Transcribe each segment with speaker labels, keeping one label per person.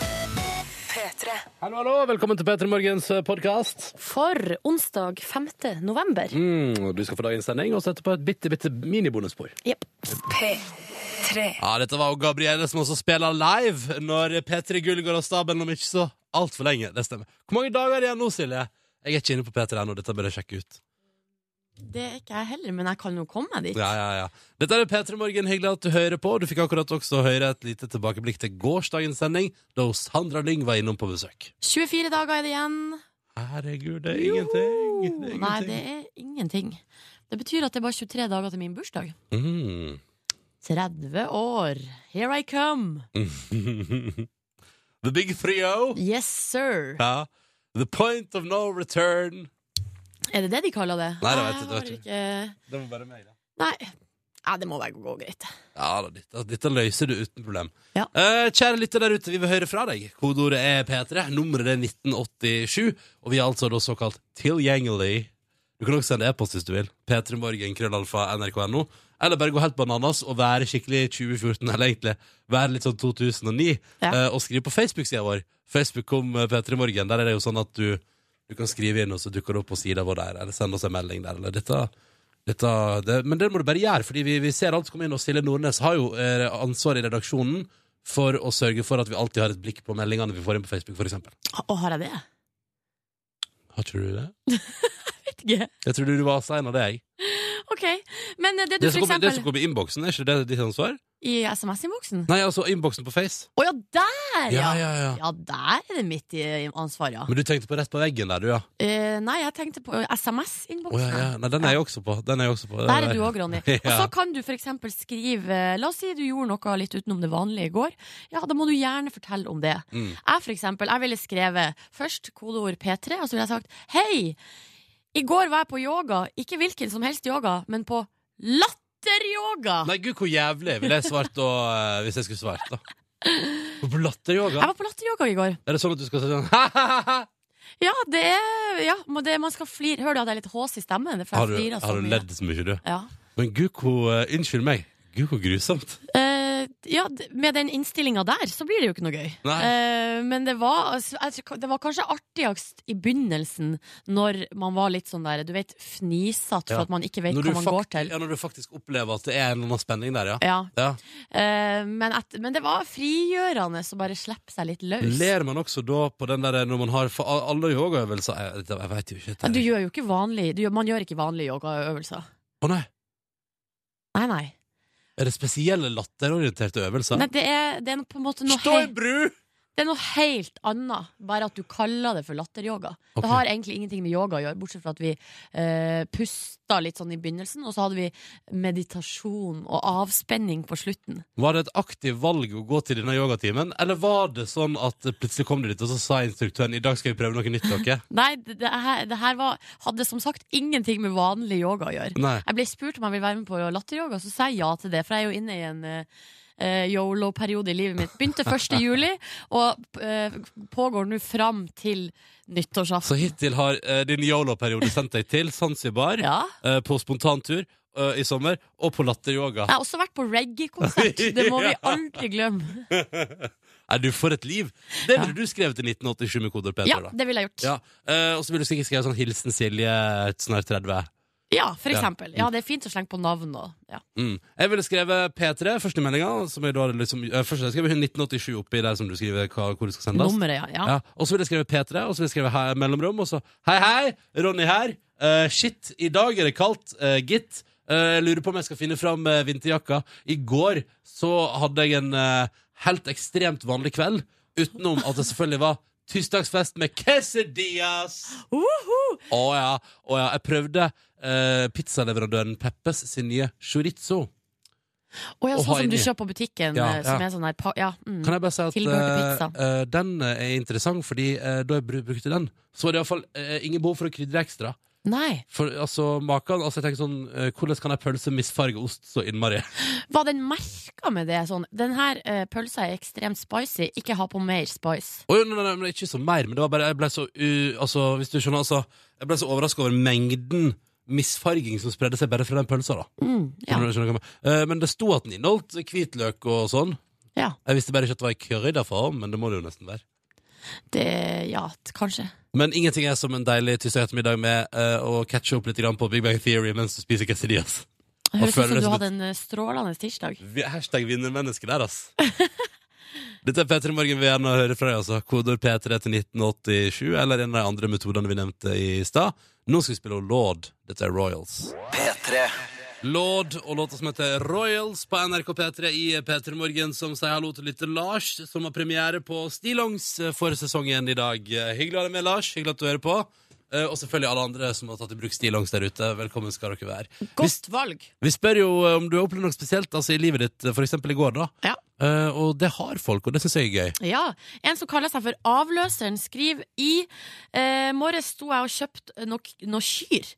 Speaker 1: P3.
Speaker 2: Hallo, hallo, velkommen til Petter Morgens eh, podkast.
Speaker 3: For onsdag 5. november.
Speaker 2: Mm, du skal få dagens sending og sette på et bitte, bitte minibonusspor.
Speaker 3: Jepp.
Speaker 1: P3.
Speaker 2: Ja, dette var jo Gabrielle som også spiller live når P3 Gull går av stabelen om ikke så altfor lenge. Det stemmer. Hvor mange dager er det igjen nå, Silje? Jeg er ikke inne på P3 ennå, dette bør jeg sjekke ut.
Speaker 4: Det er ikke jeg heller, men jeg kan jo komme meg dit.
Speaker 2: Ja, ja, ja. Dette er P3 Morgen, hyggelig at du hører på. Du fikk akkurat også høre et lite tilbakeblikk til gårsdagens sending, da Sandra Lyng var innom på besøk.
Speaker 4: 24 dager er det igjen.
Speaker 2: Herregud, det er ingenting. Det er
Speaker 4: Nei, det
Speaker 2: ingenting.
Speaker 4: er ingenting. Det betyr at det er bare 23 dager til min bursdag.
Speaker 2: Mm.
Speaker 4: 30 år. Here I come.
Speaker 2: The Big Three-O.
Speaker 4: Yes, sir.
Speaker 2: Ja. The Point of No Return.
Speaker 4: Er det det de kaller det?
Speaker 2: Nei, det vet jeg- det
Speaker 4: har
Speaker 2: vet jeg.
Speaker 4: ikke-
Speaker 2: Det var bare meg, da.
Speaker 4: Nei. Nei, det må bare gå greit.
Speaker 2: Ja, da, dette, altså, dette løser du uten problem.
Speaker 4: Ja.
Speaker 2: Eh, kjære lytter der ute, vi vil høre fra deg. Kodeordet er P3, nummeret er 1987, og vi er altså da såkalt tilgjengelig. Du kan også sende e-post hvis du vil. P3morgen, krøllalfa, nrk.no. Eller bare gå helt bananas og være skikkelig 2014, eller egentlig være litt sånn 2009,
Speaker 4: Ja.
Speaker 2: eh, og skrive på Facebook-sida vår. Facebook kom eh, P3morgen. Der er det jo sånn at du, du kan skrive inn, og så dukker det opp på sida vår der, eller send oss en melding der, eller dette. dette det, men det må du bare gjøre, fordi vi, vi ser alt som kommer inn, og Silje Nordnes har jo eh, ansvar i redaksjonen for å sørge for at vi alltid har et blikk på meldingene vi får inn på Facebook, f.eks.
Speaker 4: Å, har jeg det?
Speaker 2: Har ikke du det?
Speaker 4: Vet ikke.
Speaker 2: Jeg trodde du var sein av det, jeg.
Speaker 4: Ok. Men eh, det du
Speaker 2: Det
Speaker 4: for
Speaker 2: som kommer- det som
Speaker 4: eksempel
Speaker 2: kommer i innboksen, er ikke det ditt ansvar?
Speaker 4: I SMS-innboksen?
Speaker 2: Nei, altså innboksen på Face.
Speaker 4: Å ja, der,
Speaker 2: Ja,
Speaker 4: ja!
Speaker 2: ja, ja.
Speaker 4: Ja, der er det mitt i- ansvar, ja.
Speaker 2: Men du tenkte på rett på veggen der, du, ja.
Speaker 4: Eh, nei, jeg tenkte på
Speaker 2: Å, ja,
Speaker 4: SMS-innboksen.
Speaker 2: ja. Nei, den er jeg også på. Den er jeg også på.
Speaker 4: Der er du òg, Ronny. Og
Speaker 2: Ja.
Speaker 4: så kan du f.eks. skrive eh, La oss si du gjorde noe litt utenom det vanlige i går. Ja, da må du gjerne fortelle om det.
Speaker 2: Mm.
Speaker 4: Jeg for eksempel, jeg ville skrevet først kodeord P3, og så ville jeg sagt Hei! I går var jeg på yoga. Ikke hvilken som helst yoga, men på latteryoga!
Speaker 2: Nei, gud, hvor jævlig ville jeg svart da, eh, hvis jeg skulle svart, da. Og På latteryoga?
Speaker 4: Jeg var på latteryoga i går.
Speaker 2: Er det sånn at du skal si sånn ha-ha-ha?
Speaker 4: Ja, det er Ja, men det, man skal flire. Hører du at det er litt hås i stemmen? For jeg
Speaker 2: Har, du-
Speaker 4: flirer så
Speaker 2: har du
Speaker 4: mye.
Speaker 2: ledd så mye, du?
Speaker 4: Ja.
Speaker 2: Men gud, hvor eh, Unnskyld meg. Gud, hvor grusomt.
Speaker 4: Eh, ja, d- med den innstillinga der, så blir det jo ikke noe gøy.
Speaker 2: Nei.
Speaker 4: Eh, men det var, altså, jeg tror- det var kanskje artigst i begynnelsen, når man var litt sånn der, du vet, fnisete for
Speaker 2: Ja.
Speaker 4: at man ikke vet
Speaker 2: Når
Speaker 4: hva
Speaker 2: du
Speaker 4: man
Speaker 2: fakt-
Speaker 4: går til.
Speaker 2: Ja, når du faktisk opplever at det er en eller annen spenning der, ja.
Speaker 4: Ja.
Speaker 2: ja.
Speaker 4: Eh, men, et, men det var frigjørende å bare slippe seg litt løs.
Speaker 2: Ler man også da på den der eh, når man har for a- alle yogaøvelser Jeg, jeg veit jo ikke. dette
Speaker 4: Ja, du
Speaker 2: her.
Speaker 4: gjør jo ikke vanlig du gjør, Man gjør ikke vanlige yogaøvelser.
Speaker 2: Å nei.
Speaker 4: Nei, nei.
Speaker 2: Er det spesielle latterorienterte øvelser?
Speaker 4: nei det, er, det er på en måte noe,
Speaker 2: Stå i
Speaker 4: hei-
Speaker 2: bru!
Speaker 4: det er noe helt annet, bare at du kaller det for latteryoga.
Speaker 2: Ok.
Speaker 4: Det har egentlig ingenting med yoga å gjøre, bortsett fra at vi eh, pusta litt sånn i begynnelsen, og så hadde vi meditasjon og avspenning på slutten.
Speaker 2: Var det et aktivt valg å gå til denne yogatimen, eller var det sånn at plutselig kom du dit, og så sa instruktøren i dag skal vi prøve noe nytt, dere?
Speaker 4: Nei, det, det, her, det her var, hadde som sagt ingenting med vanlig yoga å gjøre.
Speaker 2: Nei.
Speaker 4: Jeg ble spurt om jeg ville være med på latteryoga, så sa jeg ja til det, for jeg er jo inne i en eh, yolo-periode i livet mitt. Begynte 1. juli, og eh, pågår nå fram til
Speaker 2: Så
Speaker 4: nyttårsaften.
Speaker 2: hittil har eh, din yolo-periode sendt deg til Zanzibar,
Speaker 4: Ja.
Speaker 2: eh, på spontantur eh, i sommer, og på latteryoga.
Speaker 4: Jeg har også vært på reggae-konsert, det må vi aldri glemme.
Speaker 2: Nei, du, for et liv! Det
Speaker 4: Ja.
Speaker 2: ville du skrevet til 1987 med kodeord Peter,
Speaker 4: Ja,
Speaker 2: da.
Speaker 4: det ville jeg gjort.
Speaker 2: Ja. eh, og så ville du sikkert skrevet sånn 'Hilsen Silje, snart 30'.
Speaker 4: Ja, for
Speaker 2: Ja.
Speaker 4: eksempel. Ja, det er fint å slenge på navn og ja.
Speaker 2: Mm. Jeg ville skrevet P3, første meldinga. Som jeg da hadde liksom, eh, først skrev jeg 1987 oppi der som du skriver hva, hvor det skal sendes.
Speaker 4: nummeret, ja. ja.
Speaker 2: Ja. Og så ville jeg skrevet P3, og så ville jeg skrevet he- mellomrom, og så Hei, hei, Ronny her. Eh, shit, i dag er det kaldt, eh, gitt. Eh, jeg lurer på om jeg skal finne fram eh, vinterjakka. I går så hadde jeg en eh, helt ekstremt vanlig kveld, utenom at det selvfølgelig var tirsdagsfest med quesadillas.
Speaker 4: Uhu!
Speaker 2: Å ja, å ja. Jeg prøvde eh, pizzaleverandøren Peppes sin nye chorizo.
Speaker 4: Å ja,
Speaker 2: Og ha
Speaker 4: sånn som du
Speaker 2: inni.
Speaker 4: kjøper på butikken,
Speaker 2: Ja,
Speaker 4: eh, som
Speaker 2: ja.
Speaker 4: er sånn her pa Ja. Mm.
Speaker 2: Kan jeg bare si at
Speaker 4: Tilbehør til
Speaker 2: eh, eh, den er interessant, fordi eh, da jeg bru- brukte den, så var det iallfall uh, ingen behov for å krydre ekstra.
Speaker 4: Nei.
Speaker 2: For altså, maken, altså jeg tenker sånn eh, Hvordan kan ei pølse misfarge ost så innmari?
Speaker 4: Var den merka med det? Sånn, den her eh, pølsa er ekstremt spicy, ikke ha på mer spice.
Speaker 2: Oi, nei, nei, nei, men Ikke så mer, men det var bare Jeg ble så u- altså, hvis du skjønner, altså, jeg ble så overraska over mengden misfarging som spredde seg bare fra den pølsa. da
Speaker 4: Mm, ja.
Speaker 2: Skjønner du- skjønner du hva jeg mener? Eh, Men det sto at den inneholdt hvitløk og sånn.
Speaker 4: Ja.
Speaker 2: Jeg visste bare ikke at det var i currydaform, men det må det jo nesten være.
Speaker 4: Det, ja, t- kanskje.
Speaker 2: Men ingenting er som en deilig tirsdag ettermiddag med eh, å catche opp litt grann på Big Bang Theory mens du spiser quesadillas.
Speaker 4: Det høres ut
Speaker 2: føler
Speaker 4: som
Speaker 2: det
Speaker 4: du
Speaker 2: som
Speaker 4: hadde en eh, strålende tirsdag.
Speaker 2: Vi- Hashtag vinnermenneske der, ass. Dette er P3 Morgen vi gjerne hører fra deg, altså. Kodord P3 til 1987, eller en av de andre metodene vi nevnte i stad. Nå skal vi spille Lord. Dette er Royals.
Speaker 5: P3
Speaker 2: Lord og låta som heter Royals på NRK P3 i P3 Morgen, som sier hallo til lytter Lars, som har premiere på Stillongs eh, for sesongen i dag. Eh, Hyggelig å ha deg med, Lars. Hyggelig at du hører på. Eh, Og selvfølgelig alle andre som har tatt i bruk stillongs der ute. Velkommen skal dere være.
Speaker 4: Godt valg.
Speaker 2: Vi spør jo eh, om du har opplevd noe spesielt altså i livet ditt, eh, for eksempel i går, da.
Speaker 4: Ja.
Speaker 2: Eh, og det har folk, og det syns jeg er gøy.
Speaker 4: Ja, En som kaller seg for Avløseren, skriver i eh, morges sto jeg og kjøpte noe noe kyr.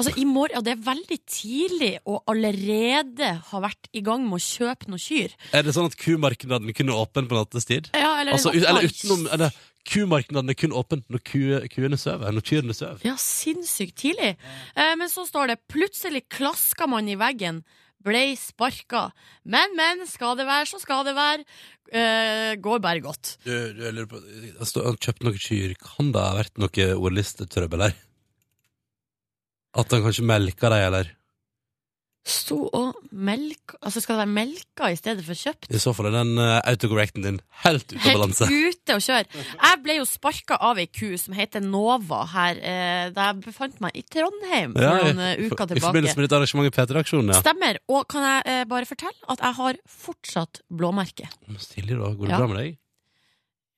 Speaker 4: Altså i morgen, og Det er veldig tidlig å allerede ha vært i gang med å kjøpe noe kyr.
Speaker 2: Er det sånn at kumarkedene kun er åpen på nattestid?
Speaker 4: Ja, eller, en
Speaker 2: Altså, ut- eller
Speaker 4: oppdag.
Speaker 2: utenom eller, Kumarkedene er kun åpen når ku, kuene sover, når kyrne sover.
Speaker 4: Ja, sinnssykt tidlig. Eh, men så står det 'plutselig klaska man i veggen'. Blei sparka. Men, men, skal det være, så skal det være. Eh, går bare godt.
Speaker 2: Du, du jeg lurer på altså, Han kjøpte noen kyr. Kan det ha vært noe ordlistetrøbbel her? At han kanskje melka dem, eller?
Speaker 4: Sto og melk Altså, skal det være melka i stedet for kjøpt?
Speaker 2: I så fall er den eh, autocorrecten din helt ute av
Speaker 4: Helt
Speaker 2: balanse.
Speaker 4: ute å kjøre. Jeg ble jo sparka av ei ku som heter Nova her eh, da jeg befant meg i Trondheim for
Speaker 2: Ja, i-
Speaker 4: noen eh, uker
Speaker 2: I forbindelse
Speaker 4: tilbake.
Speaker 2: med ditt arrangement i P3-aksjonen, ja.
Speaker 4: Stemmer. Og kan jeg eh, bare fortelle at jeg har fortsatt blåmerke.
Speaker 2: Stilig, da. Går det
Speaker 4: Ja.
Speaker 2: bra med deg?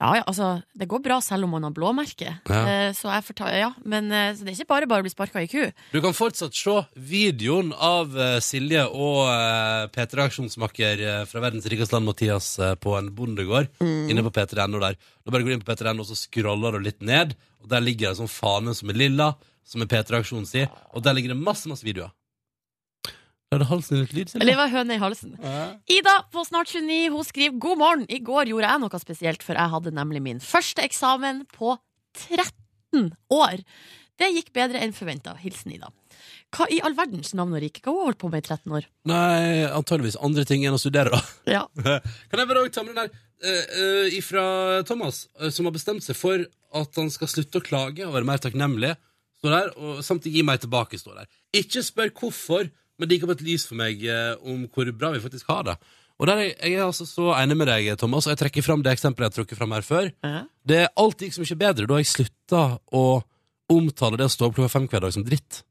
Speaker 4: Ja, ja, altså, det går bra selv om man har blåmerke.
Speaker 2: Ja.
Speaker 4: Eh, så jeg fortal, ja, men eh, så det er ikke bare bare å bli sparka i ku.
Speaker 2: Du kan fortsatt se videoen av eh, Silje og eh, P3-aksjonsmakker eh, fra verdens rikeste land, Mathias, eh, på en bondegård inne på P3.no der. Da bare går du inn på P3.no, og så scroller du litt ned, og der ligger det en sånn fane som er lilla, som er P3-aksjonen si, og der ligger det masse, masse videoer. Da er det halsen din litt lyd, Silje.
Speaker 4: Eller var høne i halsen. Ida på snart 29 hun skriver god morgen. I går gjorde jeg noe spesielt, for jeg hadde nemlig min første eksamen på 13 år. Det gikk bedre enn forventa. Hilsen Ida. Hva i all verdens navn og rike? Hva har hun holdt på med i 13 år?
Speaker 2: Nei, antageligvis andre ting enn å studere, da.
Speaker 4: Ja.
Speaker 2: Kan jeg bare også ta med den der eh, eh, ifra Thomas, eh, som har bestemt seg for at han skal slutte å klage og være mer takknemlig. Står der, og samtidig gi meg tilbake, står der. Ikke spør hvorfor, men det gikk opp et lys for meg eh, om hvor bra vi faktisk har det. Og der, er jeg- Jeg er altså så enig med deg, Thomas, og jeg trekker fram det eksempelet jeg har trukket fram her før.
Speaker 4: Ja.
Speaker 2: Det Alt gikk så mye bedre da jeg slutta å omtale det å stå opp klokka fem hver dag som dritt.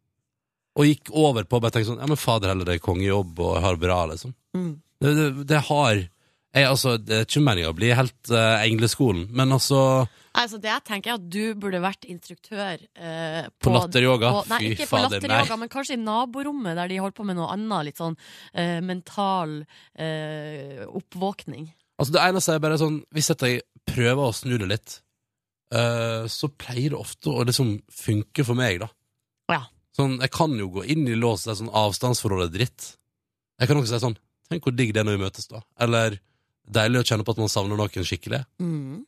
Speaker 2: Og gikk over på å bare tenke sånn Ja, men fader heller, det er kongejobb, og jeg har det bra, liksom.
Speaker 4: Mm.
Speaker 2: Det, det, det har jeg, altså, Det er ikke meninga å bli helt eh, engleskolen, men altså
Speaker 4: Altså, det jeg tenker er at du burde vært instruktør eh,
Speaker 2: På latteryoga?
Speaker 4: på- Nei,
Speaker 2: Fy
Speaker 4: ikke på
Speaker 2: fader, nei.
Speaker 4: latteryoga, men kanskje i naborommet, der de holder på med noe annet, litt sånn eh, mental eh, oppvåkning.
Speaker 2: Altså Det eneste er bare sånn Hvis at jeg prøver å snu det litt, eh, så pleier det ofte å liksom funke for meg, da.
Speaker 4: Ja.
Speaker 2: Sånn, Jeg kan jo gå inn i lås der sånn avstandsforhold er dritt. Jeg kan også si sånn Tenk hvor digg det er når vi møtes, da. Eller deilig å kjenne på at man savner noen skikkelig.
Speaker 4: Mm.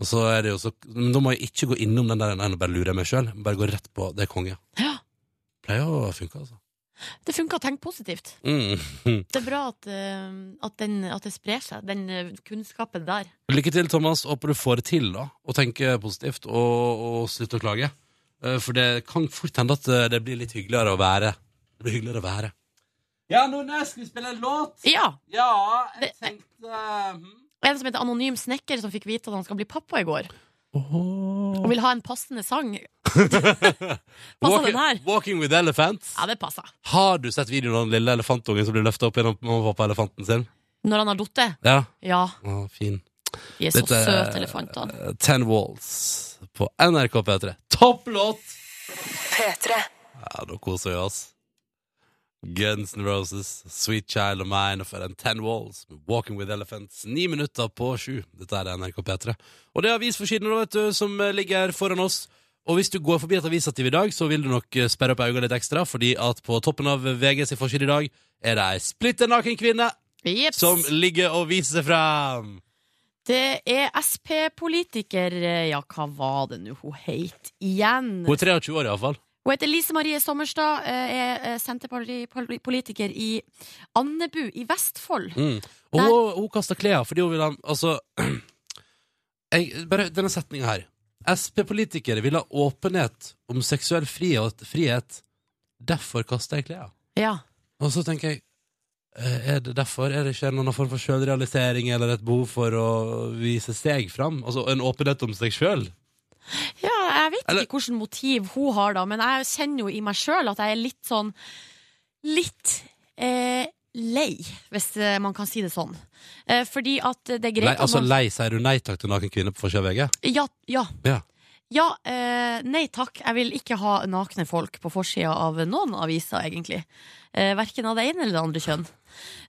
Speaker 2: Og så er det jo så Men da må jeg ikke gå innom den der ene og bare lure meg sjøl. Bare gå rett på det er konge.
Speaker 4: Ja.
Speaker 2: Pleier å funke, altså.
Speaker 4: Det funka å tenke positivt.
Speaker 2: Mm.
Speaker 4: Det er bra at, eh, at, den, at det sprer seg, den eh, kunnskapen der.
Speaker 2: Lykke til, Thomas. Håper du får det til, da. Og tenker positivt, og, og slutter å klage. Eh, For det kan fort hende at eh, det blir litt hyggeligere å være. Det blir hyggeligere å være. Ja, Nordnes, skal vi spille en låt?
Speaker 4: Ja!
Speaker 2: Ja,
Speaker 4: jeg
Speaker 2: tenkte eh, hm.
Speaker 4: En som heter Anonym snekker, som fikk vite at han skal bli pappa i går, og vil ha en passende sang. Passer den her?
Speaker 2: Walking with Elephants.
Speaker 4: Ja, det passer.
Speaker 2: Har du sett videoen av den lille elefantungen som blir løfta opp gjennom mamma og pappa-elefanten sin?
Speaker 4: Når han har datt.
Speaker 2: Ja,
Speaker 4: Ja,
Speaker 2: Å, fin.
Speaker 4: de er så
Speaker 2: Dette er-
Speaker 4: søte, elefantene.
Speaker 2: Eh, Ten Walls på NRK P3. Topp låt!
Speaker 1: P3.
Speaker 2: Ja, da koser vi oss. Guns N' Roses, Sweet Child of Mine og for den Ten Walls med Walking with Elephants. Ni minutter på sju. Dette er NRK P3. Og det er avisforsiden nå, vet du, som eh, ligger foran oss. Og hvis du går forbi et avisativ i dag, så vil du nok eh, sperre opp øynene litt ekstra, fordi at på toppen av VGs forside i dag er det ei splitter naken kvinne
Speaker 4: Jeps.
Speaker 2: som ligger og viser seg fram.
Speaker 4: Det er eh, Sp-politiker Ja, hva var det nå hun het igjen?
Speaker 2: Hun er 23 år, iallfall.
Speaker 4: Hun heter Lise Marie Sommerstad, eh, er eh, senterpartipolitiker i Andebu i Vestfold.
Speaker 2: Mm. Og hun, hun kasta klær fordi hun ville ha Altså jeg, Bare denne setninga her. Sp-politikere vil ha åpenhet om seksuell frihet, frihet. derfor kaster jeg klær.
Speaker 4: Ja.
Speaker 2: Og så tenker jeg eh, Er det derfor? Er det ikke en eller annen form for sjølrealisering eller et behov for å vise steg fram? Altså en åpenhet om seg sjøl?
Speaker 4: Ja, jeg vet
Speaker 2: Eller-
Speaker 4: ikke hvilket motiv hun har, da, men jeg kjenner jo i meg sjøl at jeg er litt sånn Litt eh, lei, hvis eh, man kan si det sånn. Eh, fordi at det er greit at
Speaker 2: Altså
Speaker 4: man-
Speaker 2: lei, sier du nei takk til naken kvinne på forsida av VG?
Speaker 4: Ja. ja.
Speaker 2: Ja.
Speaker 4: Ja, eh, nei takk. Jeg vil ikke ha nakne folk på forsida av noen aviser, egentlig. Eh, verken av det ene eller det andre kjønn.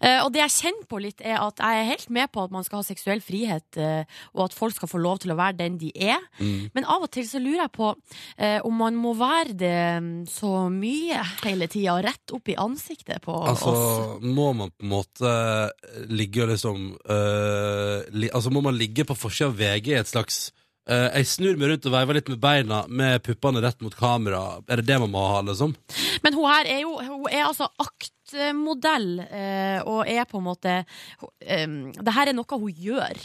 Speaker 4: Eh, og det jeg kjenner på litt, er at jeg er helt med på at man skal ha seksuell frihet, eh, og at folk skal få lov til å være den de er.
Speaker 2: Mm.
Speaker 4: Men av og til så lurer jeg på eh, om man må være det mm, så mye hele tida, rett opp i ansiktet på
Speaker 2: Altså,
Speaker 4: oss.
Speaker 2: må man på en måte ligge og liksom øh, li, Altså, må man ligge på forsida av VG i et slags øh, Jeg snur meg rundt og veiver litt med beina, med puppene rett mot kamera. Er det det man må ha, liksom?
Speaker 4: Men hun her er jo Hun er altså aktmodell eh, Og er på en måte um, Det her er noe hun gjør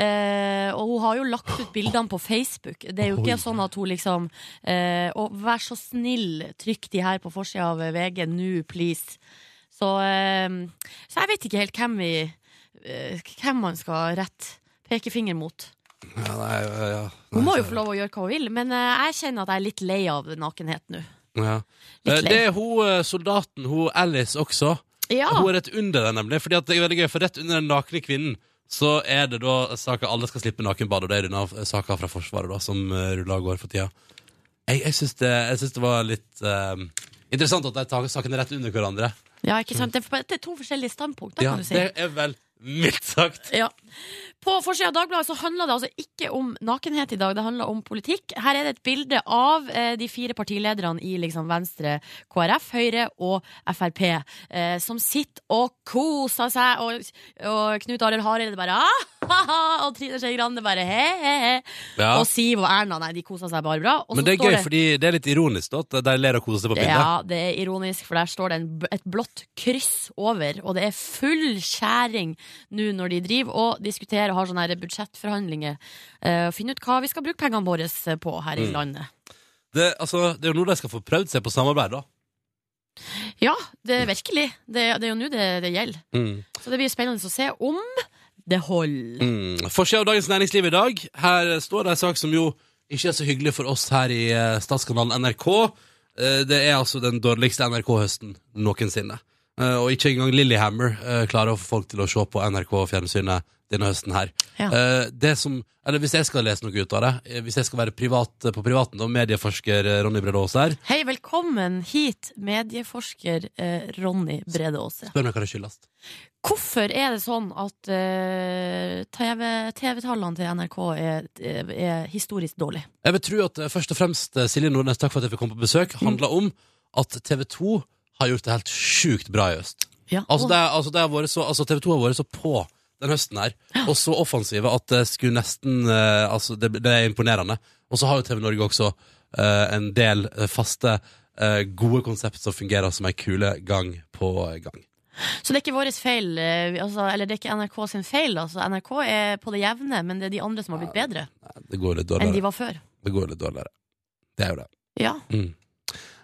Speaker 4: Eh, og hun har jo lagt ut bildene på Facebook Det er jo ikke
Speaker 2: Oi.
Speaker 4: sånn at hun liksom eh, Og vær så snill Trykk de her på forsiden av VG Nå, please så, eh, så jeg vet ikke helt hvem vi eh, Hvem man skal rett Pekefinger mot
Speaker 2: Ja, nei, ja, ja.
Speaker 4: Hun må jo få lov å gjøre hva hun vil Men eh, jeg kjenner at jeg er litt lei av nakenhet nå
Speaker 2: ja.
Speaker 4: Litt
Speaker 2: Eh,
Speaker 4: lei.
Speaker 2: Det er hun eh, soldaten, hun Alice også.
Speaker 4: Ja,
Speaker 2: Hun er rett under den, nemlig. Fordi at det er veldig gøy, for rett under den nakne kvinnen så er det da saka Alle skal slippe nakenbad, og det er denne eh, saka fra Forsvaret da som eh, ruller og går for tida. Jeg, jeg syns det, jeg syns det var litt eh, interessant at de tar sakene rett under hverandre.
Speaker 4: Ja, ikke sant? Det er, det er to forskjellige standpunkt, da,
Speaker 2: Ja,
Speaker 4: kan du si.
Speaker 2: det er vel mildt sagt.
Speaker 4: Ja. På forsida av Dagbladet så handler det altså ikke om nakenhet i dag, det handler om politikk. Her er det et bilde av eh, de fire partilederne i liksom Venstre, KrF, Høyre og Frp, eh, som sitter og koser seg, og, og Knut Arild Hareide bare ah, ha, ha, og Trine Skei Grande bare he, he, he. Og Siv og Erna, nei, de koser seg bare bra. Og
Speaker 2: Men
Speaker 4: så
Speaker 2: det er
Speaker 4: står
Speaker 2: gøy, fordi det er litt ironisk da, at de ler og koser seg på bildet.
Speaker 4: Ja, det er ironisk, for der står det en, b- et blått kryss over, og det er full skjæring nå når de driver og diskuterer og har sånne her budsjettforhandlinger. eh, og finner ut hva vi skal bruke pengene våre eh, på her
Speaker 2: Mm.
Speaker 4: i landet.
Speaker 2: Det, altså, det er jo nå de skal få prøvd seg på samarbeid, da.
Speaker 4: Ja, det er virkelig. Det, det er jo nå det, det gjelder. Så det blir spennende å se om det holder.
Speaker 2: Mm. Forsida av Dagens Næringsliv i dag. Her står det en sak som jo ikke er så hyggelig for oss her i eh, statskanalen NRK. Eh, Det er altså den dårligste NRK-høsten noensinne. Eh, Og ikke engang Lillehammer eh, klarer å få folk til å se på NRK-fjernsynet denne høsten her.
Speaker 4: Ja.
Speaker 2: Eh, Det som, eller hvis jeg skal lese noe ut av det, eh, hvis jeg skal være privat eh, på privaten, da, medieforsker eh, Ronny Brede Aase her,
Speaker 4: Hei, velkommen hit, medieforsker eh, Ronny Brede Aase.
Speaker 2: spør meg hva det skyldes.
Speaker 4: Hvorfor er det sånn at eh, TV TV-tallene til NRK er, eh, er historisk dårlig?
Speaker 2: Jeg vil tro at eh, først og fremst eh, Silje Nordnes, takk for at jeg fikk komme på besøk, handla om at TV 2 har gjort det helt sjukt bra i høst.
Speaker 4: Ja.
Speaker 2: Altså,
Speaker 4: og-
Speaker 2: det, er- altså, det har vært så, altså TV 2 har vært så på den høsten her, og så offensive at det skulle nesten eh, altså, det, det er imponerende. Og så har jo TV Norge også eh, en del eh, faste, eh, gode konsept som fungerer som ei kule gang på gang.
Speaker 4: Så det er ikke vår feil, eh, vi- altså, eller det er ikke NRK sin feil. Altså. NRK er på det jevne, men det er de andre som har blitt bedre
Speaker 2: Nei, Det går litt
Speaker 4: enn de
Speaker 2: dårligere.
Speaker 4: var før.
Speaker 2: Det går litt dårligere. Det er jo det.
Speaker 4: Ja.
Speaker 2: Mm.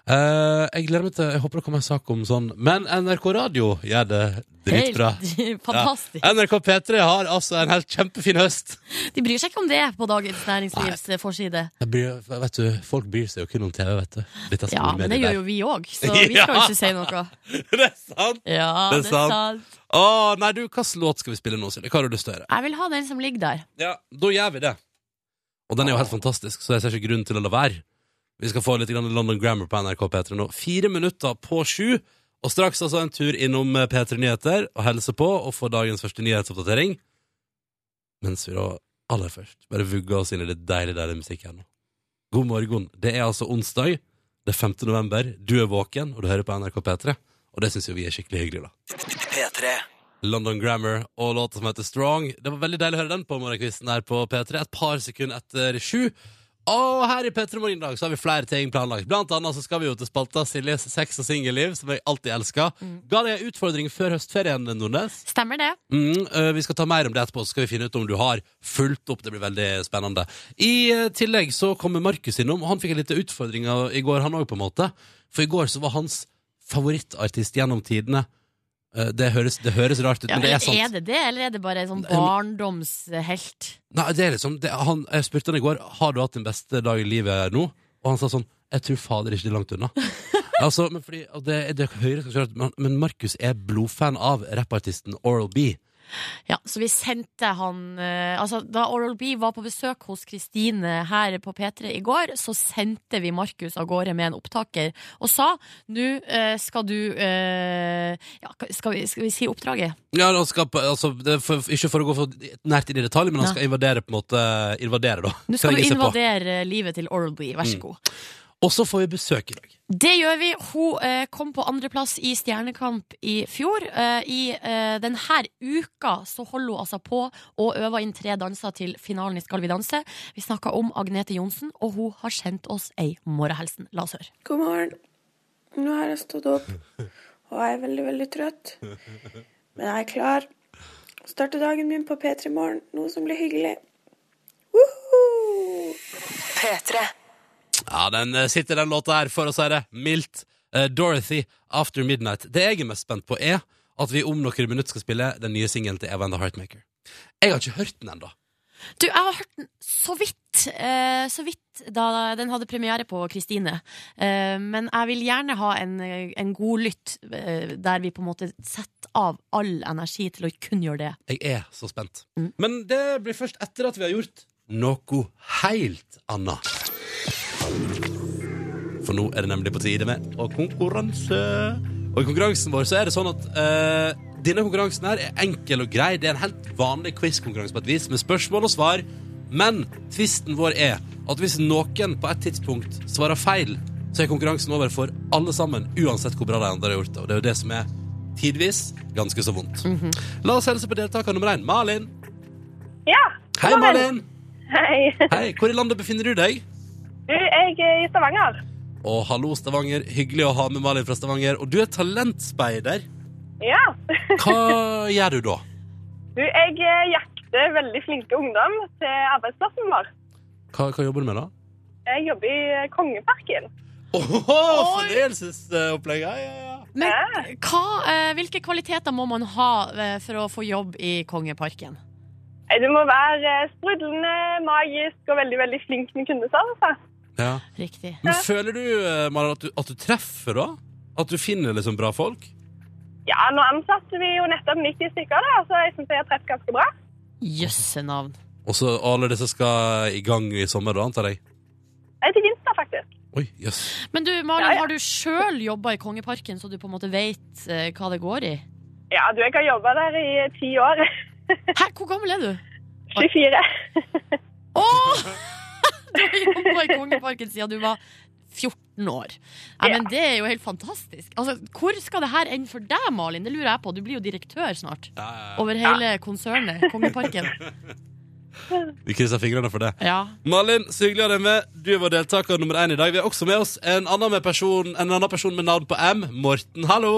Speaker 2: Eh, jeg gleder meg til Jeg håper det kommer en sak om sånn Men NRK Radio gjør det dritbra.
Speaker 4: Helt fantastisk.
Speaker 2: NRK P3 har altså en helt kjempefin høst.
Speaker 4: De bryr seg ikke om det på Dagens Næringslivs eh, forside.
Speaker 2: Jeg bryr, vet du, Folk bryr seg jo kun om TV, vet du. Litt av
Speaker 4: Ja, men det gjør jo vi òg, så vi skal jo
Speaker 2: Ja.
Speaker 4: ikke si noe.
Speaker 2: Det er sant!
Speaker 4: Ja,
Speaker 2: Det er
Speaker 4: det er sant.
Speaker 2: Å, nei, du, hvilken låt skal vi spille nå, Silje? Hva har du lyst til å gjøre?
Speaker 4: Jeg vil ha den som ligger der.
Speaker 2: Ja, da gjør vi det. Og den er jo helt fantastisk, så jeg ser ikke grunn til å la være. Vi skal få litt grann London Grammar på NRK P3 nå. Fire minutter på sju, og straks altså en tur innom eh, P3 Nyheter og helse på og få dagens første nyhetsoppdatering. Mens vi da aller først bare vugger oss inn i det deilige, deilige musikk her nå. God morgen. Det er altså onsdag. Det er 5. november. Du er våken, og du hører på NRK P3. Og det syns jo vi er skikkelig hyggelig, da. London Grammar og låta som heter Strong. Det var veldig deilig å høre den på morgenkvisten her på P3, et par sekunder etter sju. Og her i P3 Morgen i dag så har vi flere ting planlagt. Blant annet så skal vi jo til spalta Siljes sex- og singelliv, som jeg alltid elsker. Ga deg en utfordring før høstferien, Nordnes?
Speaker 4: Stemmer det?
Speaker 2: Mm, øh, vi skal ta mer om det etterpå, så skal vi finne ut om du har fulgt opp. Det blir veldig spennende. I øh, tillegg så kommer Markus innom. Han fikk en liten utfordring av- i går, han òg, på en måte. For i går så var hans favorittartist gjennom tidene Eh, det, høres, det høres rart ut,
Speaker 4: Ja,
Speaker 2: men det er sant.
Speaker 4: er det det, eller er det bare en sånn barndomshelt?
Speaker 2: Nei, det er liksom det, han, Jeg spurte han i går Har du hatt din beste dag i livet nå? Og han sa sånn Jeg tror fader ikke det er langt unna Altså, men fordi og det, det er høyre, skal kjøre, men, men Markus er blodfan av rappartisten Oral B
Speaker 4: Ja, så vi sendte han eh, Altså, da Oral B var på besøk hos Kristine her på P3 i går, så sendte vi Markus av gårde med en opptaker og sa nå eh, skal du eh, ja, skal, vi, skal vi si oppdraget?
Speaker 2: Ja, han skal på- altså, det, er for, Ikke for å gå for nært inn i detalj Men han
Speaker 4: Nei.
Speaker 2: skal invadere på en måte Invadere da
Speaker 4: Nå skal du
Speaker 2: Trenge seg på.
Speaker 4: invadere livet til Oral B, vær så god.
Speaker 2: Og så får vi besøk i dag
Speaker 4: Det gjør vi. Hun eh, kom på andreplass i Stjernekamp i fjor. Eh, I eh, denne uka så holder hun altså på å øve inn tre danser til finalen i Skal vi danse. Vi snakka om Agnete Johnsen, og hun har sendt oss ei morgenhilsen. La oss høre.
Speaker 5: God morgen. Nå har jeg stått opp og er veldig, veldig trøtt. Men jeg er klar. Starter dagen min på P3 Morgen, noe som blir hyggelig. Woohoo!
Speaker 1: P3.
Speaker 2: Ja, den eh, sitter den låta her, for å si det mildt. Eh, Dorothy, After Midnight. Det jeg er mest spent på, er at vi om noen minutter skal spille den nye singelen til Eva and the Heartmaker. Jeg har ikke hørt den ennå.
Speaker 4: Du, jeg har hørt den så vidt, eh, så vidt da den hadde premiere på Kristine. Eh, men jeg vil gjerne ha en, eh, en god lytt eh, der vi på en måte setter av all energi til å kun gjøre det.
Speaker 2: Jeg er så spent.
Speaker 4: Mm.
Speaker 2: Men det blir først etter at vi har gjort noe helt annet. For nå er det nemlig på tide med å konkurranse. Og i konkurransen vår så er det sånn at eh, denne konkurransen her er enkel og grei. Det er en helt vanlig quiz-konkurranse på et vis, med spørsmål og svar. Men tvisten vår er at hvis noen på et tidspunkt svarer feil, så er konkurransen over for alle sammen, uansett hvor bra de andre har gjort det. Og det er jo det som er tidvis ganske så vondt. La oss hilse på deltaker nummer én, Malin.
Speaker 6: Ja.
Speaker 2: Hei,
Speaker 6: god morgen.
Speaker 2: Malin.
Speaker 6: Hei.
Speaker 2: Hei, Hvor i landet befinner du deg?
Speaker 6: Du, jeg er i Stavanger.
Speaker 2: Og hallo, Stavanger. Hyggelig å ha med Malin fra Stavanger. Og du er talentspeider.
Speaker 6: Ja.
Speaker 2: Hva gjør du da?
Speaker 6: Du, jeg eh, jakter veldig flinke ungdom til arbeidsplassen vår.
Speaker 2: Hva, hva jobber du med, da?
Speaker 6: Jeg jobber i eh, Kongeparken.
Speaker 2: Åhå, fornøyelsesopplegg. Ja, ja, ja.
Speaker 4: Men
Speaker 6: Ja.
Speaker 4: hva, eh, hvilke kvaliteter må man ha eh, for å få jobb i Kongeparken?
Speaker 6: Eh, Du må være eh, sprudlende, magisk og veldig, veldig flink med kundeservice.
Speaker 2: ja.
Speaker 4: Riktig.
Speaker 2: Men føler du, eh, Malin, at du, at du treffer, da? At du finner liksom bra folk?
Speaker 6: Ja, nå ansatte vi jo nettopp 90 stykker, da, så jeg syns jeg har truffet ganske bra.
Speaker 4: Jøsse navn.
Speaker 2: Og så alle disse skal i gang i sommer, da, antar jeg?
Speaker 6: Eh, Til vinter, faktisk.
Speaker 2: Oi, jøss.
Speaker 4: Men du, Malin,
Speaker 6: Ja, ja.
Speaker 4: har du sjøl jobba i Kongeparken, så du på en måte veit eh, hva det går i?
Speaker 6: Ja, du, jeg har jobba der i eh, ti år.
Speaker 4: Hæ, hvor gammel er du?
Speaker 6: 24.
Speaker 4: Åh! Du har jobba i Kongeparken siden du var 14 år. Nei, men Det er jo helt fantastisk. Altså, hvor skal det her ende for deg, Malin? Det lurer jeg på. Du blir jo direktør snart.
Speaker 2: Ja, ja, ja.
Speaker 4: Over hele konsernet Kongeparken.
Speaker 2: Vi krysser fingrene for det.
Speaker 4: Ja.
Speaker 2: Malin, så hyggelig å ha deg med. Du var deltaker nummer én i dag. Vi har også med oss en annen, med person, en annen person med navn på M. Morten, hallo.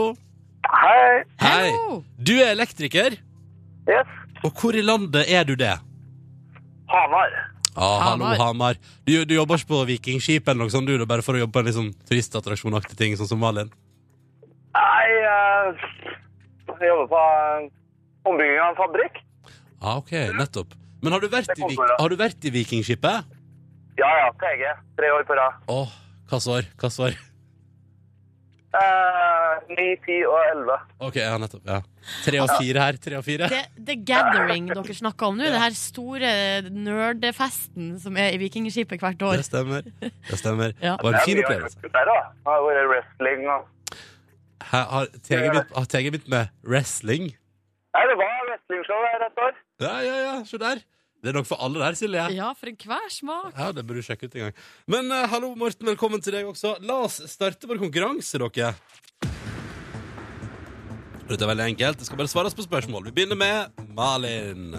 Speaker 7: Hei.
Speaker 2: Hei.
Speaker 4: Hallo!
Speaker 2: Du er elektriker,
Speaker 7: Yes.
Speaker 2: og hvor i landet er du det?
Speaker 7: Hamar.
Speaker 2: Ja, hallo,
Speaker 4: Hamar.
Speaker 2: Hamar. Du, du jobber ikke på Vikingskip eller noe sånt, du, da, bare for å jobbe på en liksom, turistattraksjonaktig ting, sånn som Malin?
Speaker 7: Nei, eh, jeg jobber på eh, ombygging av en fabrikk.
Speaker 2: Ja, ok, nettopp. Men har du vært
Speaker 7: Det
Speaker 2: i,
Speaker 7: kommer,
Speaker 2: Vik-
Speaker 7: da.
Speaker 2: har du vært i Vikingskipet?
Speaker 7: Ja, ja, TG. Tre år på rad.
Speaker 2: Åh, hva svar? Hva svar?
Speaker 7: Eh, Ni, ti og elleve.
Speaker 2: Ok, ja, nettopp, ja. Tre av fire her, tre av fire.
Speaker 4: The, the Gathering dere snakker om nå, det her store nerdefesten som er i Vikingskipet hvert
Speaker 2: Det
Speaker 4: år.
Speaker 2: stemmer. Det stemmer.
Speaker 4: Ja.
Speaker 2: Det var en fin
Speaker 7: Det er mye
Speaker 2: opplevelse.
Speaker 7: å gjøre Der, da. Det har vært wrestling og
Speaker 2: Her har TG begynt- har TG begynt med wrestling?
Speaker 7: Nei, det var wrestlingshow her et år.
Speaker 2: Ja, ja, ja, se der. Det er nok for alle der, Silje.
Speaker 4: Ja, for enhver smak.
Speaker 2: Ja, det burde du sjekke ut en gang. Men eh, hallo, Morten, velkommen til deg også. La oss starte vår konkurranse, dere. Dette er veldig enkelt. Det skal bare svares på spørsmål. Vi begynner med Malin.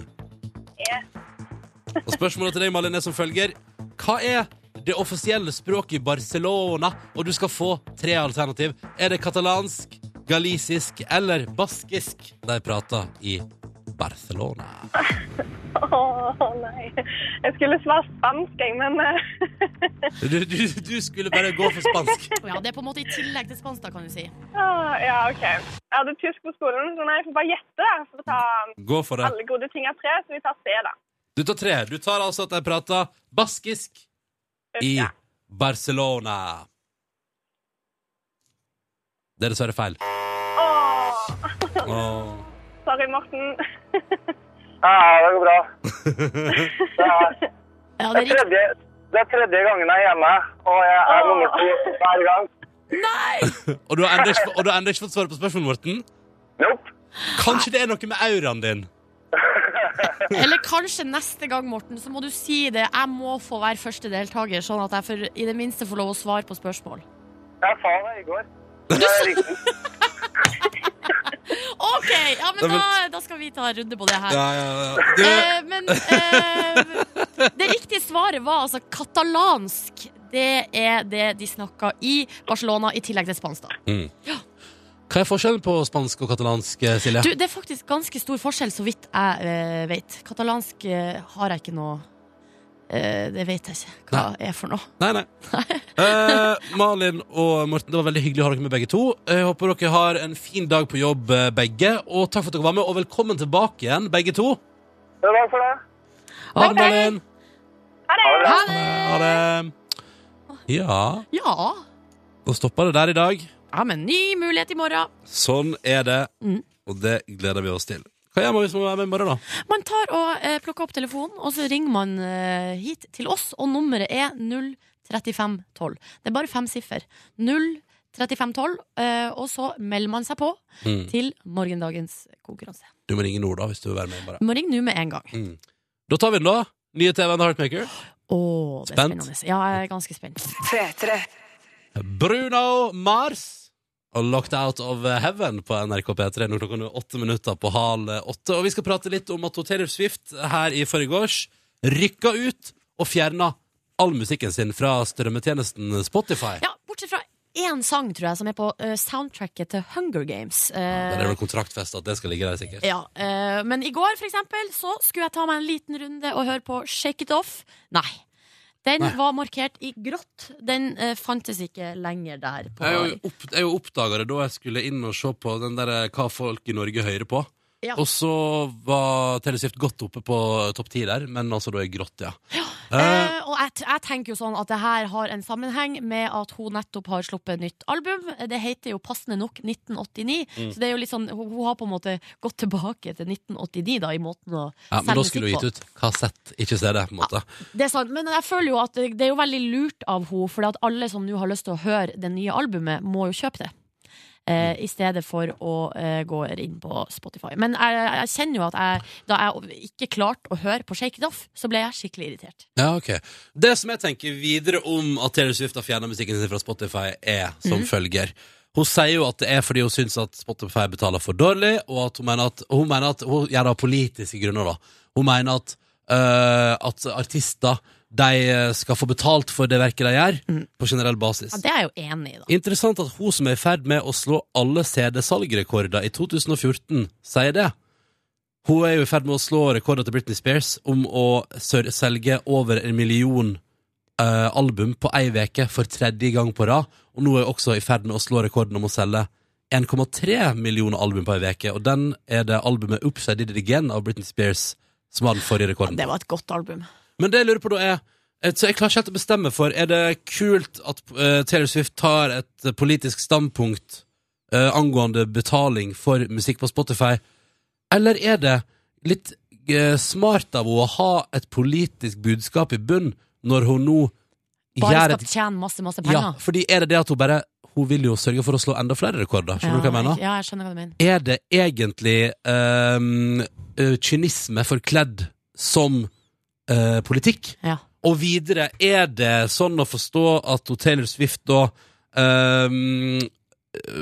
Speaker 2: Og spørsmålet til deg, Malin, er som følger. Hva er det offisielle språket i Barcelona, og du skal få tre alternativ. Er det katalansk, galisisk eller baskisk de prater i Barcelona?
Speaker 6: Åh, nei. Jeg skulle svare spansk, jeg, men eh,
Speaker 2: Du, du, du skulle bare gå for spansk.
Speaker 4: Ja, det er på en måte i tillegg til spansk, da, kan du si.
Speaker 6: ah, Ja, OK. Jeg hadde tysk på skolen, så nei, jeg får bare gjette, da. For å ta
Speaker 2: Gå for det.
Speaker 6: alle gode ting av tre, så vi tar C, da.
Speaker 2: Du tar tre. Du tar altså at de prater baskisk i
Speaker 6: Ja.
Speaker 2: Barcelona. Det er dessverre feil.
Speaker 6: Åh,
Speaker 2: Åh.
Speaker 6: sorry, Morten.
Speaker 7: Ja, det går bra. Det er,
Speaker 4: Ja,
Speaker 7: det,
Speaker 4: det
Speaker 7: er
Speaker 4: er riktig.
Speaker 7: tredje, det er tredje gangen jeg er hjemme, og jeg er nummer to hver gang.
Speaker 2: Og du har enda ikke, og du har enda ikke fått svar på spørsmålet, Morten?
Speaker 7: Nope.
Speaker 2: Kanskje det er noe med auraen din?
Speaker 4: Eller kanskje neste gang, Morten, så må du si det. Jeg må få være første deltaker, sånn at jeg for, i det minste får lov å svare på spørsmål.
Speaker 7: Jeg sa det i går. Det er riktig.
Speaker 4: OK! Ja, men
Speaker 2: Nei,
Speaker 4: da,
Speaker 2: men-
Speaker 4: da skal vi ta en runde på det her.
Speaker 2: Ja, ja, ja. Du,
Speaker 4: Eh, men eh, det riktige svaret var altså katalansk. Det er det de snakka i Barcelona, i tillegg til spansk. da.
Speaker 2: Mm. hva er forskjellen på spansk og katalansk, eh, Silje?
Speaker 4: Du, Det er faktisk ganske stor forskjell, så vidt jeg eh, vet. Katalansk eh, har jeg ikke noe eh, Det vet jeg ikke hva er for noe.
Speaker 2: Nei, nei. Eh, Malin og Morten, det var veldig hyggelig å ha dere med begge to. Jeg håper dere har en fin dag på jobb, eh, begge. Og takk for at dere var med, og velkommen tilbake igjen, begge to.
Speaker 7: Takk for det.
Speaker 2: Ha det, Malin.
Speaker 4: Ha det!
Speaker 2: Ha det. Ja,
Speaker 4: Ja.
Speaker 2: da stoppa det der i dag.
Speaker 4: ja, men ny mulighet i morgen.
Speaker 2: Sånn er det,
Speaker 4: Mm.
Speaker 2: og det gleder vi oss til. Hva gjør man hvis man er med i morgen, da?
Speaker 4: Man tar og eh, plukker opp telefonen, og så ringer man eh, hit til oss, og nummeret er 03512. Det er bare fem siffer. 03512, eh, og så melder man seg på
Speaker 2: Mm.
Speaker 4: til morgendagens konkurranse.
Speaker 2: Du må ringe Nord, da, hvis du vil være med i morgen.
Speaker 4: Du må ringe nå med en gang.
Speaker 2: Mm. Da tar vi den, da. Nye TV-en Heartmaker.
Speaker 4: Å, det er
Speaker 2: Spent?
Speaker 4: spennende. Ja, jeg er ganske spent.
Speaker 1: P3.
Speaker 2: Bruno Mars og Locked Out of Heaven på NRK P3. Nå klokka er åtte minutter på halv åtte. Og vi skal prate litt om at Taylor Swift her i forgårs rykka ut og fjerna all musikken sin fra strømmetjenesten Spotify.
Speaker 4: Ja, bortsett fra én sang, tror jeg, som er på eh, soundtracket til Hunger Games.
Speaker 2: Der
Speaker 4: Eh,
Speaker 2: er det vel kontraktfest at det skal ligge der, sikkert.
Speaker 4: Ja, eh, men i går for eksempel så skulle jeg ta meg en liten runde og høre på Shake It Off. Nei. Den
Speaker 2: Nei.
Speaker 4: var markert i grått. Den eh, fantes ikke lenger der. På,
Speaker 2: Jeg er jo opp, jeg er jo oppdaga det da jeg skulle inn og se på den der, eh, hva folk i Norge hører på.
Speaker 4: Ja.
Speaker 2: Og så var Taylor Swift godt oppe på topp ti der, men altså da er grått, ja. Eh,
Speaker 4: Eh, og jeg, t- jeg tenker jo sånn at det her har en sammenheng med at hun nettopp har sluppet nytt album. Det heter jo passende nok 1989,
Speaker 2: Mm.
Speaker 4: så det er jo litt sånn, hun, hun har på en måte gått tilbake til 1989 da, i måten å
Speaker 2: ja, men da
Speaker 4: selge
Speaker 2: skulle
Speaker 4: musikk
Speaker 2: du
Speaker 4: på.
Speaker 2: gitt ut kassett, ikke CD, på en måte.
Speaker 4: Det er sant, men jeg føler jo at det det er jo veldig lurt av henne, for at alle som nå har lyst til å høre det nye albumet, må jo kjøpe det.
Speaker 2: Mm.
Speaker 4: Eh, I stedet for å eh, gå inn på Spotify. Men jeg, jeg kjenner jo at jeg, da jeg ikke klarte å høre på Shake It Off, så ble jeg skikkelig irritert.
Speaker 2: Ja, ok Det som jeg tenker videre om at Taylor Swift har fjernet musikken sin fra Spotify, er
Speaker 4: Mhm.
Speaker 2: som følger. Hun sier jo at det er fordi hun syns at Spotify betaler for dårlig, og at hun mener at hun, mener at hun gjør det av politiske grunner. da Hun mener at, øh, at artister de skal få betalt for det verket de gjør, på generell basis.
Speaker 4: Mhm. Ja, det er jeg jo enig i, da.
Speaker 2: Interessant at hun som er i ferd med å slå alle CD-salgrekorder i 2014, sier det. Hun er jo i ferd med å slå rekorder til Britney Spears om å sør- selge over en million eh, album på ei uke for tredje gang på rad, og nå er hun også i ferd med å slå rekorden om å selge 1,3 millioner album på ei uke, og den er det albumet Upside Did It Again av Britney Spears som har den forrige rekorden.
Speaker 4: Det var et godt album.
Speaker 2: Men det jeg lurer på da er et- så jeg klarer ikke helt å bestemme for Er det kult at eh, Taylor Swift tar et eh, politisk standpunkt eh, angående betaling for musikk på Spotify, eller er det litt eh, smart av henne å ha et politisk budskap i bunn når hun nå
Speaker 4: Bare
Speaker 2: gjør
Speaker 4: skal
Speaker 2: et
Speaker 4: tjene masse, masse
Speaker 2: Ja,
Speaker 4: penger.
Speaker 2: fordi er det det at hun bare Hun vil jo sørge for å slå enda flere rekorder, skjønner du hva jeg mener?
Speaker 4: Ja, jeg skjønner hva du mener.
Speaker 2: er det egentlig ehm, eh, kynisme forkledd som eh, politikk?
Speaker 4: Ja.
Speaker 2: Og videre, er det sånn å forstå at hun Taylor Swift da ehm,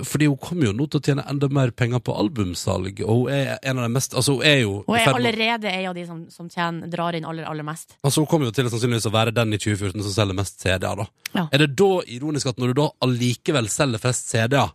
Speaker 2: Fordi hun kommer jo nå til å tjene enda mer penger på albumsalg, og hun er en av de mest Altså, hun er jo
Speaker 4: Og
Speaker 2: i
Speaker 4: er
Speaker 2: ferd med-
Speaker 4: allerede en av de som, som tjener, drar inn aller, aller mest.
Speaker 2: Altså, Hun kommer jo til sannsynligvis å være den i 2014 som selger mest CD-er. da.
Speaker 4: Ja.
Speaker 2: Er det da ironisk at når du da allikevel selger flest CD-er,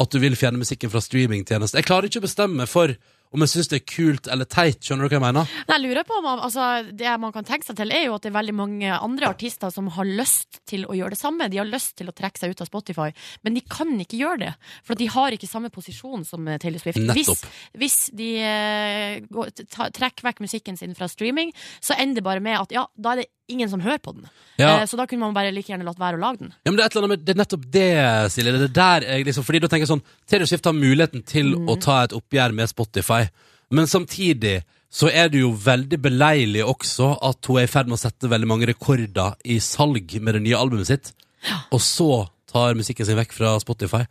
Speaker 2: at du vil fjerne musikken fra streamingtjenester? Jeg klarer ikke å bestemme meg for om jeg syns det er kult eller teit. Skjønner du hva jeg mener?
Speaker 4: Men jeg lurer på om man, altså, Det man kan tenke seg til, er jo at det er veldig mange andre artister som har lyst til å gjøre det samme. De har lyst til å trekke seg ut av Spotify, men de kan ikke gjøre det. For at de har ikke samme posisjon som eh, Taylor Swift. Hvis,
Speaker 2: Nettopp.
Speaker 4: hvis de eh, går- ta- trekker vekk musikken sin fra streaming, så ender det bare med at ja, da er det ingen som hører på den.
Speaker 2: Ja.
Speaker 4: Eh, Så da kunne man bare like gjerne latt være å lage den.
Speaker 2: Ja, men det er, et eller annet med, det er nettopp det, Silje. Det er der jeg liksom, fordi da tenker jeg sånn Taylor Swift har muligheten til å ta et oppgjør med Spotify, men samtidig så er det jo veldig beleilig også at hun er i ferd med å sette veldig mange rekorder i salg med det nye albumet sitt, og så tar musikken sin vekk fra Spotify.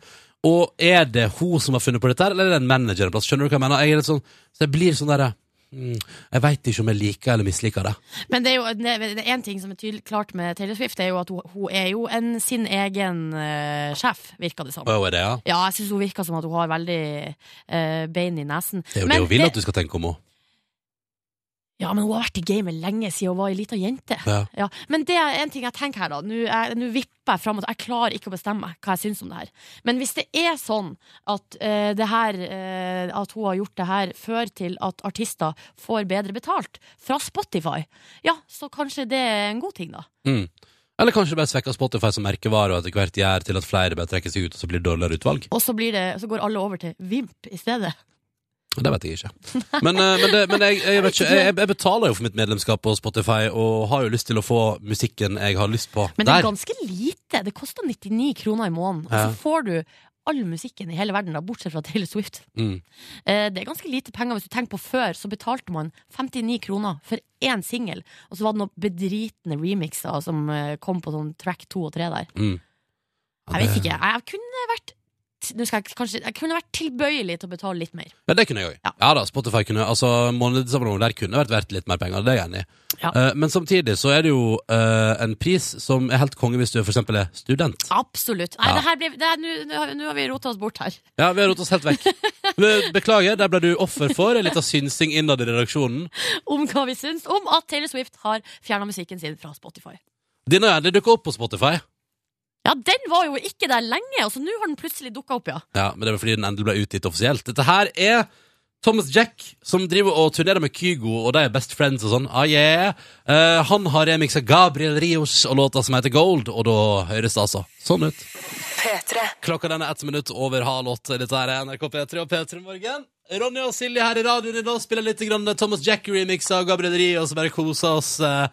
Speaker 2: Og er det hun som har funnet på dette, her, eller er det en manager en plass? Skjønner du hva jeg mener? Jeg er litt sånn, så jeg blir sånn derre mm, Jeg veit ikke om jeg liker eller misliker det.
Speaker 4: Men det er jo det- det er en ting som er tydelig klart med Taylor Swift, det er jo at hun, hun er jo en sin egen eh, sjef, virker det som.
Speaker 2: Å, er det, ja?
Speaker 4: Ja, jeg syns hun virker som at hun har veldig eh, bein i nesen.
Speaker 2: Det er jo
Speaker 4: Men
Speaker 2: det hun vil at du skal tenke om henne.
Speaker 4: Ja, men hun har vært i gamet lenge siden hun var ei lita jente.
Speaker 2: Ja.
Speaker 4: Men det er en ting jeg tenker her, da. Nå er- Nå vipper jeg fram og Jeg klarer ikke å bestemme hva jeg syns om det her. Men hvis det er sånn at, eh, det her, eh, at hun har gjort det her, fører til at artister får bedre betalt fra Spotify, ja, så kanskje det er en god ting, da.
Speaker 2: Mm. Eller kanskje bare svekker Spotify som merkevare og etter hvert gjør til at flere bare trekker seg ut og så blir det dårligere utvalg.
Speaker 4: Og så, blir det, så går alle over til Vimp i stedet.
Speaker 2: Det vet jeg ikke. Men, eh, men, det, men jeg, jeg, vet ikke, jeg, jeg betaler jo for mitt medlemskap på Spotify og har jo lyst til å få musikken jeg har lyst på
Speaker 4: Men det er
Speaker 2: der.
Speaker 4: ganske lite. Det koster 99 kroner i måneden. Og
Speaker 2: Ja.
Speaker 4: så får du all musikken i hele verden, da, bortsett fra Taylor Swift.
Speaker 2: Mm.
Speaker 4: Eh, Det er ganske lite penger. Hvis du tenker på før, så betalte man 59 kroner for én singel. Og så var det noen bedritne remixer som eh, kom på sånn track to og tre der.
Speaker 2: Mm. Ja,
Speaker 4: Jeg vet
Speaker 2: det-
Speaker 4: ikke. Jeg kunne vært nå skal jeg, kanskje, jeg kunne vært tilbøyelig til å betale litt mer.
Speaker 2: Ja, det kunne jeg òg. Ja.
Speaker 4: Ja.
Speaker 2: da, Spotify kunne altså månedsabonnement der kunne vært verdt litt mer penger. Det er jeg enig i.
Speaker 4: Ja.
Speaker 2: Eh, men samtidig så er det jo eh, en pris som er helt konge hvis du for eksempel er student.
Speaker 4: Absolutt. Nei,
Speaker 2: Ja.
Speaker 4: det her blir- det her- nå- nå har- nå har vi rota oss bort her.
Speaker 2: Ja, vi har rotet oss helt vekk. Be- Beklager, der ble du offer for en liten synsing innad i redaksjonen.
Speaker 4: Om hva vi syns om at Taylor Swift har fjerna musikken sin fra Spotify.
Speaker 2: Denne ja, det dukker opp på Spotify.
Speaker 4: Ja, den var jo ikke der lenge, og så nå har den plutselig dukka opp, ja.
Speaker 2: Ja, Men det var fordi den endelig ble utgitt offisielt. Dette her er Thomas Jack, som driver og turnerer med Kygo, og de er best friends og sånn. Ah, yeah. Eh, han har remixa Gabriel Rios og låta som heter Gold, og da høres det altså sånn ut.
Speaker 1: P3.
Speaker 2: Klokka den er ett minutt over halv åtte. Dette her er NRK P3 og P3 Morgen. Ronny og Silje her i radioen i dag spiller litt grann Thomas Jack-remixer og Gabriel Rios og bare koser oss eh,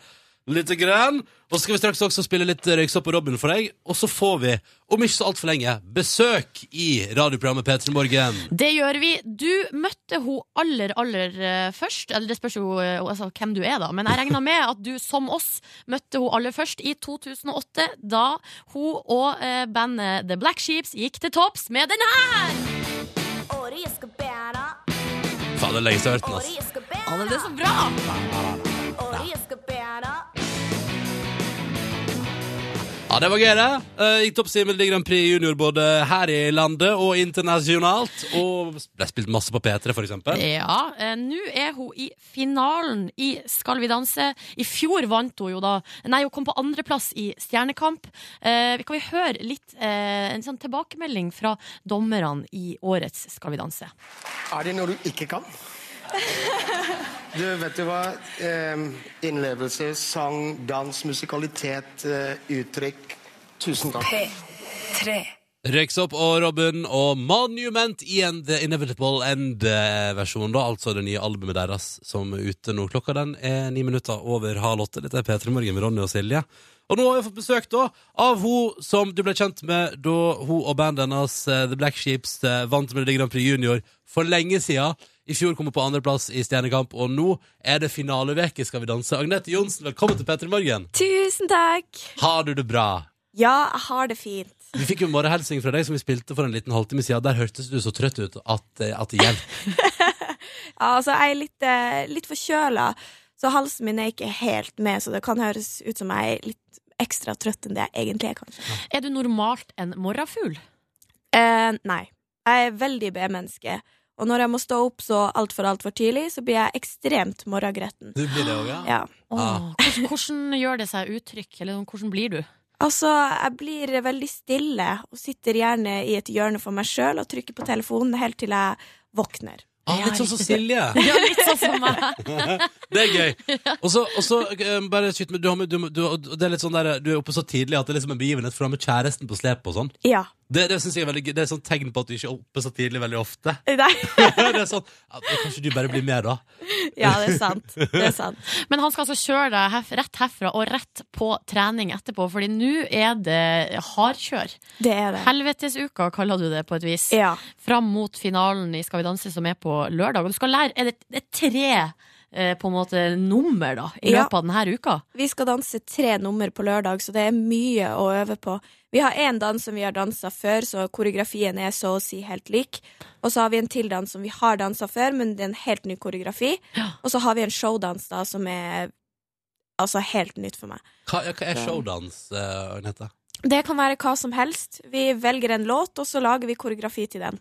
Speaker 2: litt. Grann. Og så skal vi straks også spille litt Røyksopp og Robin for deg. Og så får vi, om ikke så altfor lenge, besøk i radioprogrammet P3 Morgen.
Speaker 4: Det gjør vi. Du møtte hun aller, aller eh, først. Eller det spørs jo eh, altså, hvem du er, da. Men jeg regna med at du, som oss, møtte hun aller først i 2008. Da hun og eh, bandet The Black Sheeps gikk til topps med den her!
Speaker 8: Året jeg skal bære,
Speaker 2: Faen, det er lenge siden jeg har hørt den,
Speaker 8: året
Speaker 2: altså.
Speaker 8: jeg skal
Speaker 4: Å,
Speaker 8: bære,
Speaker 4: det er så bra!
Speaker 8: året jeg skal bære.
Speaker 2: Ja, det var gøy, det. Uh, gikk topp med Melodi Grand Prix Junior både her i landet og internasjonalt. Og ble spilt masse på P3, for eksempel.
Speaker 4: Ja. eh, Nå er hun i finalen i Skal vi danse. I fjor vant hun jo da Nei, hun kom på andreplass i Stjernekamp. Eh, vi kan vi høre litt eh, en sånn tilbakemelding fra dommerne i årets Skal vi danse?
Speaker 9: Er det noe du ikke kan? Du, vet du hva? Eh, innlevelse, sang, dans, musikalitet, eh, uttrykk. Tusen takk.
Speaker 1: P3.
Speaker 2: Røyksopp og Robin og Monument i en The Inevitable End-versjon, da. Altså det nye albumet deres som er ute nå. Klokka den er ni minutter over halv åtte. Dette er P3 Morgen med Ronny og Silje. Og nå har vi fått besøk da av hun som du ble kjent med da hun og bandet hennes eh, The Black Sheeps eh, vant Melodi Grand Prix Junior for lenge siden. I fjor kom hun på andreplass i Stjernekamp, og nå er det finaleveke Skal vi danse. Agnete Johnsen, velkommen til P3 Morgen.
Speaker 10: Tusen takk.
Speaker 2: Har du det bra?
Speaker 10: Ja, jeg har det fint.
Speaker 2: Vi fikk jo en morgenhelsing fra deg som vi spilte for en liten halvtime siden. Der hørtes du så trøtt ut at, eh, at det hjelper.
Speaker 10: Ja, Altså, jeg er litt, eh, litt forkjøla, så halsen min er ikke helt med, så det kan høres ut som jeg er litt ekstra trøtt enn det jeg egentlig er, kanskje.
Speaker 4: Er du normalt en morgenfugl?
Speaker 3: Eh, nei. Jeg er veldig B-menneske. Og når jeg må stå opp så altfor, altfor tidlig, så blir jeg ekstremt morgengretten.
Speaker 2: Du blir det òg, ja?
Speaker 3: Ja.
Speaker 2: Ah.
Speaker 4: Hvordan, hvordan gjør det seg uttrykk, eller sånn, hvordan blir du?
Speaker 3: Altså, jeg blir veldig stille og sitter gjerne i et hjørne for meg sjøl og trykker på telefonen helt til jeg våkner.
Speaker 2: Ah, litt sånn som Silje.
Speaker 4: Ja, litt sånn som meg.
Speaker 2: Det er gøy. Og så, og så eh, bare skyt meg, du, har med- du, må- du, og det er litt sånn der, du er oppe så tidlig at det er liksom en begivenhet, for du har med kjæresten på slep og sånn.
Speaker 3: Ja.
Speaker 2: Det, det synes jeg er veldig gøy. Det er sånn tegn på at du ikke er oppe så tidlig veldig ofte.
Speaker 3: Nei.
Speaker 2: det er sånn, ja, da Kanskje du bare blir med, da.
Speaker 3: Ja, det er sant. Det er sant.
Speaker 4: Men han skal altså kjøre deg herf rett herfra og rett på trening etterpå, Fordi nå er det hardkjør.
Speaker 3: Det er det.
Speaker 4: Helvetesuka kaller du det på et vis.
Speaker 3: Ja.
Speaker 4: Fram mot finalen i Skal vi danse, som er på lørdag. Og du skal lære er det, det er tre eh, på en måte nummer da i
Speaker 3: Ja.
Speaker 4: løpet av denne uka.
Speaker 3: Vi skal danse tre nummer på lørdag, så det er mye å øve på. Vi har én dans som vi har dansa før, så koreografien er så å si helt lik. Og så har vi en til dans som vi har dansa før, men det er en helt ny koreografi. Og så har vi en showdans da som er altså helt nytt for meg.
Speaker 2: Hva, ja, hva er showdans, eh, Agnete?
Speaker 3: Det kan være hva som helst. Vi velger en låt, og så lager vi koreografi til den.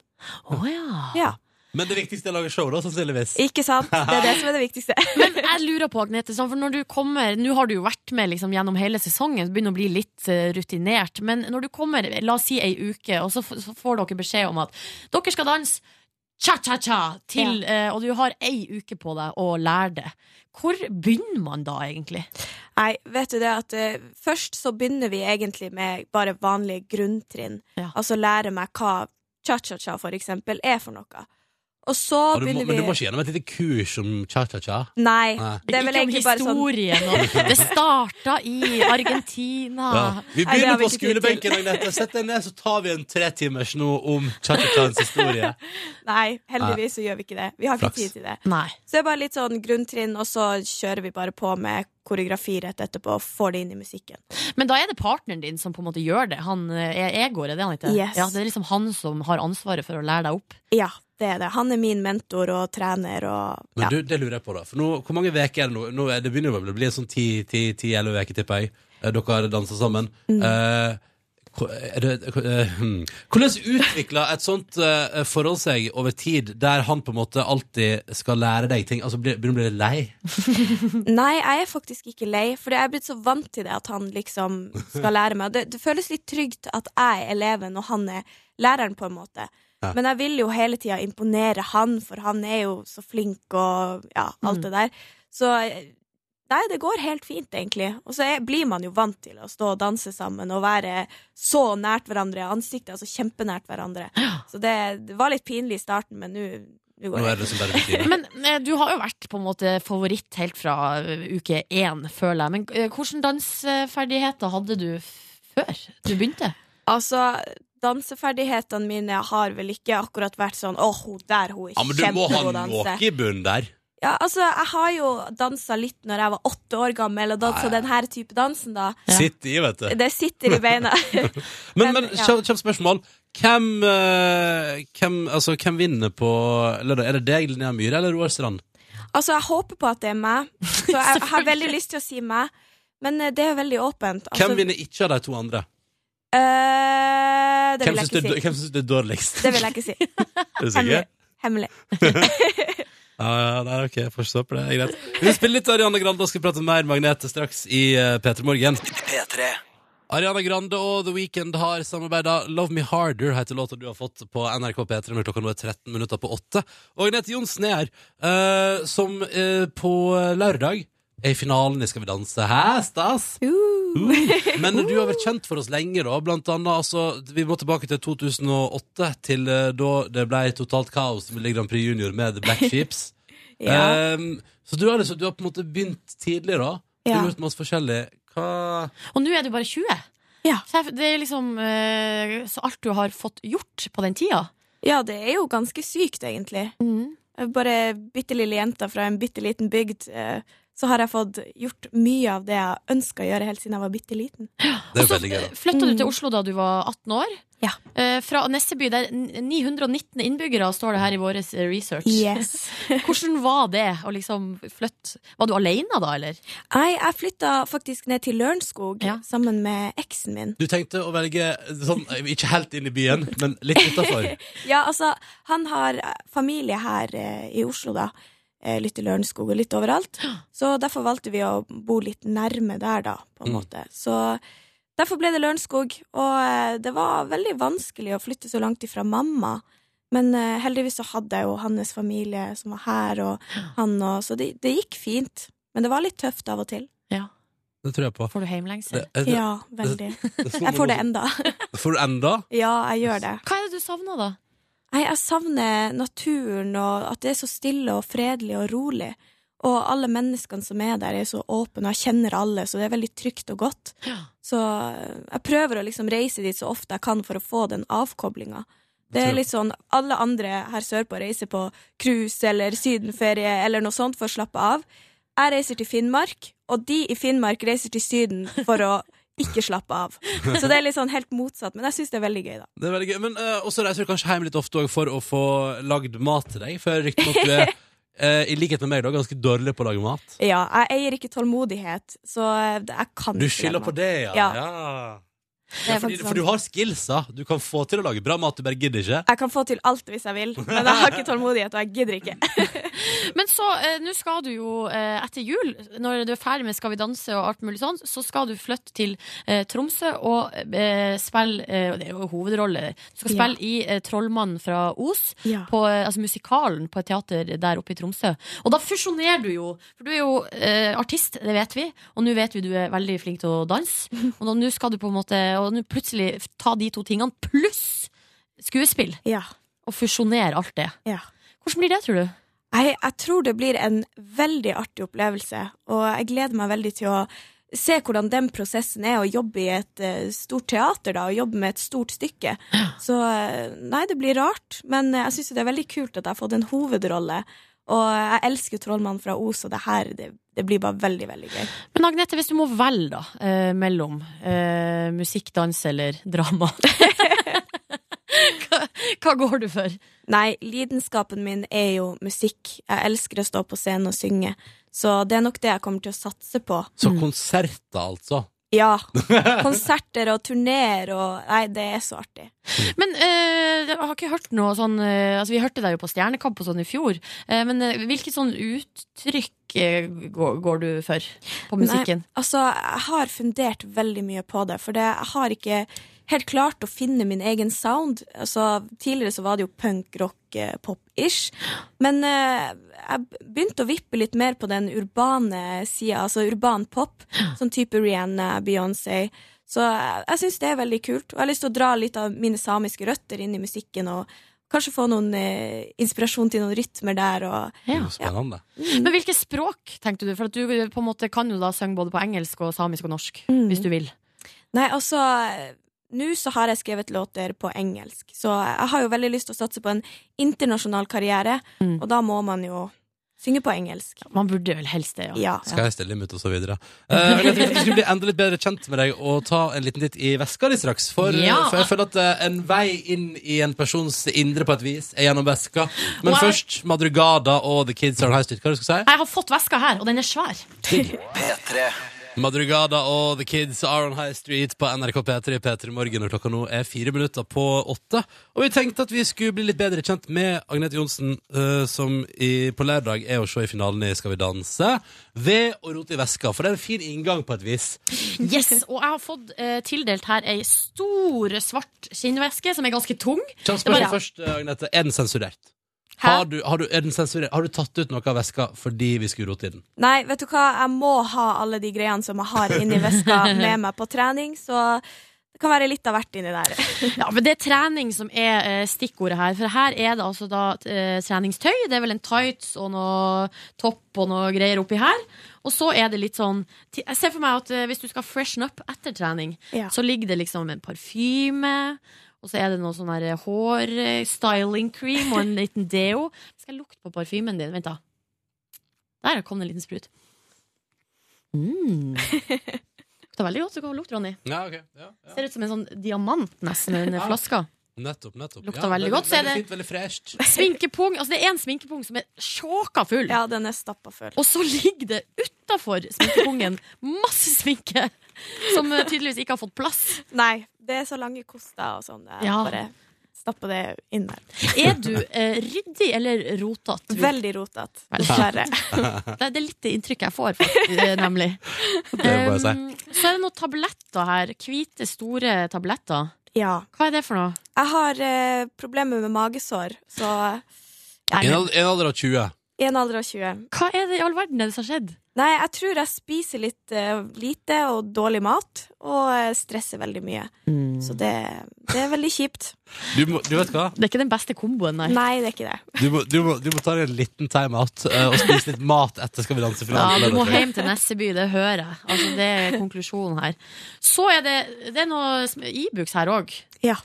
Speaker 4: Å ja.
Speaker 3: Ja,
Speaker 2: Men det viktigste er å lage show, da, sannsynligvis.
Speaker 3: ikke sant? Det er det som er det viktigste.
Speaker 4: Men jeg lurer på, Agnete, sånn, for når du kommer Nå har du jo vært med liksom, gjennom hele sesongen, så begynner å bli litt eh, rutinert. Men når du kommer, la oss si ei uke, og så, f så får dere beskjed om at dere skal danse cha-cha-cha til eh, Og du har ei uke på deg å lære det. Hvor begynner man da, egentlig?
Speaker 3: Nei, vet du det at eh, først så begynner vi egentlig med bare vanlige grunntrinn.
Speaker 4: Ja.
Speaker 3: Altså lære meg hva cha-cha-cha for eksempel er for noe. Og så
Speaker 2: Og du må,
Speaker 3: begynner vi
Speaker 2: men du må ikke gjennom et lite kurs om cha-cha-cha?
Speaker 3: Nei,
Speaker 2: Nei.
Speaker 3: det er vel
Speaker 4: Ikke om
Speaker 3: egentlig bare sånn
Speaker 4: historien og Det starta i Argentina.
Speaker 2: Ja. Vi
Speaker 3: Ah. Nei, det
Speaker 2: begynner
Speaker 3: har vi
Speaker 2: på
Speaker 3: ikke tid til.
Speaker 2: skolebenken, Agnete. Sett deg ned, så tar vi en tretimers nå om cha-cha-chans historie.
Speaker 3: Nei, heldigvis så gjør vi ikke det. Vi har ikke
Speaker 2: Flaks.
Speaker 3: tid til det.
Speaker 4: Nei.
Speaker 3: Så det er bare litt sånn grunntrinn, og så kjører vi bare på med koreografi rett etterpå og får det inn i musikken.
Speaker 4: Men da er det partneren din som på en måte gjør det. Han eh, er Egor, er det han heter?
Speaker 3: Yes.
Speaker 4: Ja, det er liksom han som har ansvaret for å lære deg opp.
Speaker 3: Ja, det er det. Han er min mentor og trener og
Speaker 2: Men
Speaker 3: ja.
Speaker 2: du, det lurer jeg på, da. For nå, hvor mange veker er det nå? nå er det begynner jo vel å bli en sånn ti-elleve veker, tipper jeg. Eh, Dere har dansa sammen.
Speaker 3: Mm.
Speaker 2: Eh, hvor- er det, hvor- eh, hmm. hvordan utvikler et sånt eh, forhold seg over tid, der han på en måte alltid skal lære deg ting? Altså, blir- Begynner du å bli litt lei?
Speaker 3: Nei, jeg er faktisk ikke lei, for jeg er blitt så vant til det at han liksom skal lære meg. Det, det føles litt trygt at jeg er eleven og han er læreren, på en måte. Men jeg vil jo hele tida imponere han, for han er jo så flink og ja,
Speaker 2: Mm.
Speaker 3: alt det der. Så nei, det går helt fint, egentlig. Og så er, blir man jo vant til å stå og danse sammen og være så nært hverandre i ansiktet, altså kjempenært hverandre. Så det, det var litt pinlig i starten, men nå nå
Speaker 2: Nå
Speaker 3: går
Speaker 2: er
Speaker 3: det.
Speaker 2: det liksom bare rutine.
Speaker 4: Men eh, du har jo vært på en måte favoritt helt fra eh, uke én, føler jeg. Men eh, hvilke dansferdigheter hadde du f- før du begynte?
Speaker 3: Altså, danseferdighetene mine har vel ikke akkurat vært sånn Å, hun der, hun er
Speaker 2: Ja, men du må
Speaker 3: kjempegod
Speaker 2: ha
Speaker 3: å danse.
Speaker 2: noe i bunnen der.
Speaker 3: Ja, altså, jeg har jo dansa litt når jeg var åtte år gammel, og dansa den her type dansen, da.
Speaker 2: Sitt i, vet du.
Speaker 3: Det sitter i beina.
Speaker 2: Men, men
Speaker 3: Men, ja.
Speaker 2: kjapt kjapt spørsmål. Hvem, eh, hvem, altså, hvem vinner på lørdag? Er det deg, Linnea Myhre, eller Roar Strand?
Speaker 3: altså, jeg håper på at det er meg, så jeg, jeg har veldig lyst til å si meg. Men eh, det er veldig åpent. Altså,
Speaker 2: Hvem vinner ikke av de to andre?
Speaker 3: Eh, det
Speaker 2: Hvem
Speaker 3: vil jeg
Speaker 2: syns det,
Speaker 3: ikke si.
Speaker 2: hvem syns det er dårligst?
Speaker 3: Det vil jeg ikke si.
Speaker 2: Er du sikker?
Speaker 3: Hemmelig. Hemmelig.
Speaker 2: Ja, ja, nei, ok, jeg får stå på det. det er Greit. Vi spiller litt Ariana Grande og skal prate mer Magnete straks i uh, P3 Morgen. Ariana Grande og The Weeknd har samarbeida. Love Me Harder heter låta du har fått på NRK P3 når klokka nå er 13 minutter på 8. Og Agnete Johnsen er her, eh, som eh, på lørdag er i finalen i Skal vi danse. Hæ, stas? Uh. Men du har vært kjent for oss lenge, da. Blant annet, altså, vi må tilbake til 2008, til eh, da det ble totalt kaos med Le Grand Prix Junior med The Black Sheeps.
Speaker 3: Ja.
Speaker 2: Ehm, så du har, liksom, du har på en måte begynt tidlig, da. Du
Speaker 3: Ja.
Speaker 2: har gjort masse forskjellig. Hva
Speaker 4: Og nå er du bare 20.
Speaker 3: Ja.
Speaker 4: Så jeg- det er liksom eh, så alt du har fått gjort på den tida.
Speaker 3: Ja, det er jo ganske sykt, egentlig. Bare bitte lille jenta fra en bitte liten bygd eh, så har jeg fått gjort mye av det jeg ønska å gjøre helt siden jeg var bitte liten.
Speaker 2: Det er jo veldig gøy. da.
Speaker 4: Flytta du
Speaker 3: Mm.
Speaker 4: til Oslo da du var 18 år?
Speaker 3: Ja.
Speaker 4: Eh, Fra Nesseby, der n- 919 innbyggere står det her i vår eh, research.
Speaker 3: Yes.
Speaker 4: Hvordan var det å liksom flytte Var du alene da, eller?
Speaker 3: Nei, jeg flytta faktisk ned til Lørenskog
Speaker 4: Ja.
Speaker 3: sammen med eksen min.
Speaker 2: Du tenkte å velge sånn, ikke helt inn i byen, men litt utafor.
Speaker 3: Ja, altså, han har eh, familie her eh, i Oslo, da. Eh, litt i Lørenskog og litt overalt. Så derfor valgte vi å bo litt nærme der, da, på en
Speaker 2: Mm.
Speaker 3: måte. Så derfor ble det Lørenskog. Og eh, det var veldig vanskelig å flytte så langt ifra mamma. Men eh, heldigvis så hadde jeg jo hans familie som var her, og han og Så det, det gikk fint. Men det var litt tøft av og til.
Speaker 2: Det tror jeg på.
Speaker 4: Får du heimlengsel?
Speaker 2: Det, er det,
Speaker 3: Ja, veldig.
Speaker 2: det er sånn
Speaker 3: Jeg får det
Speaker 2: man-
Speaker 3: enda.
Speaker 2: Får du enda?
Speaker 3: Ja, jeg gjør det.
Speaker 4: Hva er det du savna, da?
Speaker 3: Nei, jeg savner naturen, og at det er så stille og fredelig og rolig. Og alle menneskene som er der, er så åpne, og jeg kjenner alle, så det er veldig trygt og godt. Så eh, jeg prøver å liksom reise dit så ofte jeg kan for å få den avkoblinga. Det er litt sånn, Alle andre her sørpå reiser på cruise eller sydenferie eller noe sånt for å slappe av. Jeg reiser til Finnmark, og de i Finnmark reiser til Syden for å ikke slappe av. Så det er litt sånn helt motsatt, men jeg syns det er veldig gøy, da.
Speaker 2: Det er veldig gøy. Men eh, også reiser du kanskje hjem litt ofte også for å få lagd mat til deg, for riktignok du er, eh, i likhet med meg, da, ganske dårlig på å lage mat.
Speaker 3: Ja, jeg eier ikke tålmodighet, så eh, det- jeg kan
Speaker 2: Du
Speaker 3: ikke
Speaker 2: skylder
Speaker 3: lage
Speaker 2: på
Speaker 3: mat.
Speaker 2: det, ja.
Speaker 3: Ja.
Speaker 2: Ja,
Speaker 3: er
Speaker 2: fordi,
Speaker 3: faktisk
Speaker 2: for du har skillsa. Du kan få til å lage bra mat, du bare gidder ikke.
Speaker 3: Jeg kan få til alt hvis jeg vil, men jeg har ikke tålmodighet, og jeg gidder ikke.
Speaker 4: Men så, eh, nå skal du jo eh, etter jul, når du er ferdig med Skal vi danse og alt mulig sånn, så skal du flytte til eh, Tromsø og eh, spille eh, Det er jo hovedrolle. Du skal
Speaker 3: Ja.
Speaker 4: spille i eh, Trollmannen fra Os.
Speaker 3: Ja.
Speaker 4: på, eh, altså musikalen på et teater der oppe i Tromsø. Og da fusjonerer du jo, for du er jo eh, artist, det vet vi, og nå vet vi du er veldig flink til å danse. Og nå- nå skal du på en måte og nå plutselig f- ta de to tingene pluss skuespill,
Speaker 3: Ja,
Speaker 4: og fusjonere alt det.
Speaker 3: ja.
Speaker 4: Hvordan blir det, tror du?
Speaker 3: Jeg, jeg tror det blir en veldig artig opplevelse, og jeg gleder meg veldig til å se hvordan den prosessen er å jobbe i et eh, stort teater, da, og jobbe med et stort stykke. Så eh, nei, det blir rart, men eh, jeg syns det er veldig kult at jeg har fått en hovedrolle. Og jeg elsker Trollmannen fra Os, og det her det, det blir bare veldig, veldig gøy.
Speaker 4: Men Agnete, hvis du må velge da, eh, mellom eh, musikk, dans eller drama hva, hva går du for?
Speaker 3: Nei, lidenskapen min er jo musikk. Jeg elsker å stå på scenen og synge. Så det er nok det jeg kommer til å satse på.
Speaker 2: Så konserter, altså.
Speaker 3: Ja. Konserter og turneer og Nei, det er så artig.
Speaker 4: Men eh, jeg har ikke hørt noe sånn eh, Altså Vi hørte deg jo på Stjernekamp og sånn i fjor. eh, men eh, hvilket sånn uttrykk eh, går, går du for på musikken?
Speaker 3: Altså, jeg har fundert veldig mye på det, for det, jeg har ikke helt klart å finne min egen sound. Altså, tidligere så var det jo punk, rock, eh, pop-ish. Men eh, jeg begynte å vippe litt mer på den urbane sida, altså urban pop. Sånn type Rihanna, Beyoncé. Så eh, jeg, jeg syns det er veldig kult. Og jeg har lyst til å dra litt av mine samiske røtter inn i musikken. og Kanskje få noen eh, inspirasjon til noen rytmer der. Og,
Speaker 2: Det er
Speaker 4: Ja.
Speaker 2: jo Spennende.
Speaker 4: Men hvilke språk tenkte du? For at du eh, på en måte kan jo da synge både på engelsk og samisk og norsk.
Speaker 3: Mm.
Speaker 4: Hvis du vil.
Speaker 3: Nei, altså Nå så har jeg skrevet låter på engelsk, så jeg har jo veldig lyst til å satse på en internasjonal karriere,
Speaker 4: Mm.
Speaker 3: og da må man jo synge på engelsk.
Speaker 4: Man burde vel helst det, ja.
Speaker 3: Ja.
Speaker 2: Skal jeg stille dem ut, og så videre. Eh, men jeg tenkte at vi skulle bli enda litt bedre kjent med deg og ta en liten titt i veska di straks. For,
Speaker 4: Ja.
Speaker 2: for jeg føler at eh, en vei inn i en persons indre på et vis er gjennom veska. Men
Speaker 4: Wow.
Speaker 2: først Madrugada og The Kids Are High Street. Hva er det du skal si?
Speaker 4: Jeg har fått veska her, og den er svær.
Speaker 2: Madrugada og The Kids are on High Street på NRK P3 P3 Morgen, og klokka nå er fire minutter på åtte. Og vi tenkte at vi skulle bli litt bedre kjent med Agnete Johnsen, eh, som i, på lørdag er å se i finalen i Skal vi danse, ved å rote i veska. For det er en fin inngang på et vis.
Speaker 4: Yes, Og jeg har fått eh, tildelt her ei stor, svart skinnveske som er ganske tung.
Speaker 2: Kjapt
Speaker 4: Det
Speaker 2: spørsmål
Speaker 4: var-
Speaker 2: først, eh, Agnete. Er den sensurert?
Speaker 3: Hæ?
Speaker 2: Har du, har, du, er den sensurert? har du tatt ut noe av veska fordi vi skulle rote i den?
Speaker 3: Nei, vet du hva, jeg må ha alle de greiene som jeg har inni veska med meg på trening, så det kan være litt av hvert inni der.
Speaker 4: Ja, men Det er trening som er eh, stikkordet her. For her er det altså da eh, treningstøy. Det er vel en tights og noe topp og noe greier oppi her. Og så er det litt sånn ti- Jeg ser for meg at eh, hvis du skal freshen up etter trening,
Speaker 3: Ja.
Speaker 4: så ligger det liksom en parfyme. Og så er det noe sånn her hår-styling-cream og en liten deo. Skal jeg lukte på parfymen din? Vent, da. Der kom det en liten sprut. Mm. Lukter veldig godt. Du kan lukte, Ronny.
Speaker 2: Ja, ok. Ja, ja.
Speaker 4: Ser ut som en sånn diamant, nesten, den
Speaker 2: Ja.
Speaker 4: flaska.
Speaker 2: Nettopp, nettopp.
Speaker 4: Lukter veldig godt, så er
Speaker 2: veldig
Speaker 4: det-
Speaker 2: fint, veldig fresht.
Speaker 4: Sminkepung. Altså, det er en sminkepung som er sjåka full.
Speaker 3: Ja, den er stappa full.
Speaker 4: Og så ligger det utafor sminkepungen masse sminke som eh, tydeligvis ikke har fått plass.
Speaker 3: Nei, det er så lange koster og sånn. Det er
Speaker 4: Ja.
Speaker 3: bare stappa det inn der.
Speaker 4: Er du eh, ryddig eller rotete?
Speaker 3: Veldig rotete,
Speaker 4: Veldig.
Speaker 3: dessverre.
Speaker 4: Det, det er litt det inntrykket jeg får, faktisk, eh, nemlig.
Speaker 2: må jeg si.
Speaker 4: Um, så er det noen tabletter her. Hvite, store tabletter.
Speaker 3: Ja.
Speaker 4: Hva er det for noe?
Speaker 3: Jeg har eh, problemer med magesår, så ja,
Speaker 2: En, al- en alder av 20.
Speaker 3: I en alder av 20.
Speaker 4: Hva er det i all verden er det som har skjedd?
Speaker 3: Nei, jeg tror jeg spiser litt eh, lite og dårlig mat, og eh, stresser veldig mye.
Speaker 4: Mm.
Speaker 3: Så det, det er veldig kjipt.
Speaker 2: Du, må, du vet hva?
Speaker 4: Det er ikke den beste komboen, nei.
Speaker 3: Nei, det er ikke det.
Speaker 2: Du må, du må, du må ta deg en liten timeout eh, og spise litt mat etter Skal vi danse
Speaker 4: Ja,
Speaker 2: finalen.
Speaker 4: du må hjem til Nesseby, det hører jeg. Altså, det er konklusjonen her. Så er det, det er noe sm- Ibux her òg.
Speaker 3: Ja.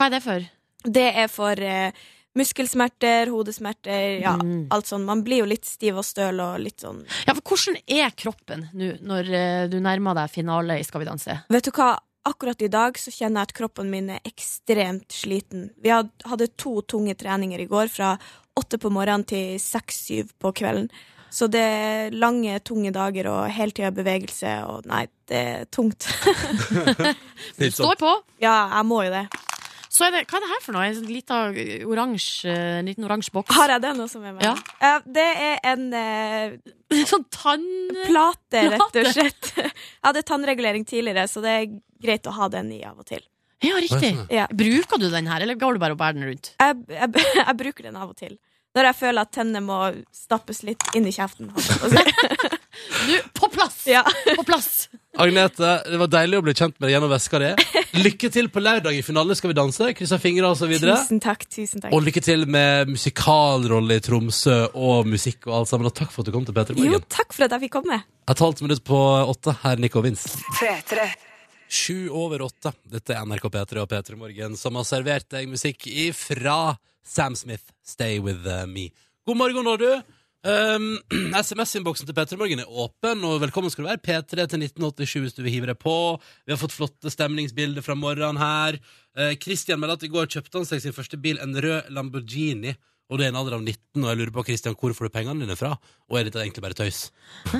Speaker 4: Hva er det for?
Speaker 3: Det er for eh, muskelsmerter, hodesmerter, ja,
Speaker 4: Mm.
Speaker 3: alt sånn. Man blir jo litt stiv og støl og litt sånn
Speaker 4: Ja, for Hvordan er kroppen nå når eh, du nærmer deg finale i Skal vi danse?
Speaker 3: Vet du hva, akkurat i dag så kjenner jeg at kroppen min er ekstremt sliten. Vi had- hadde to tunge treninger i går, fra åtte på morgenen til seks-syv på kvelden. Så det er lange, tunge dager og hele tida bevegelse, og nei, det er tungt.
Speaker 4: Du står
Speaker 2: sånn.
Speaker 4: på.
Speaker 3: ja, jeg må jo det.
Speaker 4: Så er det, Hva er det her for noe? En sånn liten oransje, en liten oransje boks?
Speaker 3: Har jeg den også med meg?
Speaker 4: Ja.
Speaker 3: Eh, Det er en eh,
Speaker 4: Sånn tann...
Speaker 3: plate, rett og
Speaker 4: Plate?
Speaker 3: slett. Jeg hadde tannregulering tidligere, så det er greit å ha den i av og til.
Speaker 4: Ja, riktig.
Speaker 3: Ja.
Speaker 4: Bruker du den her, eller går du bare og bærer den rundt?
Speaker 3: jeg, jeg, jeg bruker den av og til. Når jeg føler at tennene må stappes litt inn i kjeften.
Speaker 4: Du, på plass!
Speaker 3: Ja.
Speaker 4: På plass!
Speaker 2: Agnete, det var deilig å bli kjent med deg gjennom veska di. Lykke til på lørdag i finale Skal vi danse. Krysser fingre og så videre.
Speaker 3: Tusen takk. tusen takk
Speaker 2: Og lykke til med musikalrolle i Tromsø og musikk og alt sammen. Og takk for at du kom til P3
Speaker 3: Jo,
Speaker 2: Morgen.
Speaker 3: takk for at jeg fikk komme.
Speaker 2: Et halvt minutt på åtte. Her er Nico Vince.
Speaker 11: P3.
Speaker 2: Sju over åtte. Dette er NRK P3 og P3 Morgen som har servert deg musikk ifra Sam Smith, Stay With Me. God morgen, når du. Um, SMS-innboksen til P3 Morgen er åpen, og velkommen skal du være. P3 til 1987 hvis du vil hive deg på. Vi har fått flotte stemningsbilder fra morgenen her. Eh, Christian melder at i går kjøpte han seg sin første bil, en rød Lamborghini. Og det er en alder av 19, og jeg lurer på Christian, hvor får du pengene dine fra? Og er dette egentlig bare tøys?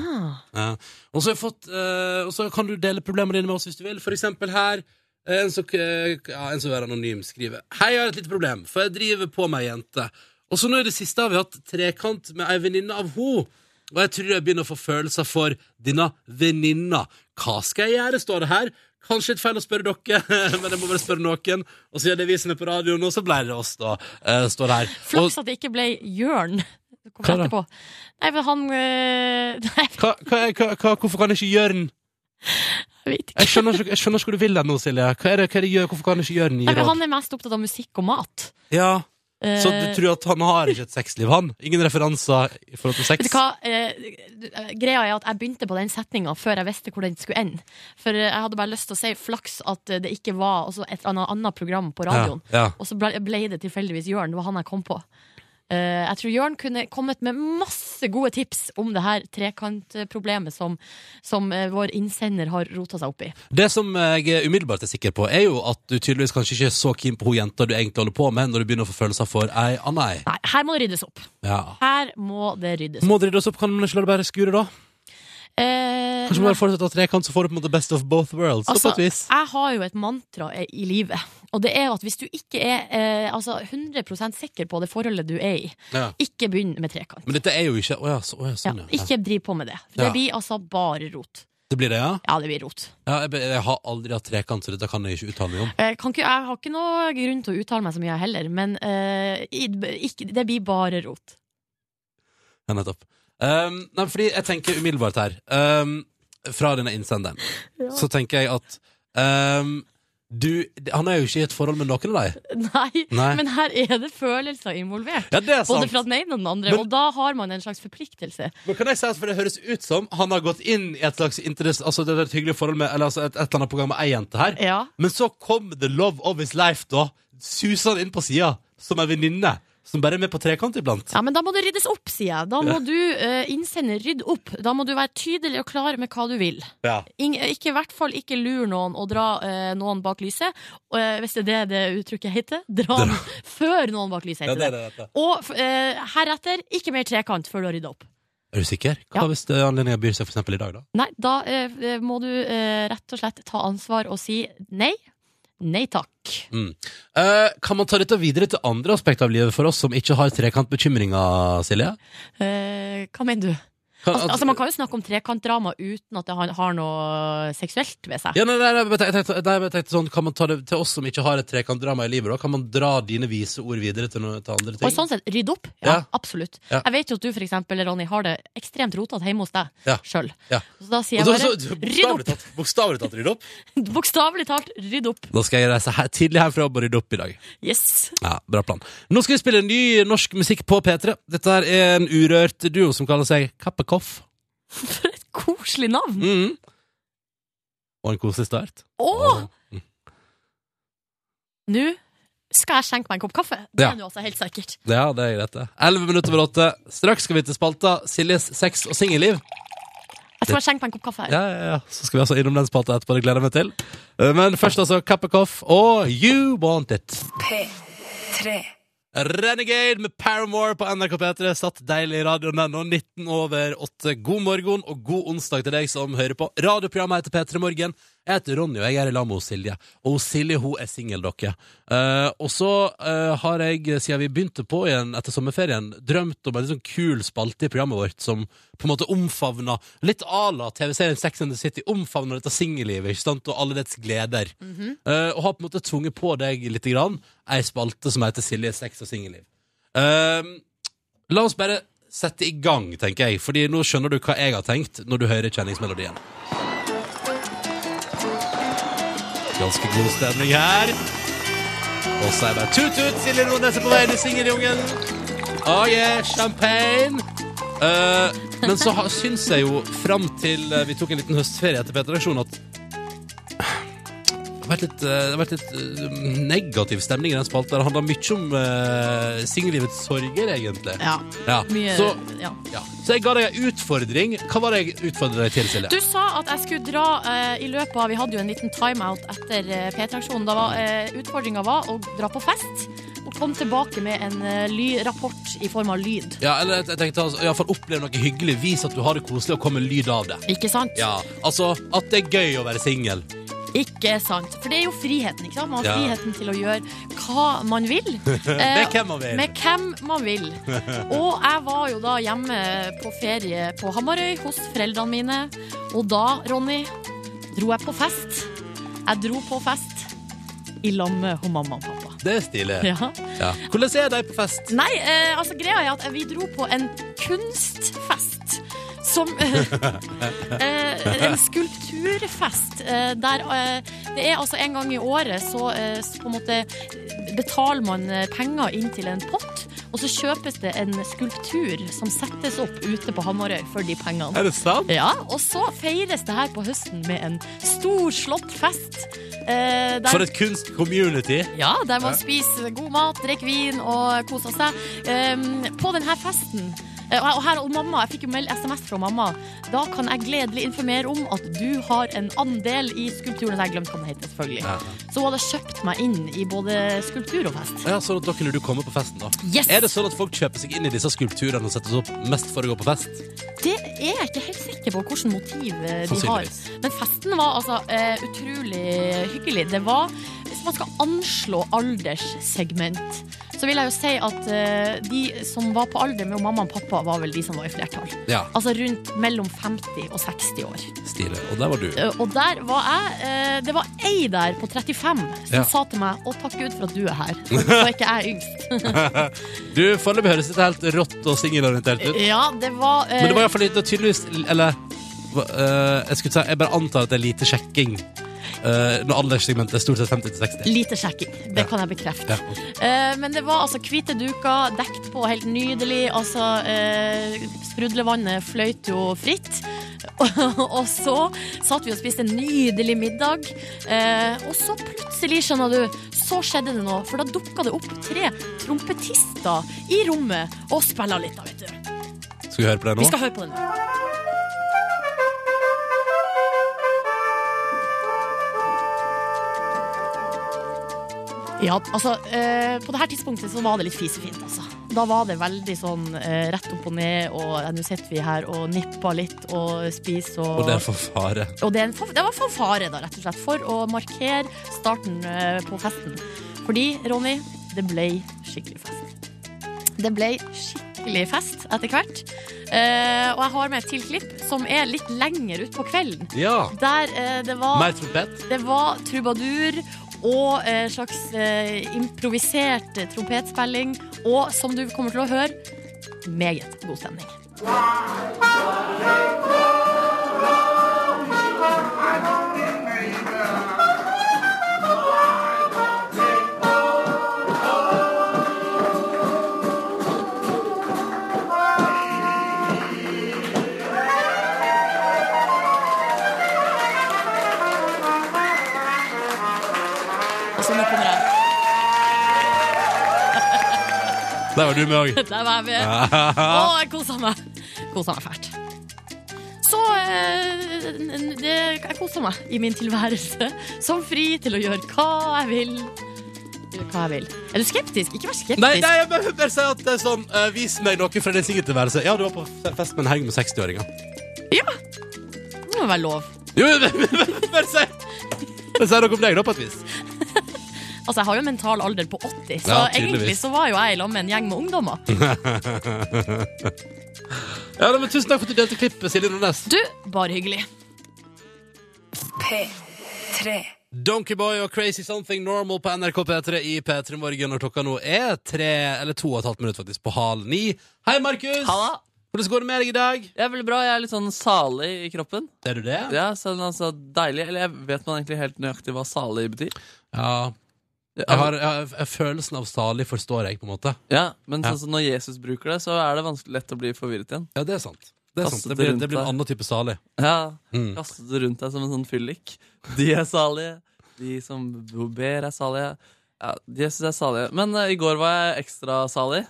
Speaker 4: Ah.
Speaker 2: Ja. Og så har jeg fått, eh, og så kan du dele problemene dine med oss hvis du vil. For eksempel her. eh, En som, eh, ja, en som er anonym, skriver Hei, jeg har et lite problem, for jeg driver på med ei jente. Og så nå i det siste har vi hatt trekant med ei venninne av ho Og jeg tror jeg begynner å få følelser for denne venninna. Hva skal jeg gjøre, står det her. Kanskje litt feil å spørre dere, men jeg må bare spørre noen. Og siden det er vi som er på radioen nå, så ble det oss, da. eh, står det her. Og,
Speaker 4: Flaks at det ikke ble Jørn. Det kom
Speaker 2: Hva da?
Speaker 4: etterpå. Nei, men han eh, Nei,
Speaker 2: hva, hva, hva, hva, hvorfor kan ikke Jørn
Speaker 4: jeg vet ikke.
Speaker 2: Jeg skjønner, ikke, jeg skjønner ikke hvor du vil den nå, Silje. Hva er det, hva er det gjør? Hvorfor kan ikke Jørn gi
Speaker 4: Nei, men
Speaker 2: råd?
Speaker 4: han er mest opptatt av musikk og mat.
Speaker 2: Ja,
Speaker 4: Eh,
Speaker 2: så du tror at han har ikke et sexliv, han? Ingen referanser i forhold til
Speaker 4: Vet
Speaker 2: sex?
Speaker 4: du hva? Eh, greia er at jeg begynte på den setninga før jeg visste hvor den skulle ende. For eh, jeg hadde bare lyst til å si flaks at eh, det ikke var altså, et eller annet, annet program på radioen.
Speaker 2: Ja, ja.
Speaker 4: Og så ble, ble det tilfeldigvis Jørn. Det var han jeg kom på. Eh, jeg tror Jørn kunne kommet med masse gode tips om det her trekantproblemet som, som eh, vår innsender har rota seg opp i.
Speaker 2: Det som jeg umiddelbart er sikker på, er jo at du tydeligvis kanskje ikke er så keen på hun jenta du egentlig holder på med, når du begynner å få følelser for ei anna ei.
Speaker 4: Nei, her må det ryddes opp.
Speaker 2: Ja.
Speaker 4: Her må det ryddes opp.
Speaker 2: Må dere rydde oss opp? Kan man ikke la det bare skure, da?
Speaker 4: Eh,
Speaker 2: Kanskje man bare fortsetter å ha trekant, så får du på en måte best of both worlds?
Speaker 4: Altså,
Speaker 2: på et vis.
Speaker 4: Jeg har jo et mantra eh, i livet, og det er jo at hvis du ikke er eh, altså 100 sikker på det forholdet du er i,
Speaker 2: Ja.
Speaker 4: ikke begynn med trekant.
Speaker 2: Men dette er jo ikke Å ja, så, å ja,
Speaker 4: Ja,
Speaker 2: sånn, ja.
Speaker 4: ikke driv på med det. For
Speaker 2: Ja.
Speaker 4: det blir altså bare rot.
Speaker 2: Det blir det, ja?
Speaker 4: Ja, det blir rot.
Speaker 2: ja jeg, be- jeg har aldri hatt trekant, så dette kan jeg ikke uttale meg om.
Speaker 4: Jeg, Eh, kan ikke, jeg har ikke noe grunn til å uttale meg så mye, jeg heller, men eh, i- ikke, det blir bare rot.
Speaker 2: Ja, nettopp. Um, nei, fordi jeg tenker umiddelbart her um, Fra denne innsenderen Så tenker jeg at um, du, Han er jo ikke i et forhold med noen av deg
Speaker 4: Nei,
Speaker 2: Nei.
Speaker 4: men her er det følelser involvert.
Speaker 2: Ja, det er
Speaker 4: Både
Speaker 2: sant
Speaker 4: fra den ene og den andre,
Speaker 2: Men-
Speaker 4: og da har man en slags forpliktelse.
Speaker 2: Men kan jeg si at for det høres ut som Han har gått inn i et slags interesse Altså det er et hyggelig forhold med Eller altså et, et eller annet program med ei jente her
Speaker 4: Ja.
Speaker 2: Men så kom The Love of His Life da Suser han inn på siden Som en venninne som bare er med på trekant iblant.
Speaker 4: Ja, men da må det ryddes opp, sier jeg. Da
Speaker 2: Ja.
Speaker 4: må du eh, innsende 'rydd opp'. Da må du være tydelig og klar med hva du vil.
Speaker 2: Ja.
Speaker 4: Ing- eh, ikke, I hvert fall ikke lur noen og dra eh, noen bak lyset. Og, eh, hvis det er det det uttrykket heter. Dra den før noen bak lyset,
Speaker 2: Ja,
Speaker 4: heter
Speaker 2: det er
Speaker 4: det.
Speaker 2: det det heter.
Speaker 4: Og f- eh, heretter ikke mer trekant før du har rydda opp.
Speaker 2: Er du sikker? Hva hvis det anledningen byr seg for eksempel i dag, da?
Speaker 4: Nei, da eh, må du eh, rett og slett ta ansvar og si nei. Nei takk.
Speaker 2: Mm. Eh, kan man ta dette videre til andre aspekter av livet for oss som ikke har trekantbekymringer, Silje?
Speaker 4: Eh, hva mener du?
Speaker 2: Kan-
Speaker 4: altså, altså, man kan jo snakke om trekantdrama uten at det har, har noe seksuelt ved seg.
Speaker 2: Ja, nei, nei, nei, men jeg tenkte, nei, men jeg tenkte sånn, Kan man ta det til oss som ikke har et trekantdrama i livet? Da? Kan man dra dine vise ord videre til, noe, til andre ting?
Speaker 4: Og sånn sett, rydde opp. Ja,
Speaker 2: Ja.
Speaker 4: absolutt.
Speaker 2: Ja.
Speaker 4: Jeg vet jo at du, for eksempel, Ronny, har det ekstremt rotete hjemme hos deg.
Speaker 2: ja.
Speaker 4: selv.
Speaker 2: Ja.
Speaker 4: Så da sier
Speaker 2: Og
Speaker 4: jeg
Speaker 2: så-
Speaker 4: bare
Speaker 2: så-
Speaker 4: rydd
Speaker 2: bokstavelig talt- Bokstavelig talt, rydd opp.
Speaker 4: opp! Bokstavelig talt, rydd opp.
Speaker 2: Da skal jeg reise her, tidlig herfra og bare rydde opp i dag.
Speaker 4: Yes!
Speaker 2: Ja, Bra plan. Nå skal vi spille ny norsk musikk på P3. Dette her er en urørt duo som kaller seg Kappekoff.
Speaker 4: Koselig navn!
Speaker 2: Mhm. Og en koselig start.
Speaker 4: Å! Nå skal jeg skjenke meg en kopp kaffe. Det
Speaker 2: Ja.
Speaker 4: er du altså helt sikkert.
Speaker 2: Ja, det er greit, det. Elleve minutter over åtte. Straks skal vi til spalta Siljes sex og singelliv.
Speaker 4: Jeg skal bare skjenke meg en kopp kaffe her.
Speaker 2: Ja, ja, ja. Så skal vi altså innom den spalta etterpå. Det gleder jeg meg til. Eh, Men først altså Kappekoff og You Want It.
Speaker 1: P3.
Speaker 2: Renegade med Paramore på NRK P3 satt deilig i radioen den nå, 19 over 8. God morgen og god onsdag til deg som hører på. Radioprogrammet heter P3 Morgen. Jeg heter Ronny, og jeg er i lag med hos Silje. Og hos Silje hun er singel, dere. Eh, og så eh, har jeg, siden vi begynte på igjen etter sommerferien, drømt om en litt sånn kul spalte i programmet vårt som på en måte omfavna Litt à la TV-serien Sex and the City omfavna dette singellivet ikke sant? og alle dets gleder. Eh, og har på en måte tvunget på deg litt grann, ei spalte som heter Silje sex og singelliv. Ehm, la oss bare sette i gang, tenker jeg, Fordi nå skjønner du hva jeg har tenkt når du hører kjenningsmelodien. Ganske god stemning her. Og så er det bare tut-tut, Silje Nordnes er på vei inn i singeljungelen. Oh yeah, champagne. Eh, men så har- syns jeg jo, fram til eh, vi tok en liten høstferie etter P3-aksjonen, at det har vært litt, eh, det har vært litt eh, negativ stemning i den spalten. Det handler mye om uh, singellivets sorger, egentlig.
Speaker 4: Ja.
Speaker 2: Ja.
Speaker 4: Mye,
Speaker 2: Så,
Speaker 4: ja.
Speaker 2: ja. så jeg ga deg en utfordring. Hva var det jeg utfordret deg til, Silje?
Speaker 4: Du sa at jeg skulle dra eh, i løpet av Vi hadde jo en liten timeout etter eh, P-traksjonen. Da var eh, utfordringa var å dra på fest og komme tilbake med en eh, ly rapport i form av lyd.
Speaker 2: Ja, eller jeg tenkte altså, Iallfall oppleve noe hyggelig. Vis at du har det koselig, og kom med lyd av det.
Speaker 4: Ikke sant?
Speaker 2: Ja, altså at det er gøy å være singel.
Speaker 4: Ikke sant. For det er jo friheten. ikke sant? Man har
Speaker 2: Ja.
Speaker 4: friheten til å gjøre hva man vil. Eh,
Speaker 2: Med hvem man vil.
Speaker 4: Med hvem man vil. Og jeg var jo da hjemme på ferie på Hamarøy hos foreldrene mine. Og da, Ronny, dro jeg på fest. Jeg dro på fest i lag med hun mamma og pappa.
Speaker 2: Det er stilig.
Speaker 4: Ja.
Speaker 2: Ja. Hvordan er de på fest?
Speaker 4: Nei, eh, altså greia er at vi dro på en kunstfest. Som eh, En skulpturfest eh, der eh, det er altså en gang i året så, eh, så på en måte betaler man eh, penger inn til en pott, og så kjøpes det en skulptur som settes opp ute på Hamarøy for de pengene.
Speaker 2: Er det sant?
Speaker 4: Ja, og så feires det her på høsten med en stor slåttfest. Eh, der-
Speaker 2: For et kunstcommunity.
Speaker 4: ja, der man spiser god mat, drikker vin og koser seg. Ehm, på denne festen eh, og her- og her, og mamma, Jeg fikk jo meld SMS fra mamma. Da kan jeg gledelig informere om at du har en andel i skulpturen. Så jeg glemte hva den heter, selvfølgelig.
Speaker 2: Ja.
Speaker 4: Så hun hadde kjøpt meg inn i både skulptur og fest.
Speaker 2: Ja, sånn at Da kunne du komme på festen, da.
Speaker 4: Yes!
Speaker 2: Er det sånn at folk kjøper seg inn i disse skulpturene og settes opp mest for å gå på fest?
Speaker 4: Det er jeg ikke helt sikker på hvilket motiv eh, de har.
Speaker 2: Sannsynligvis.
Speaker 4: Men festen var altså eh, utrolig hyggelig. Det var, Hvis man skal anslå alderssegment, så vil jeg jo si at eh, de som var på alder med mamma og pappa, var vel de som var i flertall.
Speaker 2: Ja,
Speaker 4: Altså rundt mellom 50 og 60 år.
Speaker 2: stilig. Og der var du.
Speaker 4: Eh, Og der var jeg eh, Det var ei der på 35 som
Speaker 2: Ja.
Speaker 4: sa til meg 'Å, takk Gud for at du er her', så er ikke jeg yngst.
Speaker 2: Du, Foreløpig høres dette helt rått og singelorientert ut.
Speaker 4: Ja, det var eh,
Speaker 2: Men det var iallfall tydeligvis Eller hva, eh, jeg, skulle si, jeg bare antar at det er lite sjekking eh, når alderssegmentet er stort sett 50 til 60.
Speaker 4: eh, Lite sjekking, det
Speaker 2: Ja.
Speaker 4: kan jeg bekrefte.
Speaker 2: Ja.
Speaker 4: Eh, men det var altså hvite duker, dekt på helt nydelig. Altså, eh, sprudlevannet fløyt jo fritt. og så satt vi og spiste en nydelig middag. Eh, og så plutselig, skjønner du, så skjedde det noe. For da dukka det opp tre trompetister i rommet og spilla litt, da, vet du.
Speaker 2: Skal vi høre på det nå?
Speaker 4: Vi skal høre på det nå. Ja, altså, eh, på det her tidspunktet så var det litt fisefint, altså. Da var det veldig sånn eh, rett opp og ned, og eh, nå sitter vi her og nipper litt og spiser og
Speaker 2: Og det er for fare.
Speaker 4: og det, er en fanf- det var fanfare, da, rett og slett, for å markere starten eh, på festen. Fordi, Ronny, det ble skikkelig fest. Det ble skikkelig fest etter hvert. Eh, og jeg har med et til klipp som er litt lenger utpå kvelden.
Speaker 2: Ja.
Speaker 4: Der eh, det var
Speaker 2: Mer trompet.
Speaker 4: det var trubadur og en slags eh, improvisert trompetspilling. Og som du kommer til å høre, meget god stemning. Og så nå kommer jeg.
Speaker 2: Der var du med òg.
Speaker 4: Der var jeg med. Å, jeg kosa meg. Kosa meg fælt. Så eh, n- det, jeg koser meg i min tilværelse som fri til å gjøre hva jeg vil. Gjøre Hva jeg vil. Er du skeptisk? Ikke vær skeptisk.
Speaker 2: Nei, nei, jeg bare, bare sier at det er sånn eh, Vis meg noe fra din singeltilværelse. Ja, du var på fe- fest med en helg med 60-åringer.
Speaker 4: Det må være lov.
Speaker 2: Jo, men- men- men bare si Bare si noe om deg, da, på et vis.
Speaker 4: Altså, jeg har jo en mental alder på 80, så
Speaker 2: Ja, tydeligvis. Mhm.
Speaker 4: egentlig så var jo jeg i lag med en gjeng med ungdommer.
Speaker 2: ja, nei, men Tusen takk for at du delte klippet, Silje Nordnes.
Speaker 4: Du, bare hyggelig.
Speaker 1: P3.
Speaker 2: Donkeyboy og Crazy Something Normal på NRK P3 i P3 Morgen når klokka nå er tre eller to og et halvt minutt faktisk på halv ni. Hei, Markus!
Speaker 12: Halla!
Speaker 2: Hvordan går det med deg i dag?
Speaker 12: Det er veldig bra. Jeg er litt sånn salig i kroppen.
Speaker 2: Er du det?
Speaker 12: Ja, sånn altså deilig. Eller jeg vet man egentlig helt nøyaktig hva salig betyr.
Speaker 2: Ja. Jeg har, jeg har jeg, følelsen av salig forstår jeg, på en måte.
Speaker 12: Ja, Men
Speaker 2: Ja.
Speaker 12: sånn som når Jesus bruker det, så er det vanskelig lett å bli forvirret igjen.
Speaker 2: Ja, det er sant. Det, er sant.
Speaker 12: Kastet
Speaker 2: det, blir,
Speaker 12: rundt
Speaker 2: det blir en
Speaker 12: deg.
Speaker 2: annen type salig.
Speaker 12: Ja,
Speaker 2: Mm.
Speaker 12: Kastet det rundt deg som en sånn fyllik. De er salige. De som ber, er salige. Ja, Jesus er salige. Men eh, i går var jeg ekstra salig.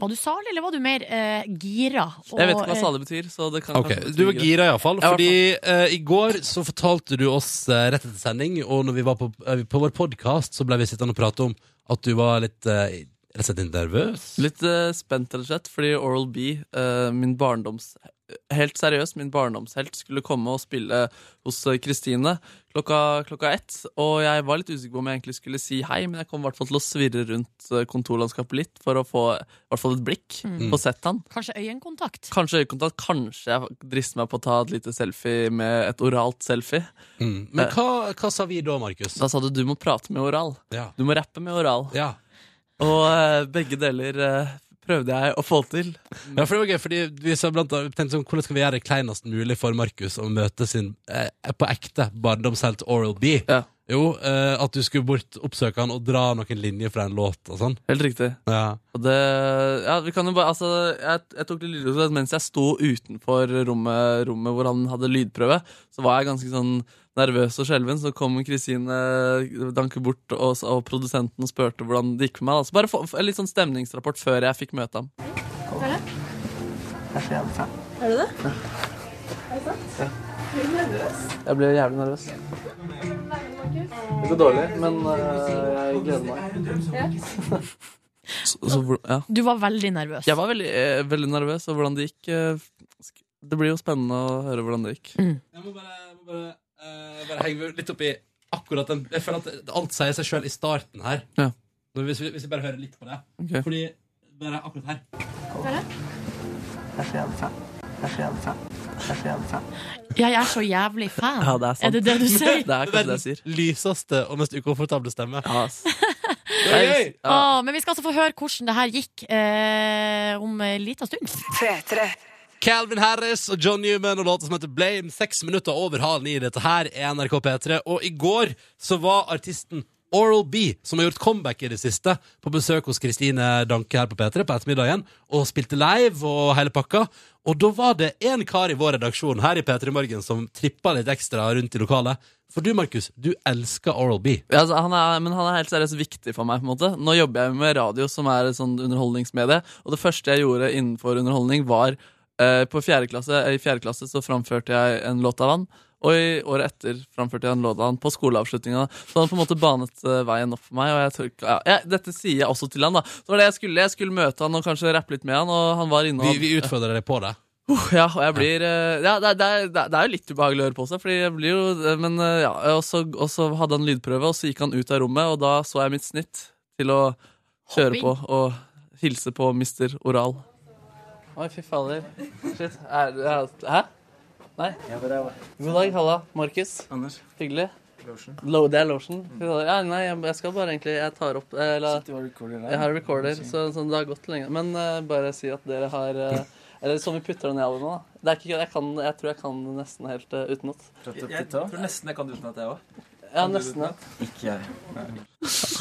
Speaker 4: Var du salig, eller var du mer eh, gira?
Speaker 12: Jeg vet ikke hva
Speaker 4: eh,
Speaker 12: salig betyr. Så det kan
Speaker 2: Ok,
Speaker 12: kanskje bety
Speaker 2: Du var
Speaker 12: greit.
Speaker 2: gira iallfall.
Speaker 12: Jeg var
Speaker 2: Fordi eh, i går så fortalte du oss eh, rett etter sending, og når vi var på, eh, på vår podkast, så ble vi sittende og prate om at du var litt eh, Rett og slett litt nervøs.
Speaker 12: Litt eh, spent, rett og slett, fordi Oral B, eh, min barndoms... Helt seriøst, min barndomshelt skulle komme og spille hos eh, Kristine klokka, klokka ett. Og jeg var litt usikker på om jeg egentlig skulle si hei, men jeg kom i hvert fall til å svirre rundt eh, kontorlandskapet litt for å få i hvert fall et blikk
Speaker 4: Mm.
Speaker 12: og sett han.
Speaker 4: Kanskje øyekontakt?
Speaker 12: Kanskje øyekontakt. Kanskje jeg drister meg på å ta et lite selfie med et oralt selfie.
Speaker 2: Mm. Men
Speaker 12: eh,
Speaker 2: hva, hva sa vi da, Markus?
Speaker 12: Da sa du du må prate med oral.
Speaker 2: Ja.
Speaker 12: Du må rappe med oral.
Speaker 2: Ja.
Speaker 12: Og eh, begge deler eh, prøvde jeg å få til.
Speaker 2: Ja, for det var gøy, fordi vi sa blant annet, tenkte sånn, Hvordan skal vi gjøre det kleinest mulig for Markus å møte sin eh, på ekte barndomshelt Oral B? Jo, eh, at du skulle bort oppsøke han og dra noen linjer fra en låt og sånn.
Speaker 12: Helt riktig.
Speaker 2: Ja.
Speaker 12: Og det, ja, vi kan jo bare, altså, jeg, jeg tok litt lydprøve så mens jeg sto utenfor rommet, rommet hvor han hadde lydprøve. Så var jeg ganske sånn nervøs og skjelven. Så kom Kristine Danke bort og, og produsenten og spurte hvordan det gikk med meg. da. Så bare få, få en litt sånn stemningsrapport før jeg fikk møte ham.
Speaker 8: Er du det?
Speaker 12: Jeg ble jævlig nervøs. Det går dårlig, men eh, jeg gleder meg. Så, så, hvor- ja.
Speaker 4: Du var veldig nervøs.
Speaker 12: Jeg var veldig, eh, veldig nervøs, og hvordan det gikk eh, sk- Det blir jo spennende å høre hvordan det gikk.
Speaker 2: Jeg må bare, jeg må bare, eh, bare henge meg litt opp i akkurat den Jeg føler at alt sier seg sjøl i starten her.
Speaker 12: Ja.
Speaker 2: Men Hvis, vi, hvis vi bare hører litt på det.
Speaker 12: Ok.
Speaker 2: Fordi bare akkurat her
Speaker 4: Jeg er så jævlig fan.
Speaker 2: Ja, det er sant.
Speaker 4: det det du sier?
Speaker 2: Det er kanskje det jeg sier. Lyseste og mest ukomfortable stemme. Det er gøy!
Speaker 4: Å, men vi skal altså få høre hvordan det her gikk eh, om en liten stund.
Speaker 2: Calvin Harris og John Newman og låta som heter Blame. Seks minutter over halv ni. Dette her er NRK P3. Og i går så var artisten Oral B, som har gjort comeback i det siste, på besøk hos Kristine Danke her på P3 på ettermiddagen, og spilte live og hele pakka. Og da var det en kar i vår redaksjon her i P3 Morgen som trippa litt ekstra rundt i lokalet. For du, Markus, du elsker Oral B.
Speaker 12: Ja, altså, han er, men han er helt seriøst viktig for meg. på en måte Nå jobber jeg med radio, som er et sånt underholdningsmedie. Og det første jeg gjorde innenfor underholdning, var eh, på fjerde klasse, I fjerde klasse så framførte jeg en låt av han. Og i året etter framførte jeg en låt av han på skoleavslutninga. Så han på en måte banet eh, veien opp for meg. Og jeg tror, ikke- ja, jeg, dette sier jeg også til han da Så var det jeg skulle, jeg skulle møte han og kanskje rappe litt med han. Og han var inne og
Speaker 2: Vi, vi utfordrer deg på det.
Speaker 12: Uh, ja, og jeg blir eh, ja, det, er- det, er- det, er- det er jo litt ubehagelig å høre på seg, fordi jeg blir jo Men eh, ja, og så, og så hadde han lydprøve, og så gikk han ut av rommet, og da så jeg mitt snitt til å kjøre
Speaker 13: Hopping.
Speaker 12: på og hilse på Mr. Oral. Oi, fy fader. Shit. Er, er, hæ? Nei? God dag, halla. Markus. Anders. Hyggelig.
Speaker 13: Lotion.
Speaker 12: Lo, det er lotion? Fy fader. Ja, nei, jeg, jeg skal bare egentlig Jeg tar opp eh, la-
Speaker 13: Shit, du har recorder Mm. der.
Speaker 12: Jeg har recorder, så, så det har gått lenge. Men eh, bare si at dere har eh, Eller som vi putter den i albumet, da. Det er ikke, jeg, kan, jeg tror jeg kan det nesten helt eh, utenat.
Speaker 13: Jeg tror nesten jeg kan det utenat, jeg òg.
Speaker 12: Ja, nesten. Ja.
Speaker 13: Ikke jeg.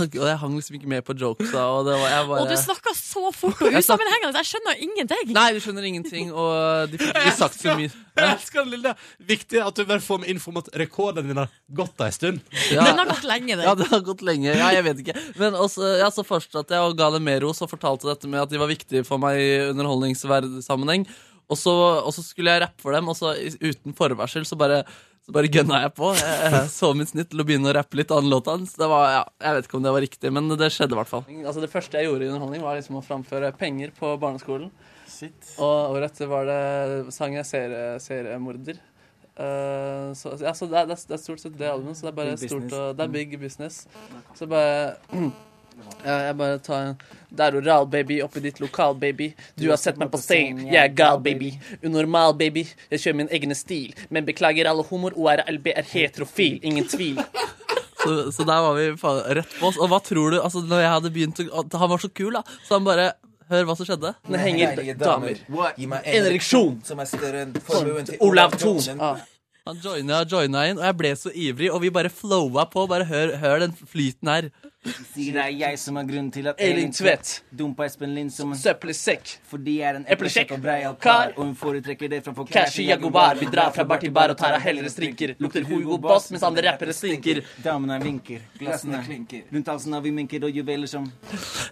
Speaker 12: Og jeg hang liksom ikke med på jokesa, og det var jeg bare
Speaker 4: Og du snakka så fort og
Speaker 12: Jeg snak-
Speaker 4: usammenhengende! Jeg skjønner ingenting!
Speaker 12: Nei, du skjønner ingenting, og de fikk ikke sagt så mye.
Speaker 2: Jeg elsker den lille. Viktig at du bare får med info om at rekorden din har gått ei stund.
Speaker 4: Den har gått lenge, den.
Speaker 12: Ja, den har gått lenge. Ja, jeg vet ikke. Men også, ja, så fortsatte jeg og ga dem mer ros og fortalte dette med at de var viktige for meg i underholdningssammenheng. Og så, og så skulle jeg rappe for dem, og så i- uten forvarsel så bare, så bare gønna jeg på. Jeg jeg så mitt snitt til å begynne å rappe litt annen låt hans. Det var, ja, jeg vet ikke om det var riktig, men det skjedde i hvert fall. Altså, det første jeg gjorde i underholdning, var liksom å framføre penger på barneskolen. Og året etter var det sang jeg serie- seriemorder. Eh, så ja, så det, er, det er- det er stort sett det albumet, så det er bare
Speaker 13: Big
Speaker 12: stort
Speaker 13: business.
Speaker 12: og Det er big business. Så bare ja, jeg bare tar en Det er oral, baby, oppi ditt lokal, baby. Du har sett meg på scenen, jeg er gal, baby. Unormal, baby. Jeg kjører min egen stil. Men beklager alle homoer, ORLB er heterofil. Ingen tvil. Så, så der var vi faen rett på oss. Og hva tror du altså, når jeg hadde begynt å, at Han var så kul, da. Så han bare Hør hva som skjedde. Det henger
Speaker 13: Deilige
Speaker 12: damer.
Speaker 13: Gi meg
Speaker 12: En ereksjon.
Speaker 13: som er større enn
Speaker 12: Formen
Speaker 13: formuen
Speaker 12: til
Speaker 13: til
Speaker 12: Olav Thon. Han joina og joina inn, og jeg ble så ivrig, og vi bare flowa på. Bare hør, hør den flyten her.
Speaker 13: Sier det er jeg som er grunnen til at
Speaker 12: Elin Tvedt
Speaker 13: dumpa Espen Lind som en
Speaker 12: søppelsekk.
Speaker 13: Fordi jeg er en eplesjekk
Speaker 12: Eplesjekk.
Speaker 13: og brei av kar, og hun foretrekker det framfor
Speaker 12: Cash i Jaguar, vi drar fra bar til bar og tar av hellere strinker. Lukter Hugo Boss mens andre rappere stinker.
Speaker 13: Damene vinker, glassene klinker. Rundt halsen har vi minker og juveler som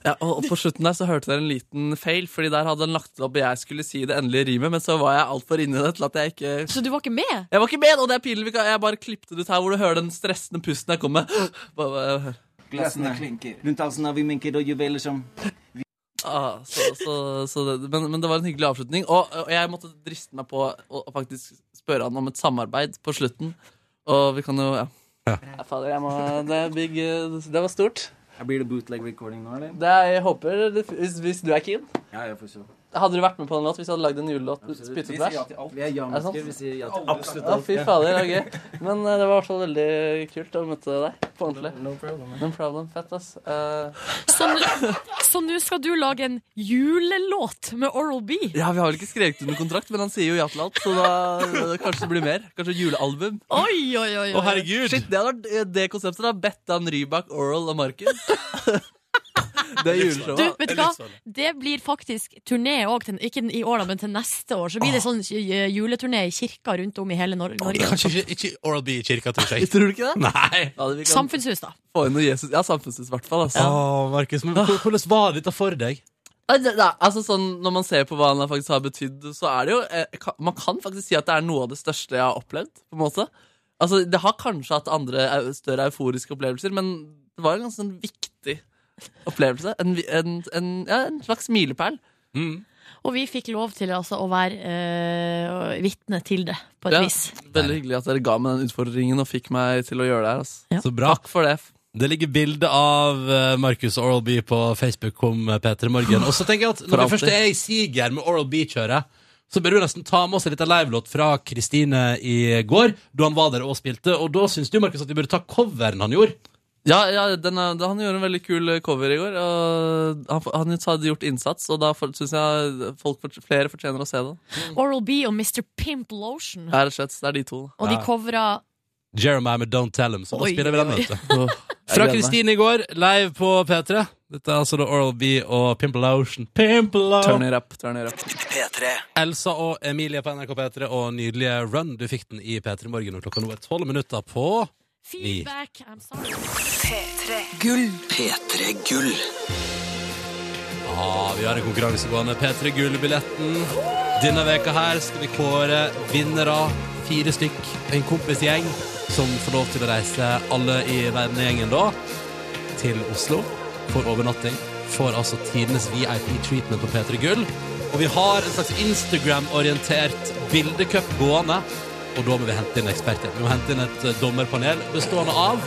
Speaker 12: Ja, og og på slutten der så hørte dere en liten feil, Fordi der hadde han lagt det opp og jeg skulle si det endelige rimet, men så var jeg altfor inni det til at jeg ikke
Speaker 4: Så du var ikke med?
Speaker 12: Jeg var ikke med, og det er pinlig. vi kan- Jeg bare klippte det ut her hvor du hører den stressende pusten jeg kom med. Bare, bare, hør.
Speaker 13: Glassene klinker. Rundt halsen har vi minker og juveler som
Speaker 12: Ah, så, så, så det, men, men det var en hyggelig avslutning. Og, og jeg måtte driste meg på å, å faktisk spørre han om et samarbeid på slutten. Og vi kan jo Ja. Ja, fader, jeg må, det, er big, eh, det var stort.
Speaker 13: Blir det bootleg recording nå, eller?
Speaker 12: Det er, jeg håper det, hvis, hvis du er keen.
Speaker 13: Ja, jeg får se.
Speaker 12: Hadde du vært med på en låt hvis jeg hadde lagd en julelåt? Spyttet
Speaker 13: Vi
Speaker 12: ut
Speaker 13: sier
Speaker 12: vers?
Speaker 13: ja til alt. Vi er ja-mennesker. Vi sier ja til
Speaker 12: Alle
Speaker 13: absolutt
Speaker 12: snakker.
Speaker 13: alt.
Speaker 12: Ja, fy fader, det var gøy. Men eh, det var i hvert fall veldig kult å møte deg på ordentlig.
Speaker 13: No problem.
Speaker 12: No problem, Fett, ass. Eh,
Speaker 4: Så nå- Så nå skal du lage en julelåt med Oral B?
Speaker 12: ja, vi har vel ikke skrevet under kontrakt, men han sier jo ja til alt, så da eh, kanskje det blir mer. Kanskje julealbum.
Speaker 4: Oi, oi, oi. oi.
Speaker 12: Shit, det, hadde vært- eh, det konseptet da. Bettan Rybak, Oral og Markus. Det er
Speaker 4: Du,
Speaker 12: juleshowet.
Speaker 4: vet du hva? Det sånn. blir faktisk turné òg, ikke i år, da, men til neste år. Så blir det sånn eh, juleturné i kirka rundt om i hele Nor- Norge.
Speaker 2: Kanskje ikke, ikke Oral B i kirka, tror jeg.
Speaker 12: Tror du ikke det?
Speaker 2: Nei.
Speaker 12: Ja, det vi kan
Speaker 4: Samfunnshus, da.
Speaker 12: få inn noe Jesus. Ja, samfunnshus i hvert fall. Altså.
Speaker 2: Å, Markus, men hvor- hvordan var dette for deg?
Speaker 12: Nei, det- det er- altså sånn, Når man ser på hva han faktisk har betydd, så er det jo eh, ka- Man kan faktisk si at det er noe av det største jeg har opplevd. på en måte Altså, Det har kanskje hatt andre au- større euforiske opplevelser, men det var en ganske sånn viktig opplevelse. En, vi- en, en, ja, en slags milepæl.
Speaker 4: Og vi fikk lov til altså, å være eh, vitne til det, på et
Speaker 12: Ja,
Speaker 4: vis.
Speaker 12: Veldig hyggelig at dere ga meg den utfordringen og fikk meg til å gjøre det her. altså
Speaker 2: Så bra.
Speaker 12: Takk for det.
Speaker 2: Det ligger bilde av eh, Markus og Oral B på Facebook om eh, P3 Morgen. Og så tenker jeg at
Speaker 12: For
Speaker 2: når vi
Speaker 12: alltid.
Speaker 2: først er i siger med Oral B-kjøret, så bør du nesten ta med oss en liten livelåt fra Kristine i går, da han var der og spilte. Og da syns du, Markus, at vi burde ta coveren han gjorde.
Speaker 12: Ja, ja den er, han gjorde en veldig kul eh, cover i går. Og han, han hadde gjort innsats, og da syns jeg folk, fort- flere fortjener å se den.
Speaker 4: Oral B og Mr. Pimp Lotion.
Speaker 12: Ja, Rett og slett. Det er de to.
Speaker 4: Og de covra
Speaker 2: Jeremiah med Don't Tell Him, så da
Speaker 4: Oi,
Speaker 2: spiller vi den.
Speaker 4: oi.
Speaker 2: vet du. Fra
Speaker 12: Jeg gleder meg.
Speaker 2: Kristine i går, live på P3. Dette er altså da Oral B og Pimple Ocean. Pimple
Speaker 12: Turn it up, turn it up.
Speaker 2: Elsa og Emilie på NRK P3 og nydelige Run. Du fikk den i P3 Morgen, og klokka nå er tolv minutter på ni.
Speaker 4: Feedback, I'm sorry.
Speaker 2: Gull. P3 Gull. Ja, vi har en konkurranse gående. P3 Gull-billetten. Denne veka her skal vi kåre vinnere. Fire stykk. En kompisgjeng som får lov til å reise alle i vennegjengen da til Oslo for overnatting. Får altså tidenes VIP-treatment på P3 Gull. Og vi har en slags Instagram-orientert bildecup gående. Og da må vi hente inn eksperter. Vi må hente inn et eh, dommerpanel bestående av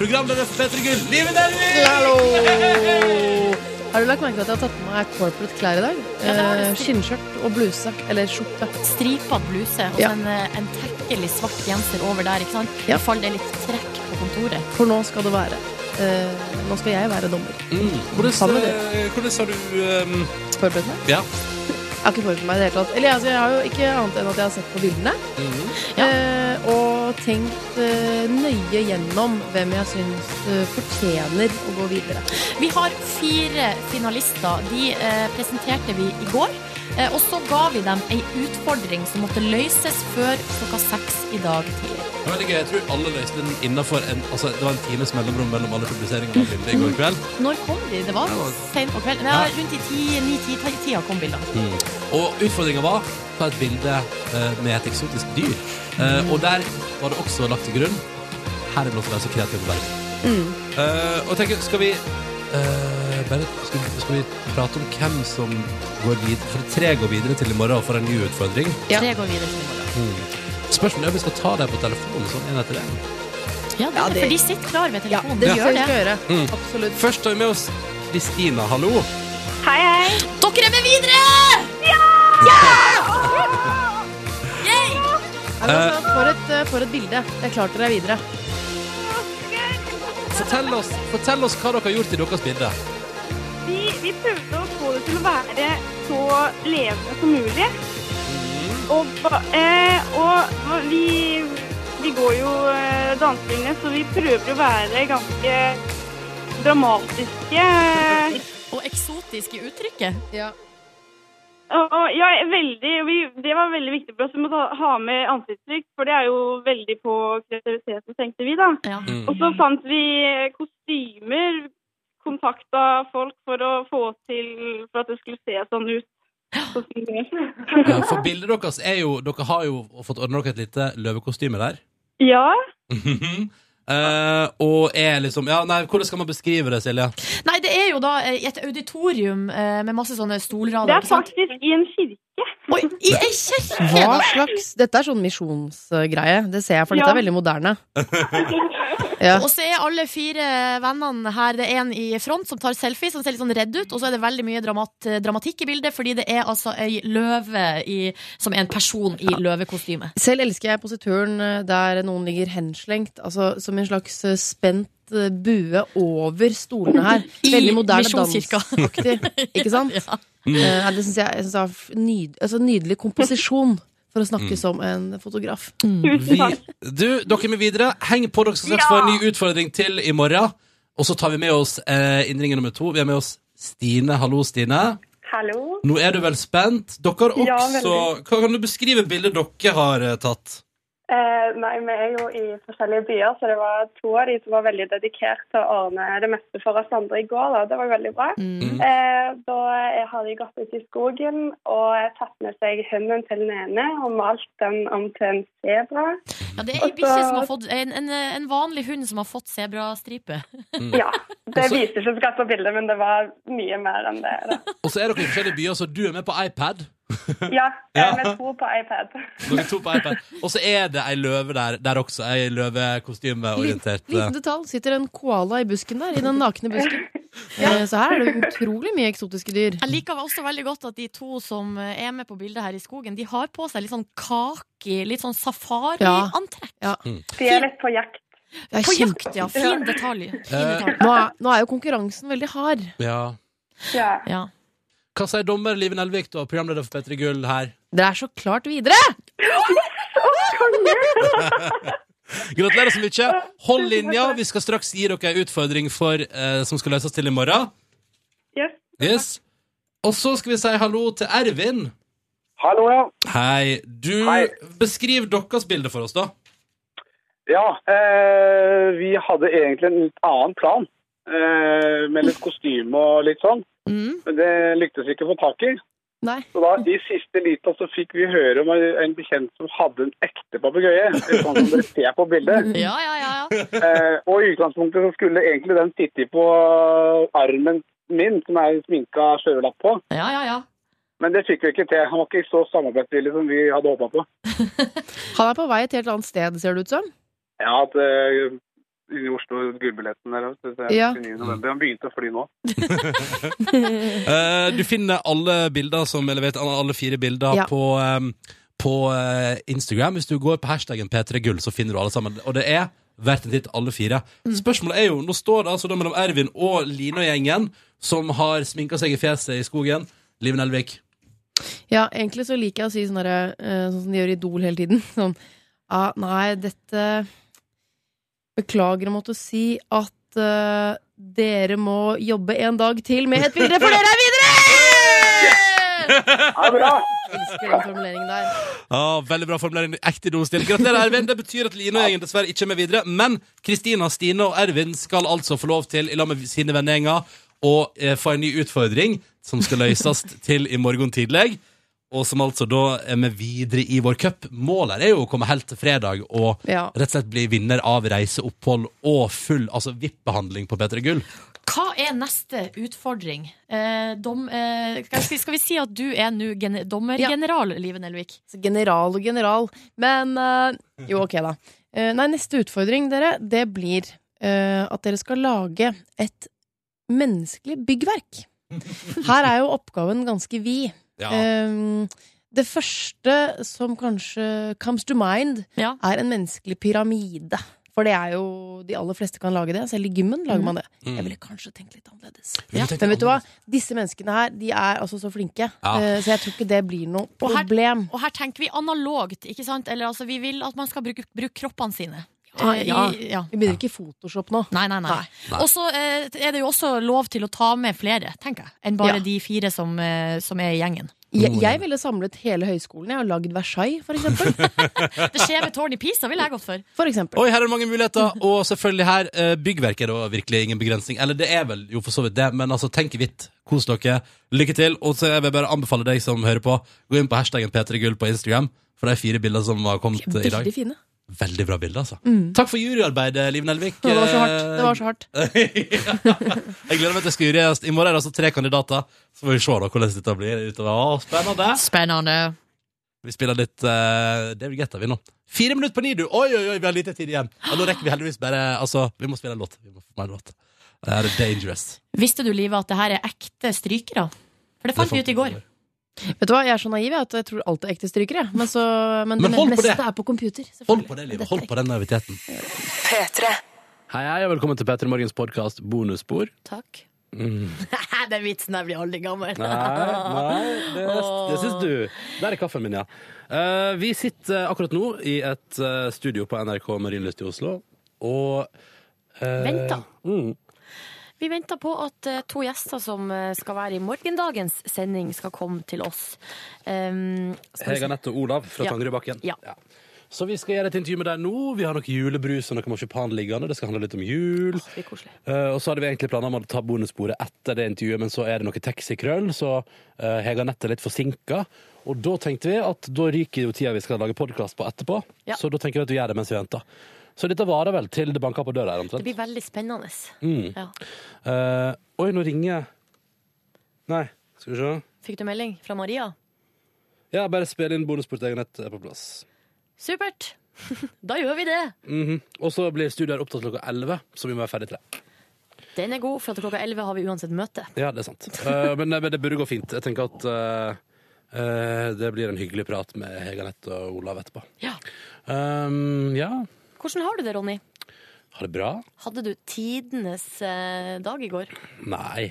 Speaker 2: programleder for P3 Gull, Live Nelvik!
Speaker 14: Hallo! Har du lagt merke til at jeg har tatt på meg corporate klær i dag?
Speaker 4: Ja, det har du.
Speaker 14: Eh, Skinnskjørt og bluse. Eller skjorte.
Speaker 4: Stripa bluse og
Speaker 14: Ja.
Speaker 4: så en, eh, en tekkelig svart genser over der. ikke sant?
Speaker 14: Ja.
Speaker 4: I fall det er litt trekk på kontoret.
Speaker 14: For nå skal det være. Eh, nå skal jeg være dommer.
Speaker 2: Mm.
Speaker 14: Sammen
Speaker 2: Hvordan,
Speaker 14: med dere.
Speaker 2: eh, hvordan har du ehm,
Speaker 14: Forberedt meg?
Speaker 2: Ja.
Speaker 14: Jeg har ikke forberedt meg i det hele tatt. Eller altså, jeg har jo ikke annet enn at jeg har sett på bildene.
Speaker 2: Mhm.
Speaker 14: eh, og tenkt eh, nøye gjennom hvem jeg syns eh, fortjener å gå videre.
Speaker 4: Vi har fire finalister. De eh, presenterte vi i går. Eh, og så ga vi dem ei utfordring som måtte løses før klokka seks i dag tidlig.
Speaker 2: Det var veldig gøy. Jeg tror alle løste den innenfor en Altså, det var en times mellomrom mellom alle publiseringene av bildet i går kveld.
Speaker 4: Når kom de? Det var
Speaker 2: Det var-
Speaker 4: sent på kvelden. Nei, rundt i ti- ni-ti-tida kom bildene.
Speaker 2: Mm. Og utfordringa var ta et bilde eh, med et eksotisk dyr. Eh, og der var det også lagt til grunn Her er det lov til å være så kreativ på verden. Eh, og jeg tenker, skal vi eh, bare, skal, vi- skal vi prate om hvem som går videre For tre går videre til i morgen og får en ny utfordring.
Speaker 4: Tre går videre til i morgen.
Speaker 2: Mm. Spørsmålet er om vi skal ta deg på telefonen sånn en etter en.
Speaker 4: Ja, det, er det. For de sitter klar ved telefonen.
Speaker 2: det skal vi
Speaker 14: gjøre.
Speaker 2: Mm.
Speaker 14: Absolutt.
Speaker 2: Først har vi med oss Kristina, hallo.
Speaker 4: Hei, hei. Dere er med videre! Ja!
Speaker 14: Nei, men altså, For et, eh, for et bilde. Jeg klarte dere videre.
Speaker 2: Fortell oss, fortell oss hva dere har gjort i deres bilde.
Speaker 6: Vi, vi prøvde å få det til å være så levende som mulig.
Speaker 4: Mhm.
Speaker 6: Og, ba- eh, og vi, vi går jo eh, danselinje, så vi prøver å være ganske dramatiske. eh,
Speaker 4: Og eksotisk i uttrykket.
Speaker 14: Ja.
Speaker 6: Og, og, ja, veldig. Vi, det var veldig viktig for oss. Vi må ta, ha med ansiktsuttrykk, for det er jo veldig på kreativiteten, tenkte vi da.
Speaker 4: Mm.
Speaker 6: Og så fant vi eh, kostymer, kontakta folk for å få til for at det skulle se sånn ut. Så skulle det-
Speaker 2: Eh, For bildet deres er jo Dere har jo fått ordna dere et lite løvekostyme der.
Speaker 6: Ja.
Speaker 2: Eh, og er liksom Ja, nei, hvordan skal man beskrive det, Silje?
Speaker 4: Nei, det er jo da eh, et auditorium eh, med masse sånne stolrader.
Speaker 6: Det er
Speaker 4: ikke sant?
Speaker 6: faktisk i en kirke.
Speaker 4: Oi, i ei kirke!
Speaker 14: Hva slags Dette er sånn misjonsgreie. Det ser jeg, for dette
Speaker 4: Ja.
Speaker 14: er veldig moderne. Ja.
Speaker 4: Og så er alle fire vennene her. Det er en i front som tar selfie, som ser litt sånn redd ut. Og så er det veldig mye dramat, dramatikk i bildet, fordi det er altså ei løve i, som er en person i løvekostyme.
Speaker 14: Selv elsker jeg posituren eh, der noen ligger henslengt, altså som en slags eh, spent eh, bue over stolene her.
Speaker 4: I
Speaker 14: Veldig moderne
Speaker 4: misjonskirka.
Speaker 14: dansaktig, ikke sant?
Speaker 12: Mm.
Speaker 14: Eh, det syns jeg, jeg synes det er f- nyd, altså, nydelig komposisjon for å snakke
Speaker 2: Mm.
Speaker 14: som en fotograf.
Speaker 2: Vi, du, dere med videre. Heng på, dere skal straks få en ny utfordring til i morgen. Og så tar vi med oss eh, innringer nummer to. Vi har med oss Stine. Hallo, Stine.
Speaker 15: Hallo.
Speaker 2: Nå er du vel spent? Dere
Speaker 15: Ja,
Speaker 2: også
Speaker 15: veldig.
Speaker 2: Hva Kan du beskrive bildet dere har eh, tatt?
Speaker 15: Eh, nei, vi er jo i forskjellige byer, så det var to av de som var veldig dedikert til å ordne det meste for oss andre i går. Da. Det var jo veldig bra. Eh, da eh, har de gått ut i skogen og tatt med seg hunden til den ene og malt den om til en sebra.
Speaker 4: Ja, det er ei bikkje som har fått en, en, en vanlig hund som har fått sebrastripe.
Speaker 15: Ja. Det viser seg ikke på bildet, men det var mye mer enn det. Da.
Speaker 2: Og så er dere i forskjellige byer, så du er med på iPad.
Speaker 15: Ja,
Speaker 2: Ja.
Speaker 15: vi tror på iPad.
Speaker 2: Dere to på iPad. Og så er det ei løve der, der også. Ei løvekostymeorientert.
Speaker 14: Liten detalj. Sitter en koala i busken der, i den nakne busken. Eh, Så her er det utrolig mye eksotiske dyr.
Speaker 4: Jeg liker også veldig godt at de to som er med på bildet her i skogen, de har på seg litt sånn kaki, litt sånn safariantrekk.
Speaker 15: De er litt på jakt.
Speaker 14: Det er
Speaker 4: På
Speaker 14: kjempe-
Speaker 4: jakt, ja. Fin detalj. Fin
Speaker 2: Eh.
Speaker 4: detalj.
Speaker 14: Nå er, nå er jo konkurransen veldig hard.
Speaker 2: Ja.
Speaker 4: Ja.
Speaker 2: Hva sier dommer Live Nelvik, da, programleder for P3 Gull her?
Speaker 14: Dere er så klart videre!
Speaker 2: Gratulerer så mye. Hold linja. Vi skal straks gi dere en utfordring for, eh, som skal løses til i morgen.
Speaker 6: Yes.
Speaker 2: Yes. Og så skal vi si hallo til Ervin.
Speaker 7: Hallo, ja.
Speaker 2: Hei. Du, Beskriv deres bilde for oss, da.
Speaker 7: Ja, eh, vi hadde egentlig en litt annen plan. Eh, med litt kostyme og litt sånn.
Speaker 4: Mm.
Speaker 7: Men det lyktes vi ikke å få tak i.
Speaker 4: Nei.
Speaker 7: Så da, i siste liten så fikk vi høre om en bekjent som hadde en ekte papegøye. Sånn som dere ser på bildet.
Speaker 3: Ja, ja, ja. ja.
Speaker 7: Eh, og i utgangspunktet så skulle egentlig den sitte på armen min, som er en sminka sjørøverlapp på.
Speaker 3: Ja, ja, ja.
Speaker 7: Men det fikk vi ikke til. Han var ikke så samarbeidsvillig som vi hadde håpa på.
Speaker 4: Han er på vei et helt annet sted, ser det ut som.
Speaker 7: Ja, at eh, i Oslo gullbilletten der, så det er
Speaker 4: Ja.
Speaker 7: 29. november. Han begynte å fly nå.
Speaker 2: Eh, du finner alle bilder som, eller vet, alle fire bilder
Speaker 7: Ja.
Speaker 2: på, eh, på eh, Instagram. Hvis du går på hashtaggen P3Gull, så finner du alle sammen. Og det er verdt en titt, alle fire. Spørsmålet er jo, nå står det altså da mellom Ervin og Line og gjengen, som har sminka seg i fjeset i skogen. Liv Nelvik.
Speaker 4: Ja, egentlig så liker jeg å si sånn derre, eh, sånn som de gjør i Idol hele tiden. Sånn ah, Nei, dette Beklager å måtte si at eh, dere må jobbe en dag til med et bilde, for dere er videre!
Speaker 7: Ja, bra.
Speaker 4: Elsker den formuleringen der.
Speaker 2: Ja, veldig bra formulering. Ekte idolstil. Gratulerer, Ervin. Det betyr at Line og gjengen dessverre ikke er med videre. Men Kristina, Stine og Ervin skal altså få lov til, i lag med sine vennegjenger, å eh, få en ny utfordring som skal løses til i morgen tidlig. Og som altså da er med videre i vår cup. Målet er jo å komme helt til fredag og
Speaker 4: Ja.
Speaker 2: rett og slett bli vinner av reiseopphold og full altså VIP-behandling på P3 Gull.
Speaker 3: Hva er neste utfordring? Eh, dom, eh, skal, jeg si, skal vi si at du er nå gene- dommergeneral, Live Nelvik?
Speaker 4: Så general og general. Men eh, jo, ok, da. Eh, nei, neste utfordring, dere, det blir eh, at dere skal lage et menneskelig byggverk. Her er jo oppgaven ganske vid.
Speaker 16: Ja.
Speaker 4: Eh, det første som kanskje comes to mind, er en menneskelig pyramide. For det er jo De aller fleste kan lage det. Selv i gymmen lager man det.
Speaker 16: Mm.
Speaker 4: Jeg ville kanskje tenkt litt annerledes.
Speaker 16: ville tenkt
Speaker 4: Men vet du hva? Disse menneskene her, de er altså så flinke.
Speaker 16: Ja.
Speaker 4: Eh, så jeg tror ikke det blir noe
Speaker 3: Og her-
Speaker 4: problem.
Speaker 3: Og her tenker vi analogt, ikke sant? Eller altså, vi vil at man skal bruke, bruke kroppene sine.
Speaker 4: Ja,
Speaker 3: Eh, i-
Speaker 4: ja.
Speaker 3: ja.
Speaker 4: Vi begynner ikke i Photoshop nå.
Speaker 3: Nei, nei, nei.
Speaker 4: Nei.
Speaker 3: Og så eh, er det jo også lov til å ta med flere, tenker jeg, enn bare
Speaker 4: Ja.
Speaker 3: de fire som, eh, som er i gjengen.
Speaker 4: Jeg, jeg ville samlet hele høyskolen. Jeg har lagd Versailles, for eksempel.
Speaker 3: Det skjeve tårn i Pisa ville jeg gått for.
Speaker 4: For eksempel.
Speaker 2: Oi, her er det mange muligheter, og selvfølgelig her eh, Byggverk er da virkelig ingen begrensning. Eller det er vel jo for så vidt det, men altså tenk hvitt. Kos dere. Lykke til. Og så jeg vil bare anbefale deg som hører på, gå inn på hashtaggen P3Gull på Instagram for de fire bildene som har kommet eh, i dag.
Speaker 4: Veldig fine.
Speaker 2: Veldig bra bilder, altså.
Speaker 4: Mm.
Speaker 2: Takk for juryarbeidet, Liv Nelvik. Eh,
Speaker 4: Det var så hardt. Det var så hardt.
Speaker 2: Jeg gleder meg til jeg skal juryes. I morgen er det altså tre kandidater. Så får vi se da hvordan dette blir utover. Å, spennende.
Speaker 3: Spennende.
Speaker 2: Vi spiller litt eh, David Guetta, vi nå. Fire minutter på ni, du! Oi, oi, oi, vi har lite tid igjen. Ja, nå rekker vi heldigvis bare Altså, vi må spille en låt. Vi må få mer låt. Det her er Dangerous.
Speaker 3: Visste du, Live, at det her er ekte strykere? For det fant vi ut i går.
Speaker 4: Vet du hva, jeg er så naiv jeg, at jeg tror alt er ekte strykere. Men, så, men,
Speaker 2: Men
Speaker 4: det
Speaker 2: hold på
Speaker 4: meste
Speaker 2: det.
Speaker 4: er på computer. selvfølgelig.
Speaker 2: Hold på det livet. Hold på den naiviteten. Hei, hei, og velkommen til Petter Morgens podkast Bonusspor.
Speaker 3: Takk.
Speaker 2: Mm.
Speaker 3: Den vitsen der blir aldri gammel.
Speaker 2: det, det syns du. Der er kaffen min, ja. Eh, vi sitter akkurat nå i et eh, studio på NRK Marienlyst i Oslo, og uh,
Speaker 3: Vent da.
Speaker 2: Mm.
Speaker 17: Vi venter på at eh, to gjester som eh, skal være i morgendagens sending, skal komme til oss. Um, skal vi se.
Speaker 2: Hege Anette og Olav fra
Speaker 17: Ja.
Speaker 2: Tangerudbakken.
Speaker 17: Ja.
Speaker 2: Så vi skal gjøre et intervju med deg nå. Vi har noe julebrus og noe marsipan liggende. Det skal handle litt om jul. Eh, og så hadde vi egentlig planer om å ta bonussporet etter det intervjuet, men så er det noe taxikrøll, så eh, Hege Anette er litt forsinka. Og da tenkte vi at da ryker jo tida vi skal lage podkast på etterpå,
Speaker 17: Ja.
Speaker 2: så da tenker vi at vi gjør det mens vi venter. Så dette varer vel til det banker på døra her,
Speaker 17: Det
Speaker 2: omtrent.
Speaker 17: blir veldig spennende.
Speaker 2: Mm.
Speaker 17: Ja.
Speaker 2: Eh, oi, nå ringer Nei, skal vi se.
Speaker 17: Fikk du melding fra Maria?
Speaker 2: Ja, bare spill inn bonusspor til Hege Anette er på plass.
Speaker 17: Supert! da gjør vi det.
Speaker 2: Mhm. Og så blir studiet her opptatt klokka 11, så vi må være ferdig til det.
Speaker 17: Den er god, for at klokka 11 har vi uansett møte.
Speaker 2: Ja, det er sant. Eh, men, men det burde gå fint. Jeg tenker at eh, eh, det blir en hyggelig prat med Hege Anette og Olav etterpå.
Speaker 17: Ja.
Speaker 2: Um, ja,
Speaker 17: Hvordan har du det, Ronny?
Speaker 2: har det bra?
Speaker 17: Hadde du tidenes eh, dag i går?
Speaker 2: Nei. Nei,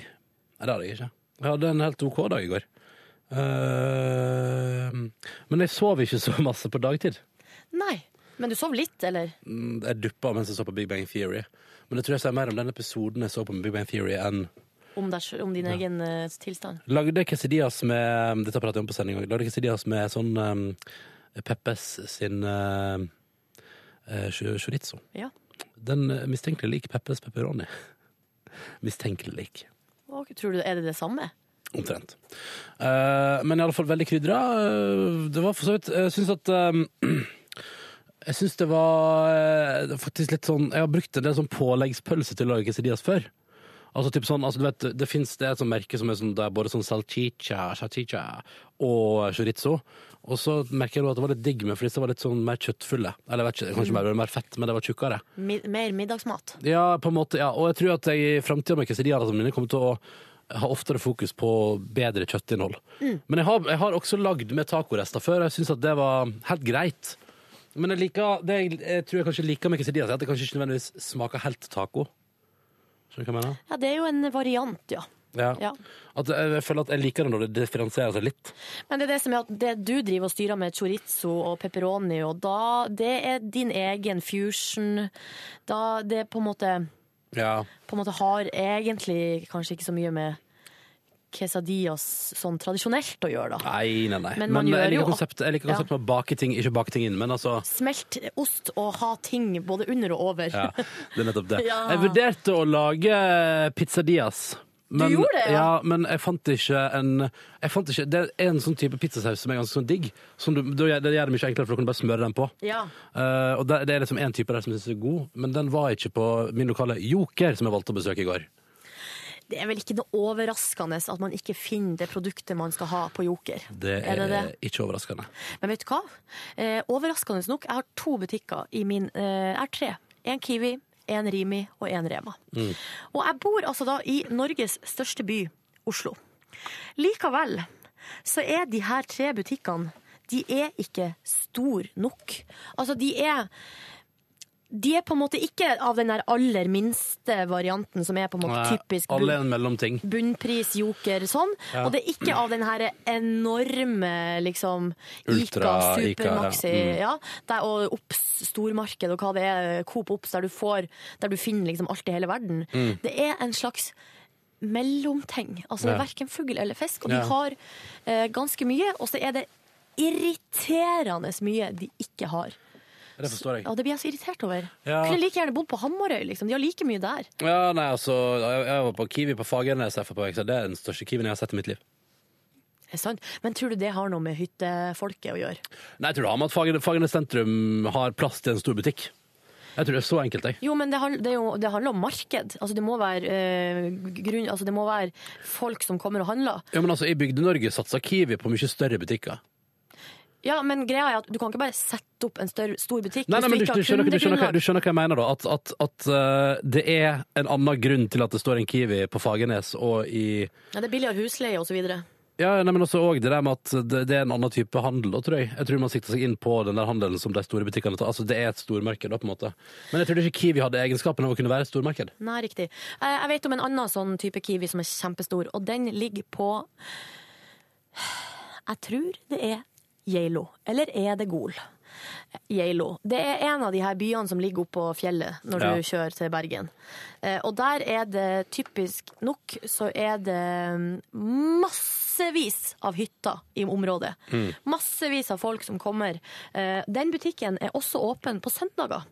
Speaker 2: det hadde jeg ikke. Jeg hadde en helt OK dag i går. Eh, men jeg sov ikke så masse på dagtid.
Speaker 17: Nei.
Speaker 3: Men du sov litt, eller?
Speaker 2: Mm, Jeg duppa mens jeg så på Big Bang Theory. Men jeg tror jeg sa mer om den episoden jeg så på med Big Bang Theory, enn
Speaker 3: Om, deg, selv- om din egen eh, tilstand?
Speaker 2: Lagde quesadillas med um, Dette prater jeg om på sending også. Lagde quesadillas med sånn um, Peppes sin eh, eh, chu- chorizo.
Speaker 3: Ja.
Speaker 2: Den eh, mistenkelig lik Peppes pepperoni. Mistenkelig lik.
Speaker 3: Og, tror du, er det det samme?
Speaker 2: Omtrent. Eh, men i alle fall veldig krydra. Eh, Det var for så vidt Jeg syns at eh, Jeg syns det var eh, det er faktisk litt sånn Jeg har brukt en del sånn påleggspølse til å lage quesadillas før. Altså typ sånn, altså du vet, Det finnes det er et sånt merke som er sånn, det er både sånn salchicha, chachicha og chorizo. Og så merker jeg nå at det var litt digg med, for disse var litt sånn mer kjøttfulle. Eller jeg vet ikke, kanskje mer, mer fett, men det var tjukkere.
Speaker 3: Mi mer middagsmat?
Speaker 2: Ja, på en måte, ja. Og jeg tror at jeg i framtida med quesadillasene mine kommer til å ha oftere fokus på bedre kjøttinnhold.
Speaker 3: Mm.
Speaker 2: Men jeg har, jeg har også lagd med tacorester før, og jeg syns at det var helt greit. Men jeg liker, det jeg, jeg tror jeg kanskje liker med quesadillas, er at det kanskje ikke nødvendigvis smaker helt taco. Skjønner du hva jeg mener?
Speaker 3: Ja, det er jo en variant, ja.
Speaker 2: Ja.
Speaker 3: Ja.
Speaker 2: At jeg, jeg føler at jeg liker det når det differensierer seg litt.
Speaker 3: Men det er det som er at det du driver og styrer med chorizo og pepperoni, og da det er din egen fusion. Da det på en måte,
Speaker 2: Ja.
Speaker 3: på en måte har egentlig kanskje ikke så mye med quesadillas sånn tradisjonelt å gjøre, da.
Speaker 2: Nei, nei, nei.
Speaker 3: Men man gjør
Speaker 2: jeg
Speaker 3: jo-
Speaker 2: liker konseptet, jeg liker
Speaker 3: Ja.
Speaker 2: konseptet med å bake ting, ikke bake ting inn, men altså
Speaker 3: Smelt ost og ha ting både under og over.
Speaker 2: Ja, det er nettopp det.
Speaker 3: Ja.
Speaker 2: Jeg vurderte å lage pizzadias. Men,
Speaker 3: gjorde det, ja?
Speaker 2: ja? Men jeg fant ikke en jeg fant ikke, Det er en sånn type pizzasaus som er ganske sånn digg. Som du, det gjør det gjør det mye enklere, for da kan du bare smøre den på.
Speaker 3: Ja.
Speaker 2: Eh, og det, det er liksom én type der som jeg synes er god, men den var ikke på min lokale Joker, som jeg valgte å besøke i går.
Speaker 3: Det er vel ikke noe overraskende at man ikke finner det produktet man skal ha på Joker.
Speaker 2: Det er,
Speaker 3: er det det?
Speaker 2: ikke overraskende.
Speaker 3: Men vet du hva? Eh, overraskende nok, jeg har to butikker i min eh, Jeg har tre. En Kiwi, en Rimi og en Rema.
Speaker 8: Mm.
Speaker 3: Og jeg bor altså da i Norges største by, Oslo. Likevel så er de her tre butikkene de er ikke stor nok. Altså, de er de er på en måte ikke av den der aller minste varianten som er på en måte
Speaker 2: Nei,
Speaker 3: typisk
Speaker 2: Alle
Speaker 3: bunn-
Speaker 2: er en mellomting.
Speaker 3: bunnpris, joker, sånn.
Speaker 2: Ja.
Speaker 3: Og det er ikke av den her enorme liksom Ica,
Speaker 2: Ultra Ica, ja.
Speaker 3: Supermaxi, ja.
Speaker 2: Mm.
Speaker 3: der, og Obs stormarked og hva det er, Coop Obs, der du får Der du finner liksom alt i hele verden.
Speaker 8: Mm.
Speaker 3: Det er en slags mellomting. Altså det er
Speaker 8: Ja.
Speaker 3: verken fugl eller fisk, og
Speaker 8: Ja.
Speaker 3: de har eh, ganske mye, og så er det irriterende mye de ikke har.
Speaker 2: Det forstår jeg.
Speaker 3: Ja, det blir jeg så irritert over.
Speaker 2: Ja.
Speaker 3: Kunne like gjerne bodd på Hamarøy, liksom. De har like mye der.
Speaker 2: Ja, nei, altså, jeg, jeg var på Kiwi på Fagernes FFPX, og det er den største Kiwien jeg har sett i mitt liv.
Speaker 3: Det er sant. Men tror du det har noe med hyttefolket å gjøre?
Speaker 2: Nei, jeg tror det har med at Fagernes, Fagernes sentrum har plass til en stor butikk. Jeg tror det er så enkelt, jeg.
Speaker 3: Jo, men det, handl- det, er jo, det handler om marked. Altså, det, må være, eh, grunn, altså, det må være folk som kommer og handler.
Speaker 2: Ja, men altså, I Bygde-Norge satser Kiwi på mye større butikker.
Speaker 3: Ja, men greia er at du kan ikke bare sette opp en større, stor butikk
Speaker 2: Nei, nei, men du, du, skjønner, hva- du, skjønner, hva-
Speaker 3: kundegrunnlag.
Speaker 2: du skjønner hva jeg mener, da. At, at, at eh, det er en annen grunn til at det står en Kiwi på Fagernes og i
Speaker 3: Ja, det er billigere husleie og så videre.
Speaker 2: Ja, nei, men også og det der med at det, det er en annen type handel, da, tror jeg. Jeg tror man sikter seg inn på den der handelen som de store butikkene tar. Altså, det er et stormarked, da, på en måte. Men jeg trodde ikke Kiwi hadde egenskapen av å kunne være et stormarked.
Speaker 3: Nei, riktig. Eh, Jeg vet om en annen sånn type kiwi som er kjempestor, og den ligger på Jeg tror det er Geilo. Eller er det Gol? Geilo. Det er en av de her byene som ligger oppå fjellet når
Speaker 8: Ja.
Speaker 3: du kjører til Bergen. Eh, Og der er det typisk nok så er det mm, massevis av hytter i området.
Speaker 8: Mm.
Speaker 3: Massevis av folk som kommer. Eh, Den butikken er også åpen på søndager.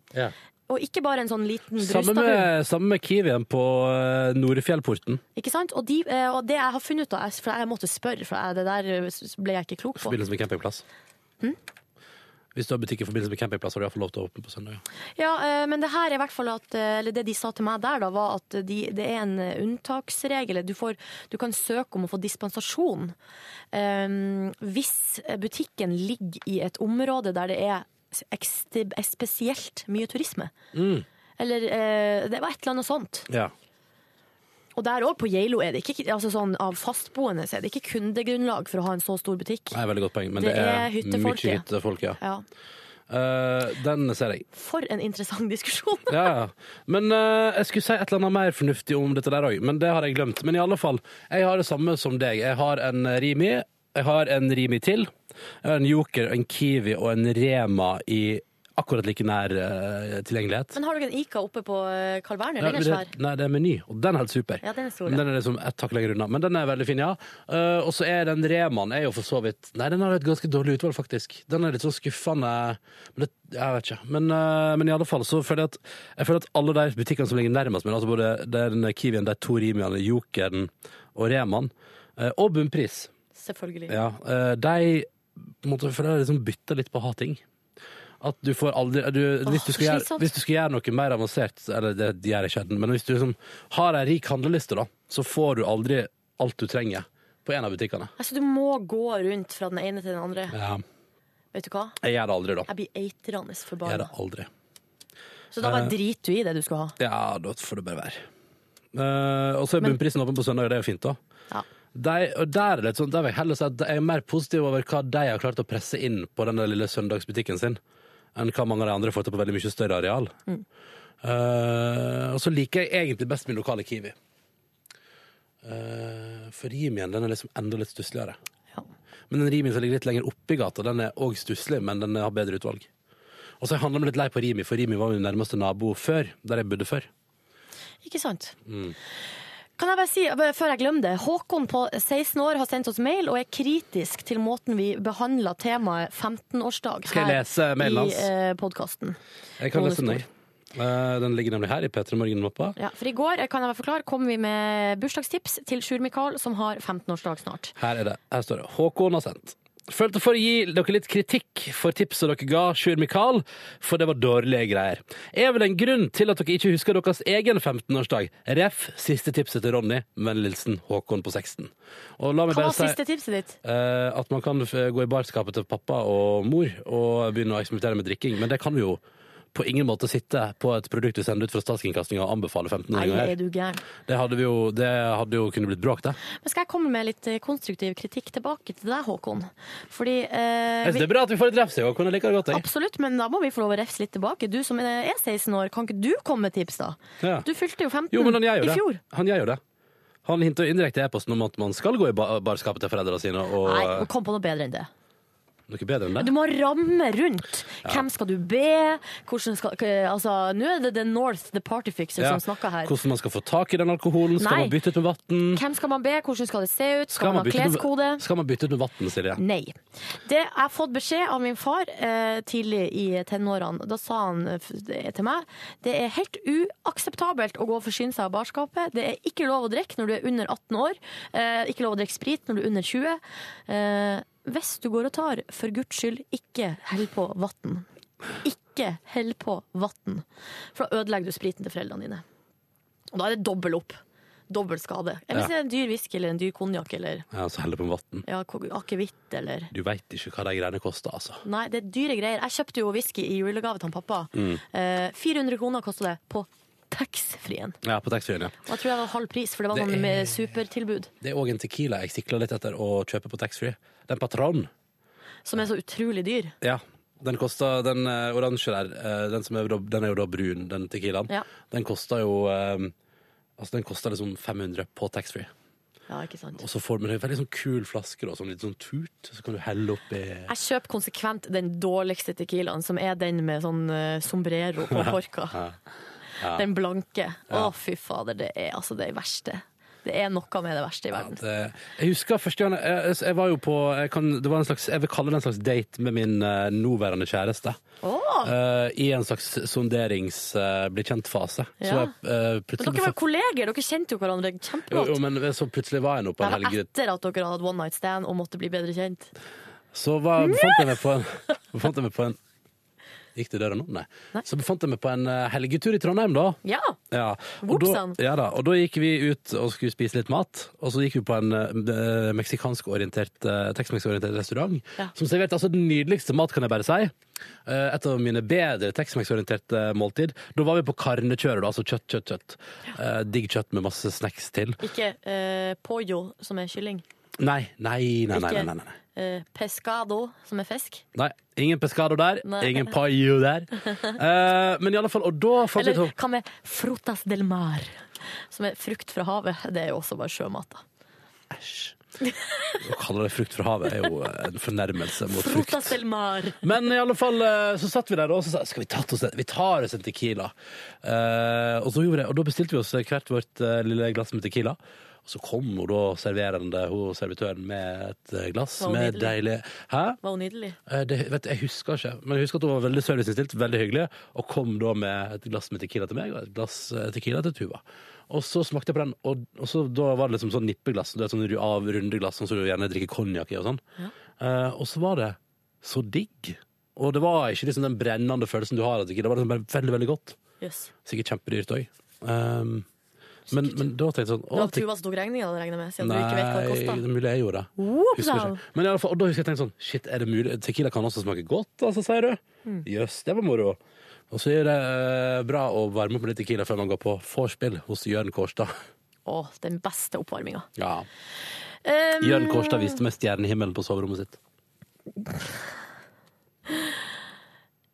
Speaker 3: Og ikke bare en sånn liten
Speaker 2: Samme
Speaker 3: Brustadbu.
Speaker 2: med, samme med Kiwien på eh, Norefjellporten.
Speaker 3: Ikke sant? Og, de, eh, og det jeg har funnet ut av, for jeg måtte spørre, for jeg, det der eh, ble jeg ikke klok på.
Speaker 2: Forbindelse med campingplass.
Speaker 3: Hm?
Speaker 2: Hvis du har butikk i forbindelse med campingplass, har du iallfall lov til å åpne på søndag.
Speaker 3: Ja, eh, men det her er i hvert fall at, eh, eller det de sa til meg der, da, var at de, det er en eh, unntaksregel. Du, får, du kan søke om å få dispensasjon eh, hvis butikken ligger i et område der det er ekste- spesielt mye turisme.
Speaker 2: Mm.
Speaker 3: Eller eh, det var et eller annet sånt.
Speaker 2: Ja.
Speaker 3: Og der òg, på Geilo, er det ikke altså sånn, av fastboende så er det ikke kundegrunnlag for å ha en så stor butikk.
Speaker 2: Det er et veldig godt poeng, men
Speaker 3: Det
Speaker 2: det,
Speaker 3: er hyttefolk,
Speaker 2: mye
Speaker 3: ja.
Speaker 2: hyttefolk, ja.
Speaker 3: Ja.
Speaker 2: Eh, den ser jeg.
Speaker 3: For en interessant diskusjon.
Speaker 2: Ja, ja. Men eh, jeg skulle si et eller annet mer fornuftig om dette der òg, men det har jeg glemt. Men i alle fall, jeg har det samme som deg. Jeg har en Rimi, jeg har en Rimi til. Jeg har en Joker, en Kiwi og en Rema i akkurat like nær eh, tilgjengelighet.
Speaker 3: Men har du ikke en Ica oppe på eh, Carl Berner?
Speaker 2: Ja,
Speaker 3: Den er
Speaker 2: men
Speaker 3: svær.
Speaker 2: det, nei, det er Meny, og den er helt super.
Speaker 3: Ja, den er stor,
Speaker 2: Men
Speaker 3: ja.
Speaker 2: den er liksom ett hakk lenger unna. Men den er veldig fin, ja. Eh, og så er den Remaen er jo for så vidt Nei, den har et ganske dårlig utvalg, faktisk. Den er litt sånn skuffende men det, Jeg vet ikke. Men, eh, men i alle fall så føler jeg at Jeg føler at alle de butikkene som ligger nærmest meg, altså både den Kiwien, de to Rimiene, Jokeren og Remaen, eh, og Bunnpris
Speaker 3: Selvfølgelig.
Speaker 2: ja, eh, de måtte for det liksom bytte litt på å ha ting. At du får aldri du, hvis, du skal
Speaker 3: så
Speaker 2: gjøre,
Speaker 3: slitsomt.
Speaker 2: hvis du skal gjøre noe mer avansert, eller det de gjør jeg sjelden, men hvis du liksom har ei rik handleliste, da, så får du aldri alt du trenger på en av butikkene.
Speaker 3: Altså, du må gå rundt fra den ene til den andre.
Speaker 2: Ja,
Speaker 3: Vet du hva?
Speaker 2: jeg gjør det aldri, da.
Speaker 3: Jeg blir eitrende
Speaker 2: Jeg gjør
Speaker 3: forbanna.
Speaker 2: det aldri.
Speaker 3: Så da bare
Speaker 2: Eh.
Speaker 3: driter du i det du skal ha.
Speaker 2: Ja, da får det bare være. Eh, og så er
Speaker 3: Men-
Speaker 2: bunnprisen åpen på søndag, og det er jo fint, da.
Speaker 3: Ja.
Speaker 2: De, og der er det litt sånn, der vil jeg heller si at jeg er mer positiv over hva de har klart å presse inn på den der lille søndagsbutikken sin, enn hva mange av de andre får til på veldig mye større areal.
Speaker 3: Mm.
Speaker 2: Eh, og så liker jeg egentlig best min lokale Kiwi. Eh, for Rimien den er liksom enda litt stussligere. Men den Rimien som ligger litt lenger oppe i gata, den er òg stusslig, men den har bedre utvalg. Og så handler jeg meg litt lei på Rimi, for Rimi var min nærmeste nabo før, der jeg bodde før.
Speaker 3: Ikke sant?
Speaker 2: Mm.
Speaker 3: Kan jeg bare si, bare før jeg glemmer det, Håkon på 16 år har sendt oss mail og er kritisk til måten vi behandler temaet 15-årsdag
Speaker 2: Skal jeg lese mailen hans?
Speaker 3: i eh, podkasten.
Speaker 2: Jeg kan
Speaker 3: Noen
Speaker 2: lese den, jeg. Eh, den ligger nemlig her i P3 Morgen-mappa.
Speaker 3: Ja, for i går eh, kan jeg være forklare, kom vi med bursdagstips til Sjur Mikael, som har 15-årsdag snart.
Speaker 2: Her er det. Her står det. Håkon har sendt. Følte for å gi dere litt kritikk for tipset dere ga Sjur Mikael, for det var dårlige greier. Er vel en grunn til at dere ikke husker deres egen 15-årsdag? Ref. siste tipset til Ronny. Vennlig hilsen Håkon på 16. Og la meg
Speaker 3: Hva
Speaker 2: bare
Speaker 3: var
Speaker 2: si
Speaker 3: siste tipset ditt?
Speaker 2: eh, at man kan f- gå i barskapet til pappa og mor og begynne å eksperimentere med drikking, men det kan vi jo på ingen måte sitte på et produkt vi sender ut fra statskringkastinga og anbefale
Speaker 3: Nei,
Speaker 2: 15-åringer.
Speaker 3: er
Speaker 2: her.
Speaker 3: du gæren.
Speaker 2: Det hadde, vi jo, det hadde jo kunne blitt bråk, det.
Speaker 3: Men skal jeg komme med litt eh, konstruktiv kritikk tilbake til deg, Håkon? Fordi eh,
Speaker 2: Jeg synes
Speaker 3: vi-
Speaker 2: Altså, det er bra at vi får et refs i år. Kunne jeg like det godt, jeg.
Speaker 3: Absolutt, men da må vi få lov å refse litt tilbake. Du som eh, er 16 år, kan ikke du komme med tips, da?
Speaker 2: Ja.
Speaker 3: Du fylte jo 15
Speaker 2: Jo, men han gjør jo
Speaker 3: i
Speaker 2: det.
Speaker 3: fjor.
Speaker 2: Han gjør jo det. Han hinter jo indirekte i e-posten om at man skal gå i ba- barskapet til foreldrene sine og eh,
Speaker 3: Nei, men kom på noe bedre enn det.
Speaker 2: Noe bedre enn
Speaker 3: Du
Speaker 2: det?
Speaker 3: må ramme rundt.
Speaker 2: Ja.
Speaker 3: Hvem skal du be? Hvordan skal Altså, nå er det The North, The Party Fixer,
Speaker 2: Ja.
Speaker 3: som snakker her.
Speaker 2: Hvordan man skal få tak i den alkoholen? Skal
Speaker 3: Nei.
Speaker 2: man bytte ut med vann?
Speaker 3: Hvem skal man be? Hvordan skal det se ut? Skal, man ha
Speaker 2: bytte ut
Speaker 3: kleskode?
Speaker 2: med, skal man bytte ut med vann, Silje?
Speaker 3: Nei. Det jeg har fått beskjed av min far eh, tidlig i tenårene. Da sa han eh, f- det til meg det er helt uakseptabelt å gå og forsyne seg av barskapet. Det er ikke lov å drikke når du er under 18 år. Eh, ikke lov å drikke sprit når du er under 20. Eh, hvis du går og tar, for guds skyld, ikke hell på vann. Ikke hell på vann. For da ødelegger du spriten til foreldrene dine. Og da er det dobbel opp. Dobbel skade. Eller hvis
Speaker 2: Ja.
Speaker 3: det er en dyr whisky eller en dyr konjakk eller
Speaker 2: Ja, så heller på med vann.
Speaker 3: ja, ko- akevitt eller
Speaker 2: Du veit ikke hva de greiene koster, altså.
Speaker 3: Nei, det er dyre greier. Jeg kjøpte jo whisky i julegave til han pappa.
Speaker 2: Mm.
Speaker 3: Eh, 400 kroner kosta det på taxfree-en.
Speaker 2: Ja, på taxfree-en, ja.
Speaker 3: Og jeg tror det var halv pris, for det var
Speaker 2: Det
Speaker 3: sånn
Speaker 2: er-
Speaker 3: med supertilbud.
Speaker 2: Det er òg en tequila jeg sikler litt etter å kjøpe på taxfree. Den Patron.
Speaker 3: Som er så utrolig dyr.
Speaker 2: Ja. Den kosta den eh, oransje der, eh, den, som er, da- den er jo da brun, den tequilaen.
Speaker 3: Ja.
Speaker 2: Den kosta jo eh, Altså, den kosta liksom 500 på taxfree.
Speaker 3: Ja, ikke sant.
Speaker 2: Og så får du en veldig sånn kul flaske, da, sånn litt sånn tut, så kan du helle oppi
Speaker 3: Jeg kjøper konsekvent den dårligste tequilaen, som er den med sånn eh, sombrero på korka.
Speaker 2: Ja. Ja.
Speaker 3: Den blanke. Å,
Speaker 2: Ja.
Speaker 3: fy fader, det er altså det verste. Det er noe med det verste i verden.
Speaker 2: Det- Eh, Jeg husker første gang jeg, jeg- jeg var jo på jeg, kan, det var en slags, jeg vil kalle det en slags date med min eh, nåværende kjæreste.
Speaker 3: Åh!
Speaker 2: Eh, I en slags eh, sonderings-bli-kjent-fase. Så
Speaker 3: Ja.
Speaker 2: jeg, eh,
Speaker 3: Men
Speaker 2: plutselig
Speaker 3: dere
Speaker 2: ble-
Speaker 3: var jo kolleger, dere kjente jo hverandre
Speaker 2: jo,
Speaker 3: kjempegodt.
Speaker 2: jo, men så plutselig var jeg nå på
Speaker 3: Det
Speaker 2: en
Speaker 3: var
Speaker 2: helg
Speaker 3: etter at dere hadde hatt one night stand og måtte bli bedre kjent.
Speaker 2: Så var, befant jeg meg på en, befant jeg meg på en Gikk det i døra nå? Nei. Så befant jeg meg på en eh, helgetur i Trondheim, da.
Speaker 3: Ja.
Speaker 2: Ja. Og, da,
Speaker 3: Whoopsan.
Speaker 2: ja da. og da gikk vi ut og skulle spise litt mat, og så gikk vi på en eh, meksikansk-orientert, eh, tex-mex-orientert restaurant
Speaker 18: Ja.
Speaker 2: som serverte altså den nydeligste mat, kan jeg bare si. Eh, Et av mine bedre tex-mex-orienterte eh, måltid. Da var vi på karnekjøret, da, altså kjøtt, kjøtt, kjøtt. Eh, Digg kjøtt med masse snacks til.
Speaker 3: Ikke eh, pollo, som er kylling.
Speaker 2: Nei, nei, nei, nei. nei,
Speaker 3: Ikke-
Speaker 2: nei, nei.
Speaker 3: Eh, pescado, som er fisk.
Speaker 2: Nei, ingen pescado der,
Speaker 3: Nei.
Speaker 2: ingen paio der. Eh, men i alle fall, og da fant vi ut
Speaker 3: Eller hva med frutas del mar, som er frukt fra havet. Det er jo også bare sjømat. da.
Speaker 2: Å kalle det frukt fra havet er jo eh, en fornærmelse mot frukt.
Speaker 3: Frutas del mar.
Speaker 2: Men i alle fall eh, så satt vi der og så sa skal vi tatt oss en, vi tar oss en tequila. Eh, og, så gjorde jeg, og da bestilte vi oss hvert vårt eh, lille glass med tequila. Og så kom hun da serverende, hun servitøren med et eh, glass
Speaker 3: Var hun
Speaker 2: med deilig
Speaker 3: nydelig?
Speaker 2: Hæ?
Speaker 3: Var hun nydelig?
Speaker 2: Eh, Det, vet, du, jeg husker ikke, men jeg husker at hun var veldig serviceinnstilt, veldig hyggelig, og kom da med et glass med tequila til meg og et glass eh, tequila til Tuva. Og så smakte jeg på den, og, og så, da var det liksom sånn nippeglass, du vet, sånn ru- av runde glass, sånn som du gjerne drikker konjakk i og sånn. Eh, og så var det så digg. Og det var ikke liksom den brennende følelsen du har av tequila, det var liksom bare veldig, veldig godt.
Speaker 3: Jøss.
Speaker 2: Sikkert kjempedyrt òg. Um, men, men da tenkte jeg sånn
Speaker 3: Det
Speaker 2: å,
Speaker 3: var Tuva som tok regninga, regner jeg med, siden du ikke vet hva det
Speaker 2: Nei,
Speaker 3: kosta.
Speaker 2: det er mulig jeg gjorde det.
Speaker 3: Whoop,
Speaker 2: Husker
Speaker 3: da.
Speaker 2: ikke. Men i alle fall, og da husker jeg tenkte sånn Shit, er det mulig? Tequila kan også smake godt, altså, sier du?
Speaker 3: Mm.
Speaker 2: Jøss, det var moro. Og så er det eh, bra å varme opp med litt tequila før man går på vorspiel hos Jørn Kårstad.
Speaker 3: Å, den beste oppvarminga.
Speaker 2: Ja.
Speaker 3: Um,
Speaker 2: Jørn Kårstad viste meg stjernehimmelen på soverommet sitt.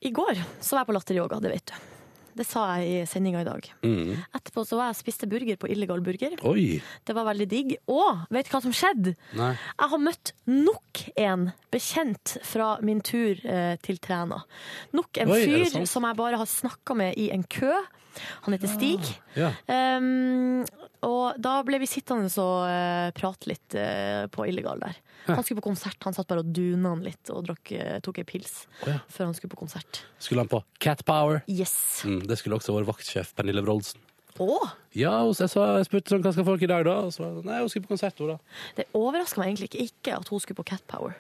Speaker 3: I går så var jeg på latteryoga, det vet du. Det sa jeg i sendinga i dag.
Speaker 2: Mm.
Speaker 3: Etterpå så var jeg og spiste burger på Illegal Burger.
Speaker 2: Oi!
Speaker 3: Det var veldig digg. Og vet du hva som skjedde?
Speaker 2: Nei.
Speaker 3: Jeg har møtt nok en bekjent fra min tur eh, til Træna. Nok en
Speaker 18: Oi, er det
Speaker 3: fyr
Speaker 18: sant?
Speaker 3: som jeg bare har snakka med i en kø. Han heter Stig.
Speaker 18: Ja.
Speaker 3: Um, og da ble vi sittende og eh, prate litt eh, på Illegal der. Han skulle på konsert, han satt bare og duna han litt og drakk, eh, tok ei pils
Speaker 2: Å, ja.
Speaker 3: før han skulle på konsert.
Speaker 2: Skulle han på Cat Power?
Speaker 3: Yes.
Speaker 2: Mm, det skulle også vår vaktsjef Pernille Wroldsen.
Speaker 3: Å!
Speaker 2: Ja, og så jeg, sa- jeg spurte sånn, hva skal folk i dag, da? Og så var det sånn, nei, hun skulle på konsert, hun, da.
Speaker 3: Det overraska meg egentlig ikke- ikke at hun skulle på Cat Power.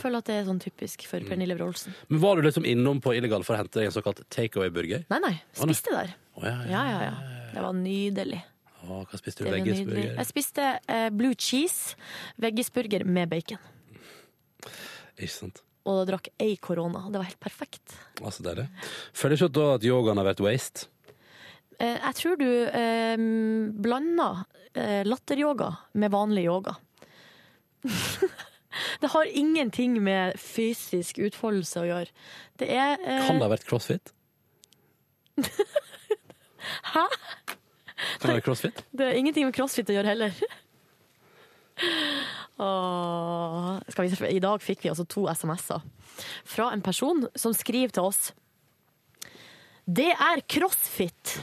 Speaker 3: Føler at det er sånn typisk for Pernille Wroldsen.
Speaker 2: Men var du liksom innom på Illegal for å hente deg en såkalt takeaway-burger?
Speaker 3: Nei, nei.
Speaker 2: Å, nei.
Speaker 3: Spiste der.
Speaker 2: Å, ja, ja.
Speaker 3: Ja, ja, ja. Det var nydelig.
Speaker 2: Å, hva spiste
Speaker 3: Det
Speaker 2: du?
Speaker 3: var nydelig.
Speaker 2: Veggisburger?
Speaker 3: Jeg spiste eh, blue cheese, veggisburger med bacon.
Speaker 2: Ikke sant?
Speaker 3: Og da drakk ei korona. Det var helt perfekt.
Speaker 2: Altså, det er det. Føler ikke da at yogaen har vært waste?
Speaker 3: Eh, jeg tror du eh, blanda eh, latteryoga med vanlig yoga. det har ingenting med fysisk utfoldelse å gjøre. Det er eh,
Speaker 2: Kan det ha vært crossfit?
Speaker 3: Hæ?
Speaker 2: Kan det være crossfit?
Speaker 3: Det er ingenting med crossfit å gjøre heller. Åh, skal vi, I dag fikk vi altså to SMS-er fra en person som skriver til oss Det er crossfit!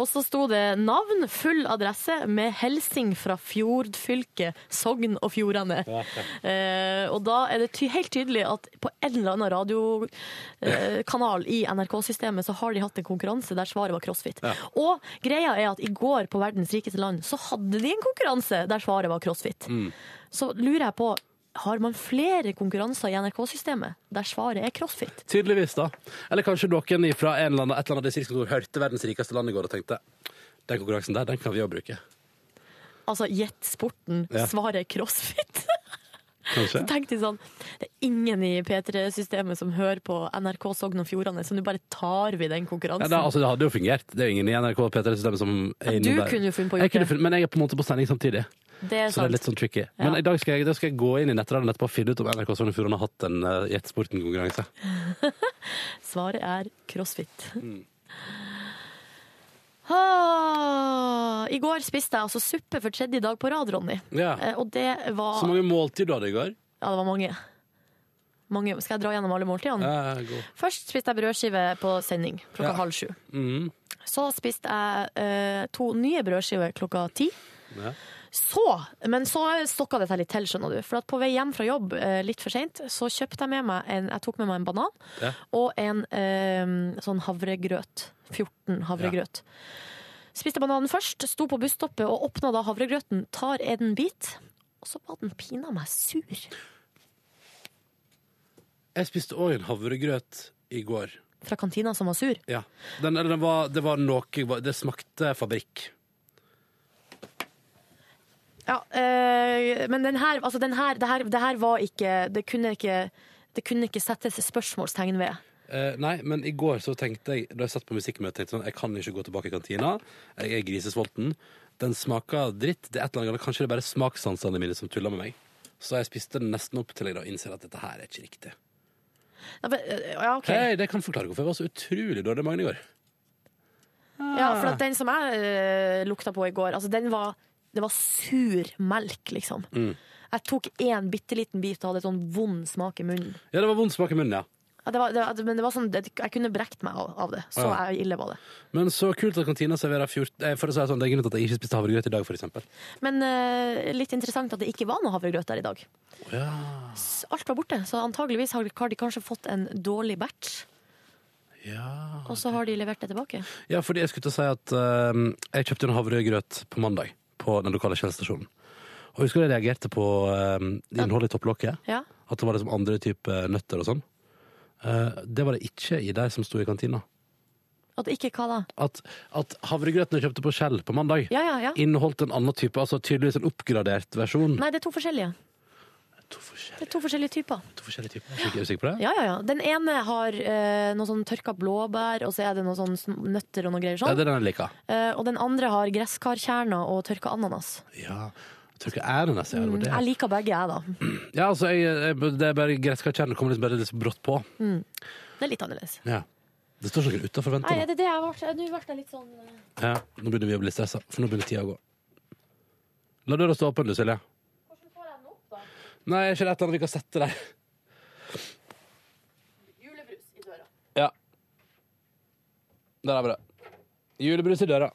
Speaker 3: Og så sto det navn, full adresse, med hilsing fra Fjordfylket, Sogn og Fjordane. Eh, og da er det ty helt tydelig at på en eller annen radiokanal i NRK-systemet så har de hatt en konkurranse der svaret var crossfit. Og greia er at i går på verdens rikeste land så hadde de en konkurranse der svaret var crossfit.
Speaker 2: Mm.
Speaker 3: Så lurer jeg på, har man flere konkurranser i NRK-systemet der svaret er crossfit?
Speaker 2: Tydeligvis, da. Eller kanskje noen fra en eller annen, et eller annet distriktskontor hørte verdens rikeste land i går og tenkte den konkurransen der, den kan vi òg bruke.
Speaker 3: Altså gjett sporten,
Speaker 2: Ja.
Speaker 3: svaret er crossfit.
Speaker 2: Kanskje?
Speaker 3: Så tenkte jeg sånn, det er ingen i P3-systemet som hører på NRK Sogn og Fjordane, så nå bare tar vi den
Speaker 2: Ja,
Speaker 3: konkurransen.
Speaker 2: det, altså, det hadde jo fungert. Det er jo ingen i NRK og P3-systemet som er
Speaker 3: du
Speaker 2: innom der.
Speaker 3: kunne jo funnet på å
Speaker 2: Jeg
Speaker 3: gjort
Speaker 2: kunne
Speaker 3: det.
Speaker 2: funnet- Men jeg er på en måte på sending samtidig.
Speaker 3: Det er
Speaker 2: Så det
Speaker 3: sant.
Speaker 2: er litt sånn tricky. Men i dag skal jeg, da skal jeg gå inn i nettradioen etterpå og finne ut om NRK Sogn og Fjordane har hatt en uh, Gjett sporten-konkurranse.
Speaker 3: Svaret er crossfit.
Speaker 2: Mm.
Speaker 3: Ah, I går spiste jeg altså suppe for tredje dag på rad, Ronny.
Speaker 2: Ja.
Speaker 3: Eh, Og det var
Speaker 2: Så mange måltid du hadde i går.
Speaker 3: Ja, det var mange. mange. Skal jeg dra gjennom alle måltidene?
Speaker 2: Ja, ja, Eh, gå.
Speaker 3: Først spiste jeg brødskive på sending klokka
Speaker 2: Ja.
Speaker 3: halv sju.
Speaker 2: Mhm.
Speaker 3: Så spiste jeg eh, to nye brødskiver klokka ti.
Speaker 2: Ja.
Speaker 3: Så, men så stokka det seg litt til, skjønner du. For at på vei hjem fra jobb eh, litt for seint, så kjøpte jeg med meg en, jeg tok med meg en banan
Speaker 18: Ja.
Speaker 3: og en eh, sånn havregrøt. 14 havregrøt. Spiste bananen først, sto på busstoppet og åpna da havregrøten. Tar en bit, og så var den pina meg sur.
Speaker 2: Jeg spiste òg en havregrøt i går.
Speaker 3: Fra kantina som var sur.
Speaker 2: Ja. Den, eller den var, det var noe Det smakte fabrikk.
Speaker 3: Ja, eh, men den her, altså den her, det, her, det her var ikke Det kunne ikke, det kunne ikke settes spørsmålstegn ved.
Speaker 2: Eh, nei, men i går så tenkte jeg da jeg satt på musikkmøte, tenkte jeg sånn, jeg kan ikke gå tilbake i kantina. Jeg er grisesulten. Den smaker dritt. Det er et eller annet, galt. Kanskje det er bare smakssansene mine som tuller med meg. Så jeg spiste den nesten opp til jeg da innser at dette her er ikke riktig.
Speaker 3: Ja, men, eh, ja, ok.
Speaker 2: Hei, det kan forklare hvorfor jeg var så utrolig dårlig i magen i går.
Speaker 3: Ja, for at den som
Speaker 2: Mm.
Speaker 3: jeg eh, lukta på i går, altså den var, det var sur melk, liksom. Jeg tok én bitte liten bit og hadde sånn vond smak i munnen.
Speaker 2: Ja, det var vond smak i munnen, ja.
Speaker 3: Ja, det var, det, var- men det var sånn, det, jeg kunne brekt meg av, av det.
Speaker 2: Å,
Speaker 3: Så
Speaker 2: ja.
Speaker 3: jeg- ille var det.
Speaker 2: Men så kult at kantina serverer 14 eh, For å si det sånn, det er grunnen til at jeg ikke spiste havregrøt i dag, for eksempel.
Speaker 3: Men eh, litt interessant at det ikke var noe havregrøt der i dag.
Speaker 2: Å, ja.
Speaker 3: S- Alt var borte, så antageligvis har de har de kanskje fått en dårlig batch.
Speaker 2: Ja.
Speaker 3: Og så har de levert det tilbake.
Speaker 2: ja, fordi jeg skulle til å si at eh, jeg kjøpte en havregrøt på mandag på den lokale kjellstasjonen. Og husker du jeg reagerte på eh, innholdet i topplokket?
Speaker 3: Ja.
Speaker 2: At det var liksom andre typer nøtter og sånn. Eh, det var det ikke i de som sto i kantina.
Speaker 3: At ikke hva da?
Speaker 2: At, at havregrøten jeg kjøpte på Skjell på mandag,
Speaker 3: Ja, ja, ja.
Speaker 2: inneholdt en annen type, altså tydeligvis en oppgradert versjon.
Speaker 3: Nei, det er to forskjellige. Det er to forskjellige typer.
Speaker 2: To forskjellige typer. Er du sikker på det?
Speaker 3: Ja, ja, ja. Den ene har eh, noe sånn tørka blåbær, og så er det noen sånn sm- nøtter og noe greier sånn.
Speaker 2: det er den jeg liker.
Speaker 3: Eh, og den andre har gresskarkjerner og tørka ananas.
Speaker 2: Ja. Jeg tror ikke ananas er
Speaker 3: Mm,
Speaker 2: det.
Speaker 3: jeg liker begge, jeg, da.
Speaker 2: Ja, altså, jeg, jeg, det er bare gresskarkjernen kommer liksom bare litt så brått på.
Speaker 3: Mm. Det er litt annerledes.
Speaker 2: Ja. Det står ikke noen utenfor
Speaker 3: Nei,
Speaker 2: venter
Speaker 3: er
Speaker 2: nå.
Speaker 3: det det jeg ble? Nå ble jeg litt sånn
Speaker 2: Ja, nå begynner vi å bli stressa, for nå begynner tida å gå. La døra stå åpen, du, Silje. Nei, er ikke det et eller annet vi kan sette der?
Speaker 4: Julebrus i døra.
Speaker 2: Ja. Der er bra. Julebrus i døra.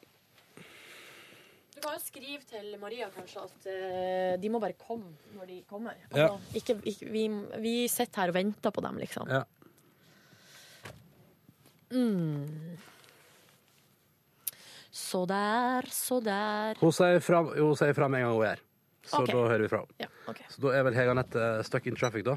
Speaker 4: Du kan jo skrive til Maria kanskje at
Speaker 3: eh, De må bare komme når de kommer.
Speaker 2: Ja.
Speaker 3: Altså, ikke, ikke, vi, vi sitter her og venter på dem, liksom.
Speaker 2: Ja.
Speaker 3: Mm. Så der, så der.
Speaker 2: Hun sier fra hun sier fra med en gang hun er her, så
Speaker 3: Ok.
Speaker 2: da hører vi fra henne.
Speaker 3: Ja, ok.
Speaker 2: Så da er vel Hege Anette eh, stuck in traffic, da.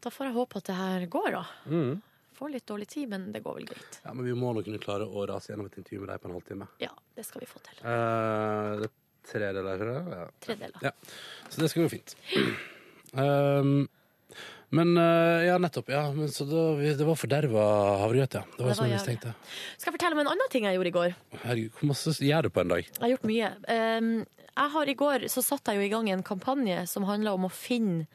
Speaker 3: Da får jeg håpe at det her går, da.
Speaker 2: Mm.
Speaker 3: Får litt dårlig tid, men det går vel greit.
Speaker 2: Ja, Men vi må nå kunne klare å rase gjennom et intervju med deg på en halvtime.
Speaker 3: Ja, det skal vi få til.
Speaker 2: Eh, det er tre deler, ikke det? Ja.
Speaker 3: Tre deler.
Speaker 2: Ja. Så det skal gå fint. Um, men eh, ja, nettopp. Ja, men så da, vi, det var forderva havregrøt, ja. Det var
Speaker 3: Det
Speaker 2: som
Speaker 3: var
Speaker 2: jeg
Speaker 3: jævlig.
Speaker 2: mistenkte.
Speaker 3: Skal jeg fortelle om en annen ting jeg gjorde i går?
Speaker 2: Herregud, hvor masse gjør du på en dag?
Speaker 3: Jeg har gjort mye. Ehm, jeg har I går så satt jeg jo i gang en kampanje som handla om å finne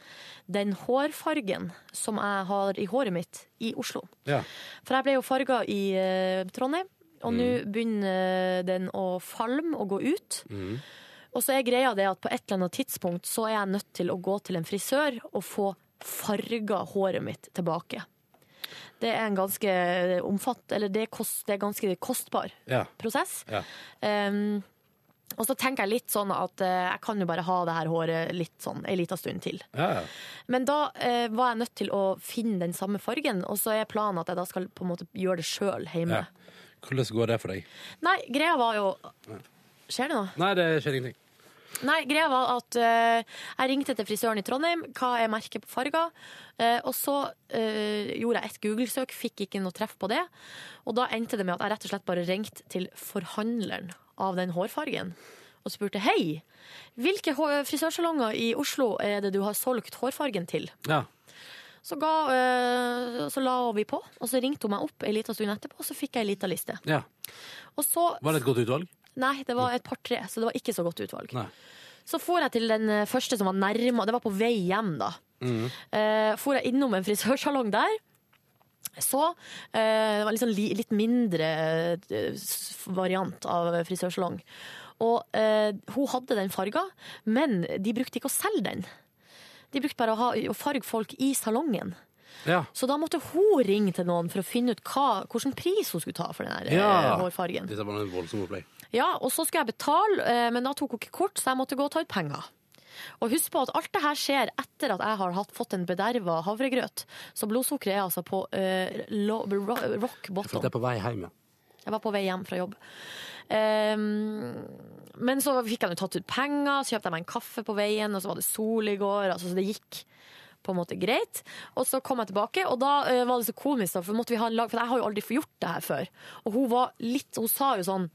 Speaker 3: den hårfargen som jeg har i håret mitt i Oslo.
Speaker 2: Ja.
Speaker 3: For jeg ble jo farga i eh, Trondheim, og nå begynner den å falme og gå ut. Og så er greia det at på et eller annet tidspunkt så er jeg nødt til å gå til en frisør og få farga håret mitt tilbake. Det er en ganske eh, omfatt... Eller det er, kost, det er ganske kostbar
Speaker 2: Ja.
Speaker 3: prosess.
Speaker 2: Ja.
Speaker 3: Ehm, og så tenker jeg litt sånn at eh, jeg kan jo bare ha det her håret litt sånn en liten stund til.
Speaker 2: Ja, ja.
Speaker 3: Men da eh, var jeg nødt til å finne den samme fargen, og så er planen at jeg da skal på en måte gjøre det sjøl hjemme.
Speaker 2: ja. Hvordan går det for deg?
Speaker 3: Nei, greia var jo
Speaker 2: Nei.
Speaker 3: Skjer det noe?
Speaker 2: Nei, det skjer ingenting.
Speaker 3: Nei, greia var at eh, jeg ringte til frisøren i Trondheim, hva er merket på farger? Eh, og så eh, gjorde jeg et Google-søk, fikk ikke noe treff på det. Og da endte det med at jeg rett og slett bare ringte til forhandleren av den hårfargen. Og spurte hei, hvilke hå- frisørsalonger i Oslo er det du har solgt hårfargen til?
Speaker 2: Ja.
Speaker 3: Så, ga, eh, så la vi på, og så ringte hun meg opp en liten stund etterpå, og så fikk jeg ei lita liste.
Speaker 2: ja.
Speaker 3: Og så
Speaker 2: Var det et godt utvalg?
Speaker 3: Nei, det var et par-tre, så det var ikke så godt utvalg.
Speaker 2: Nei.
Speaker 3: Så for jeg til den eh, første som var nærma, det var på vei hjem da.
Speaker 2: Mm.
Speaker 3: Eh, for jeg innom en frisørsalong der. Så eh, det var liksom li, litt mindre eh, s- variant av frisørsalong. Og eh, hun hadde den farga, men de brukte ikke å selge den. De brukte bare å, ha, å farge folk i salongen.
Speaker 2: Ja.
Speaker 3: Så da måtte hun ringe til noen for å finne ut hva, hvilken pris hun skulle ta for den her, eh, hårfargen.
Speaker 2: Dette var en voldsom opplegg.
Speaker 3: Ja, og så skulle jeg betale, eh, men da tok hun ikke kort, så jeg måtte gå og ta ut penger. Og husk på at alt det her skjer etter at jeg har hatt, fått en bederva havregrøt. Så blodsukkeret er altså på eh, lo, ro, rock
Speaker 2: For
Speaker 3: bottom.
Speaker 2: det er på vei hjem, ja.
Speaker 3: Jeg var på vei hjem fra jobb. Ehm, men så fikk jeg nå tatt ut penger, så kjøpte jeg meg en kaffe på veien, og så var det sol i går, altså, så det gikk på en måte greit. Og så kom jeg tilbake, og da eh, var det så komisk, da, for, måtte vi ha en lag, for jeg har jo aldri fått gjort det her før. Og hun var litt, hun sa jo sånn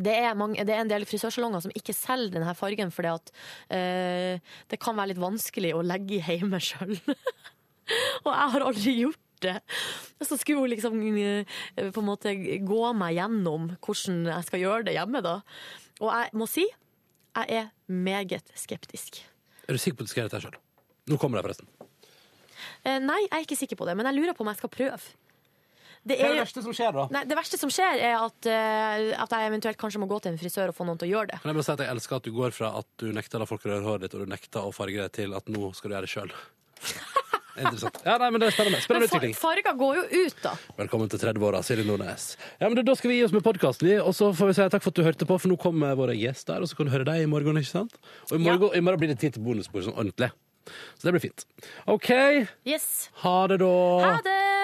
Speaker 3: det er, mange, det er en del frisørsalonger som ikke selger denne fargen fordi at eh, det kan være litt vanskelig å legge i hjemme sjøl. Og jeg har aldri gjort det. Så skulle hun liksom eh, på en måte gå meg gjennom hvordan jeg skal gjøre det hjemme, da. Og jeg må si, jeg er meget skeptisk.
Speaker 2: Er du sikker på at du skal gjøre dette sjøl? Nå kommer det, forresten.
Speaker 3: Eh, Nei, jeg er ikke sikker på det, men jeg lurer på om jeg skal prøve. Det
Speaker 2: Hva er
Speaker 3: er
Speaker 2: det
Speaker 3: jo-
Speaker 2: verste som skjer, da?
Speaker 3: Nei, det verste som skjer, er at, eh, at jeg eventuelt kanskje må gå til en frisør og få noen til å gjøre det.
Speaker 2: Kan jeg bare si at jeg elsker at du går fra at du nekter å la folk røre håret ditt, og du nekter å farge det, til at nå skal du gjøre det sjøl. Interessant. Ja, nei, men det er spennende.
Speaker 3: Men
Speaker 2: Spennende
Speaker 3: far-
Speaker 2: utvikling.
Speaker 3: farger går jo ut, da.
Speaker 2: Velkommen til 30-åra, Silje Nordnes. Ja, men da- Da skal vi gi oss med podkasten, vi. Og så får vi si takk for at du hørte på, for nå kommer våre gjester, og så kan du høre dem i morgen, ikke sant? Og i morgen, i morgen blir det tid til bonusbord sånn ordentlig. Så det blir fint. OK.
Speaker 3: Yes.
Speaker 2: Ha det, da.
Speaker 3: Ha det!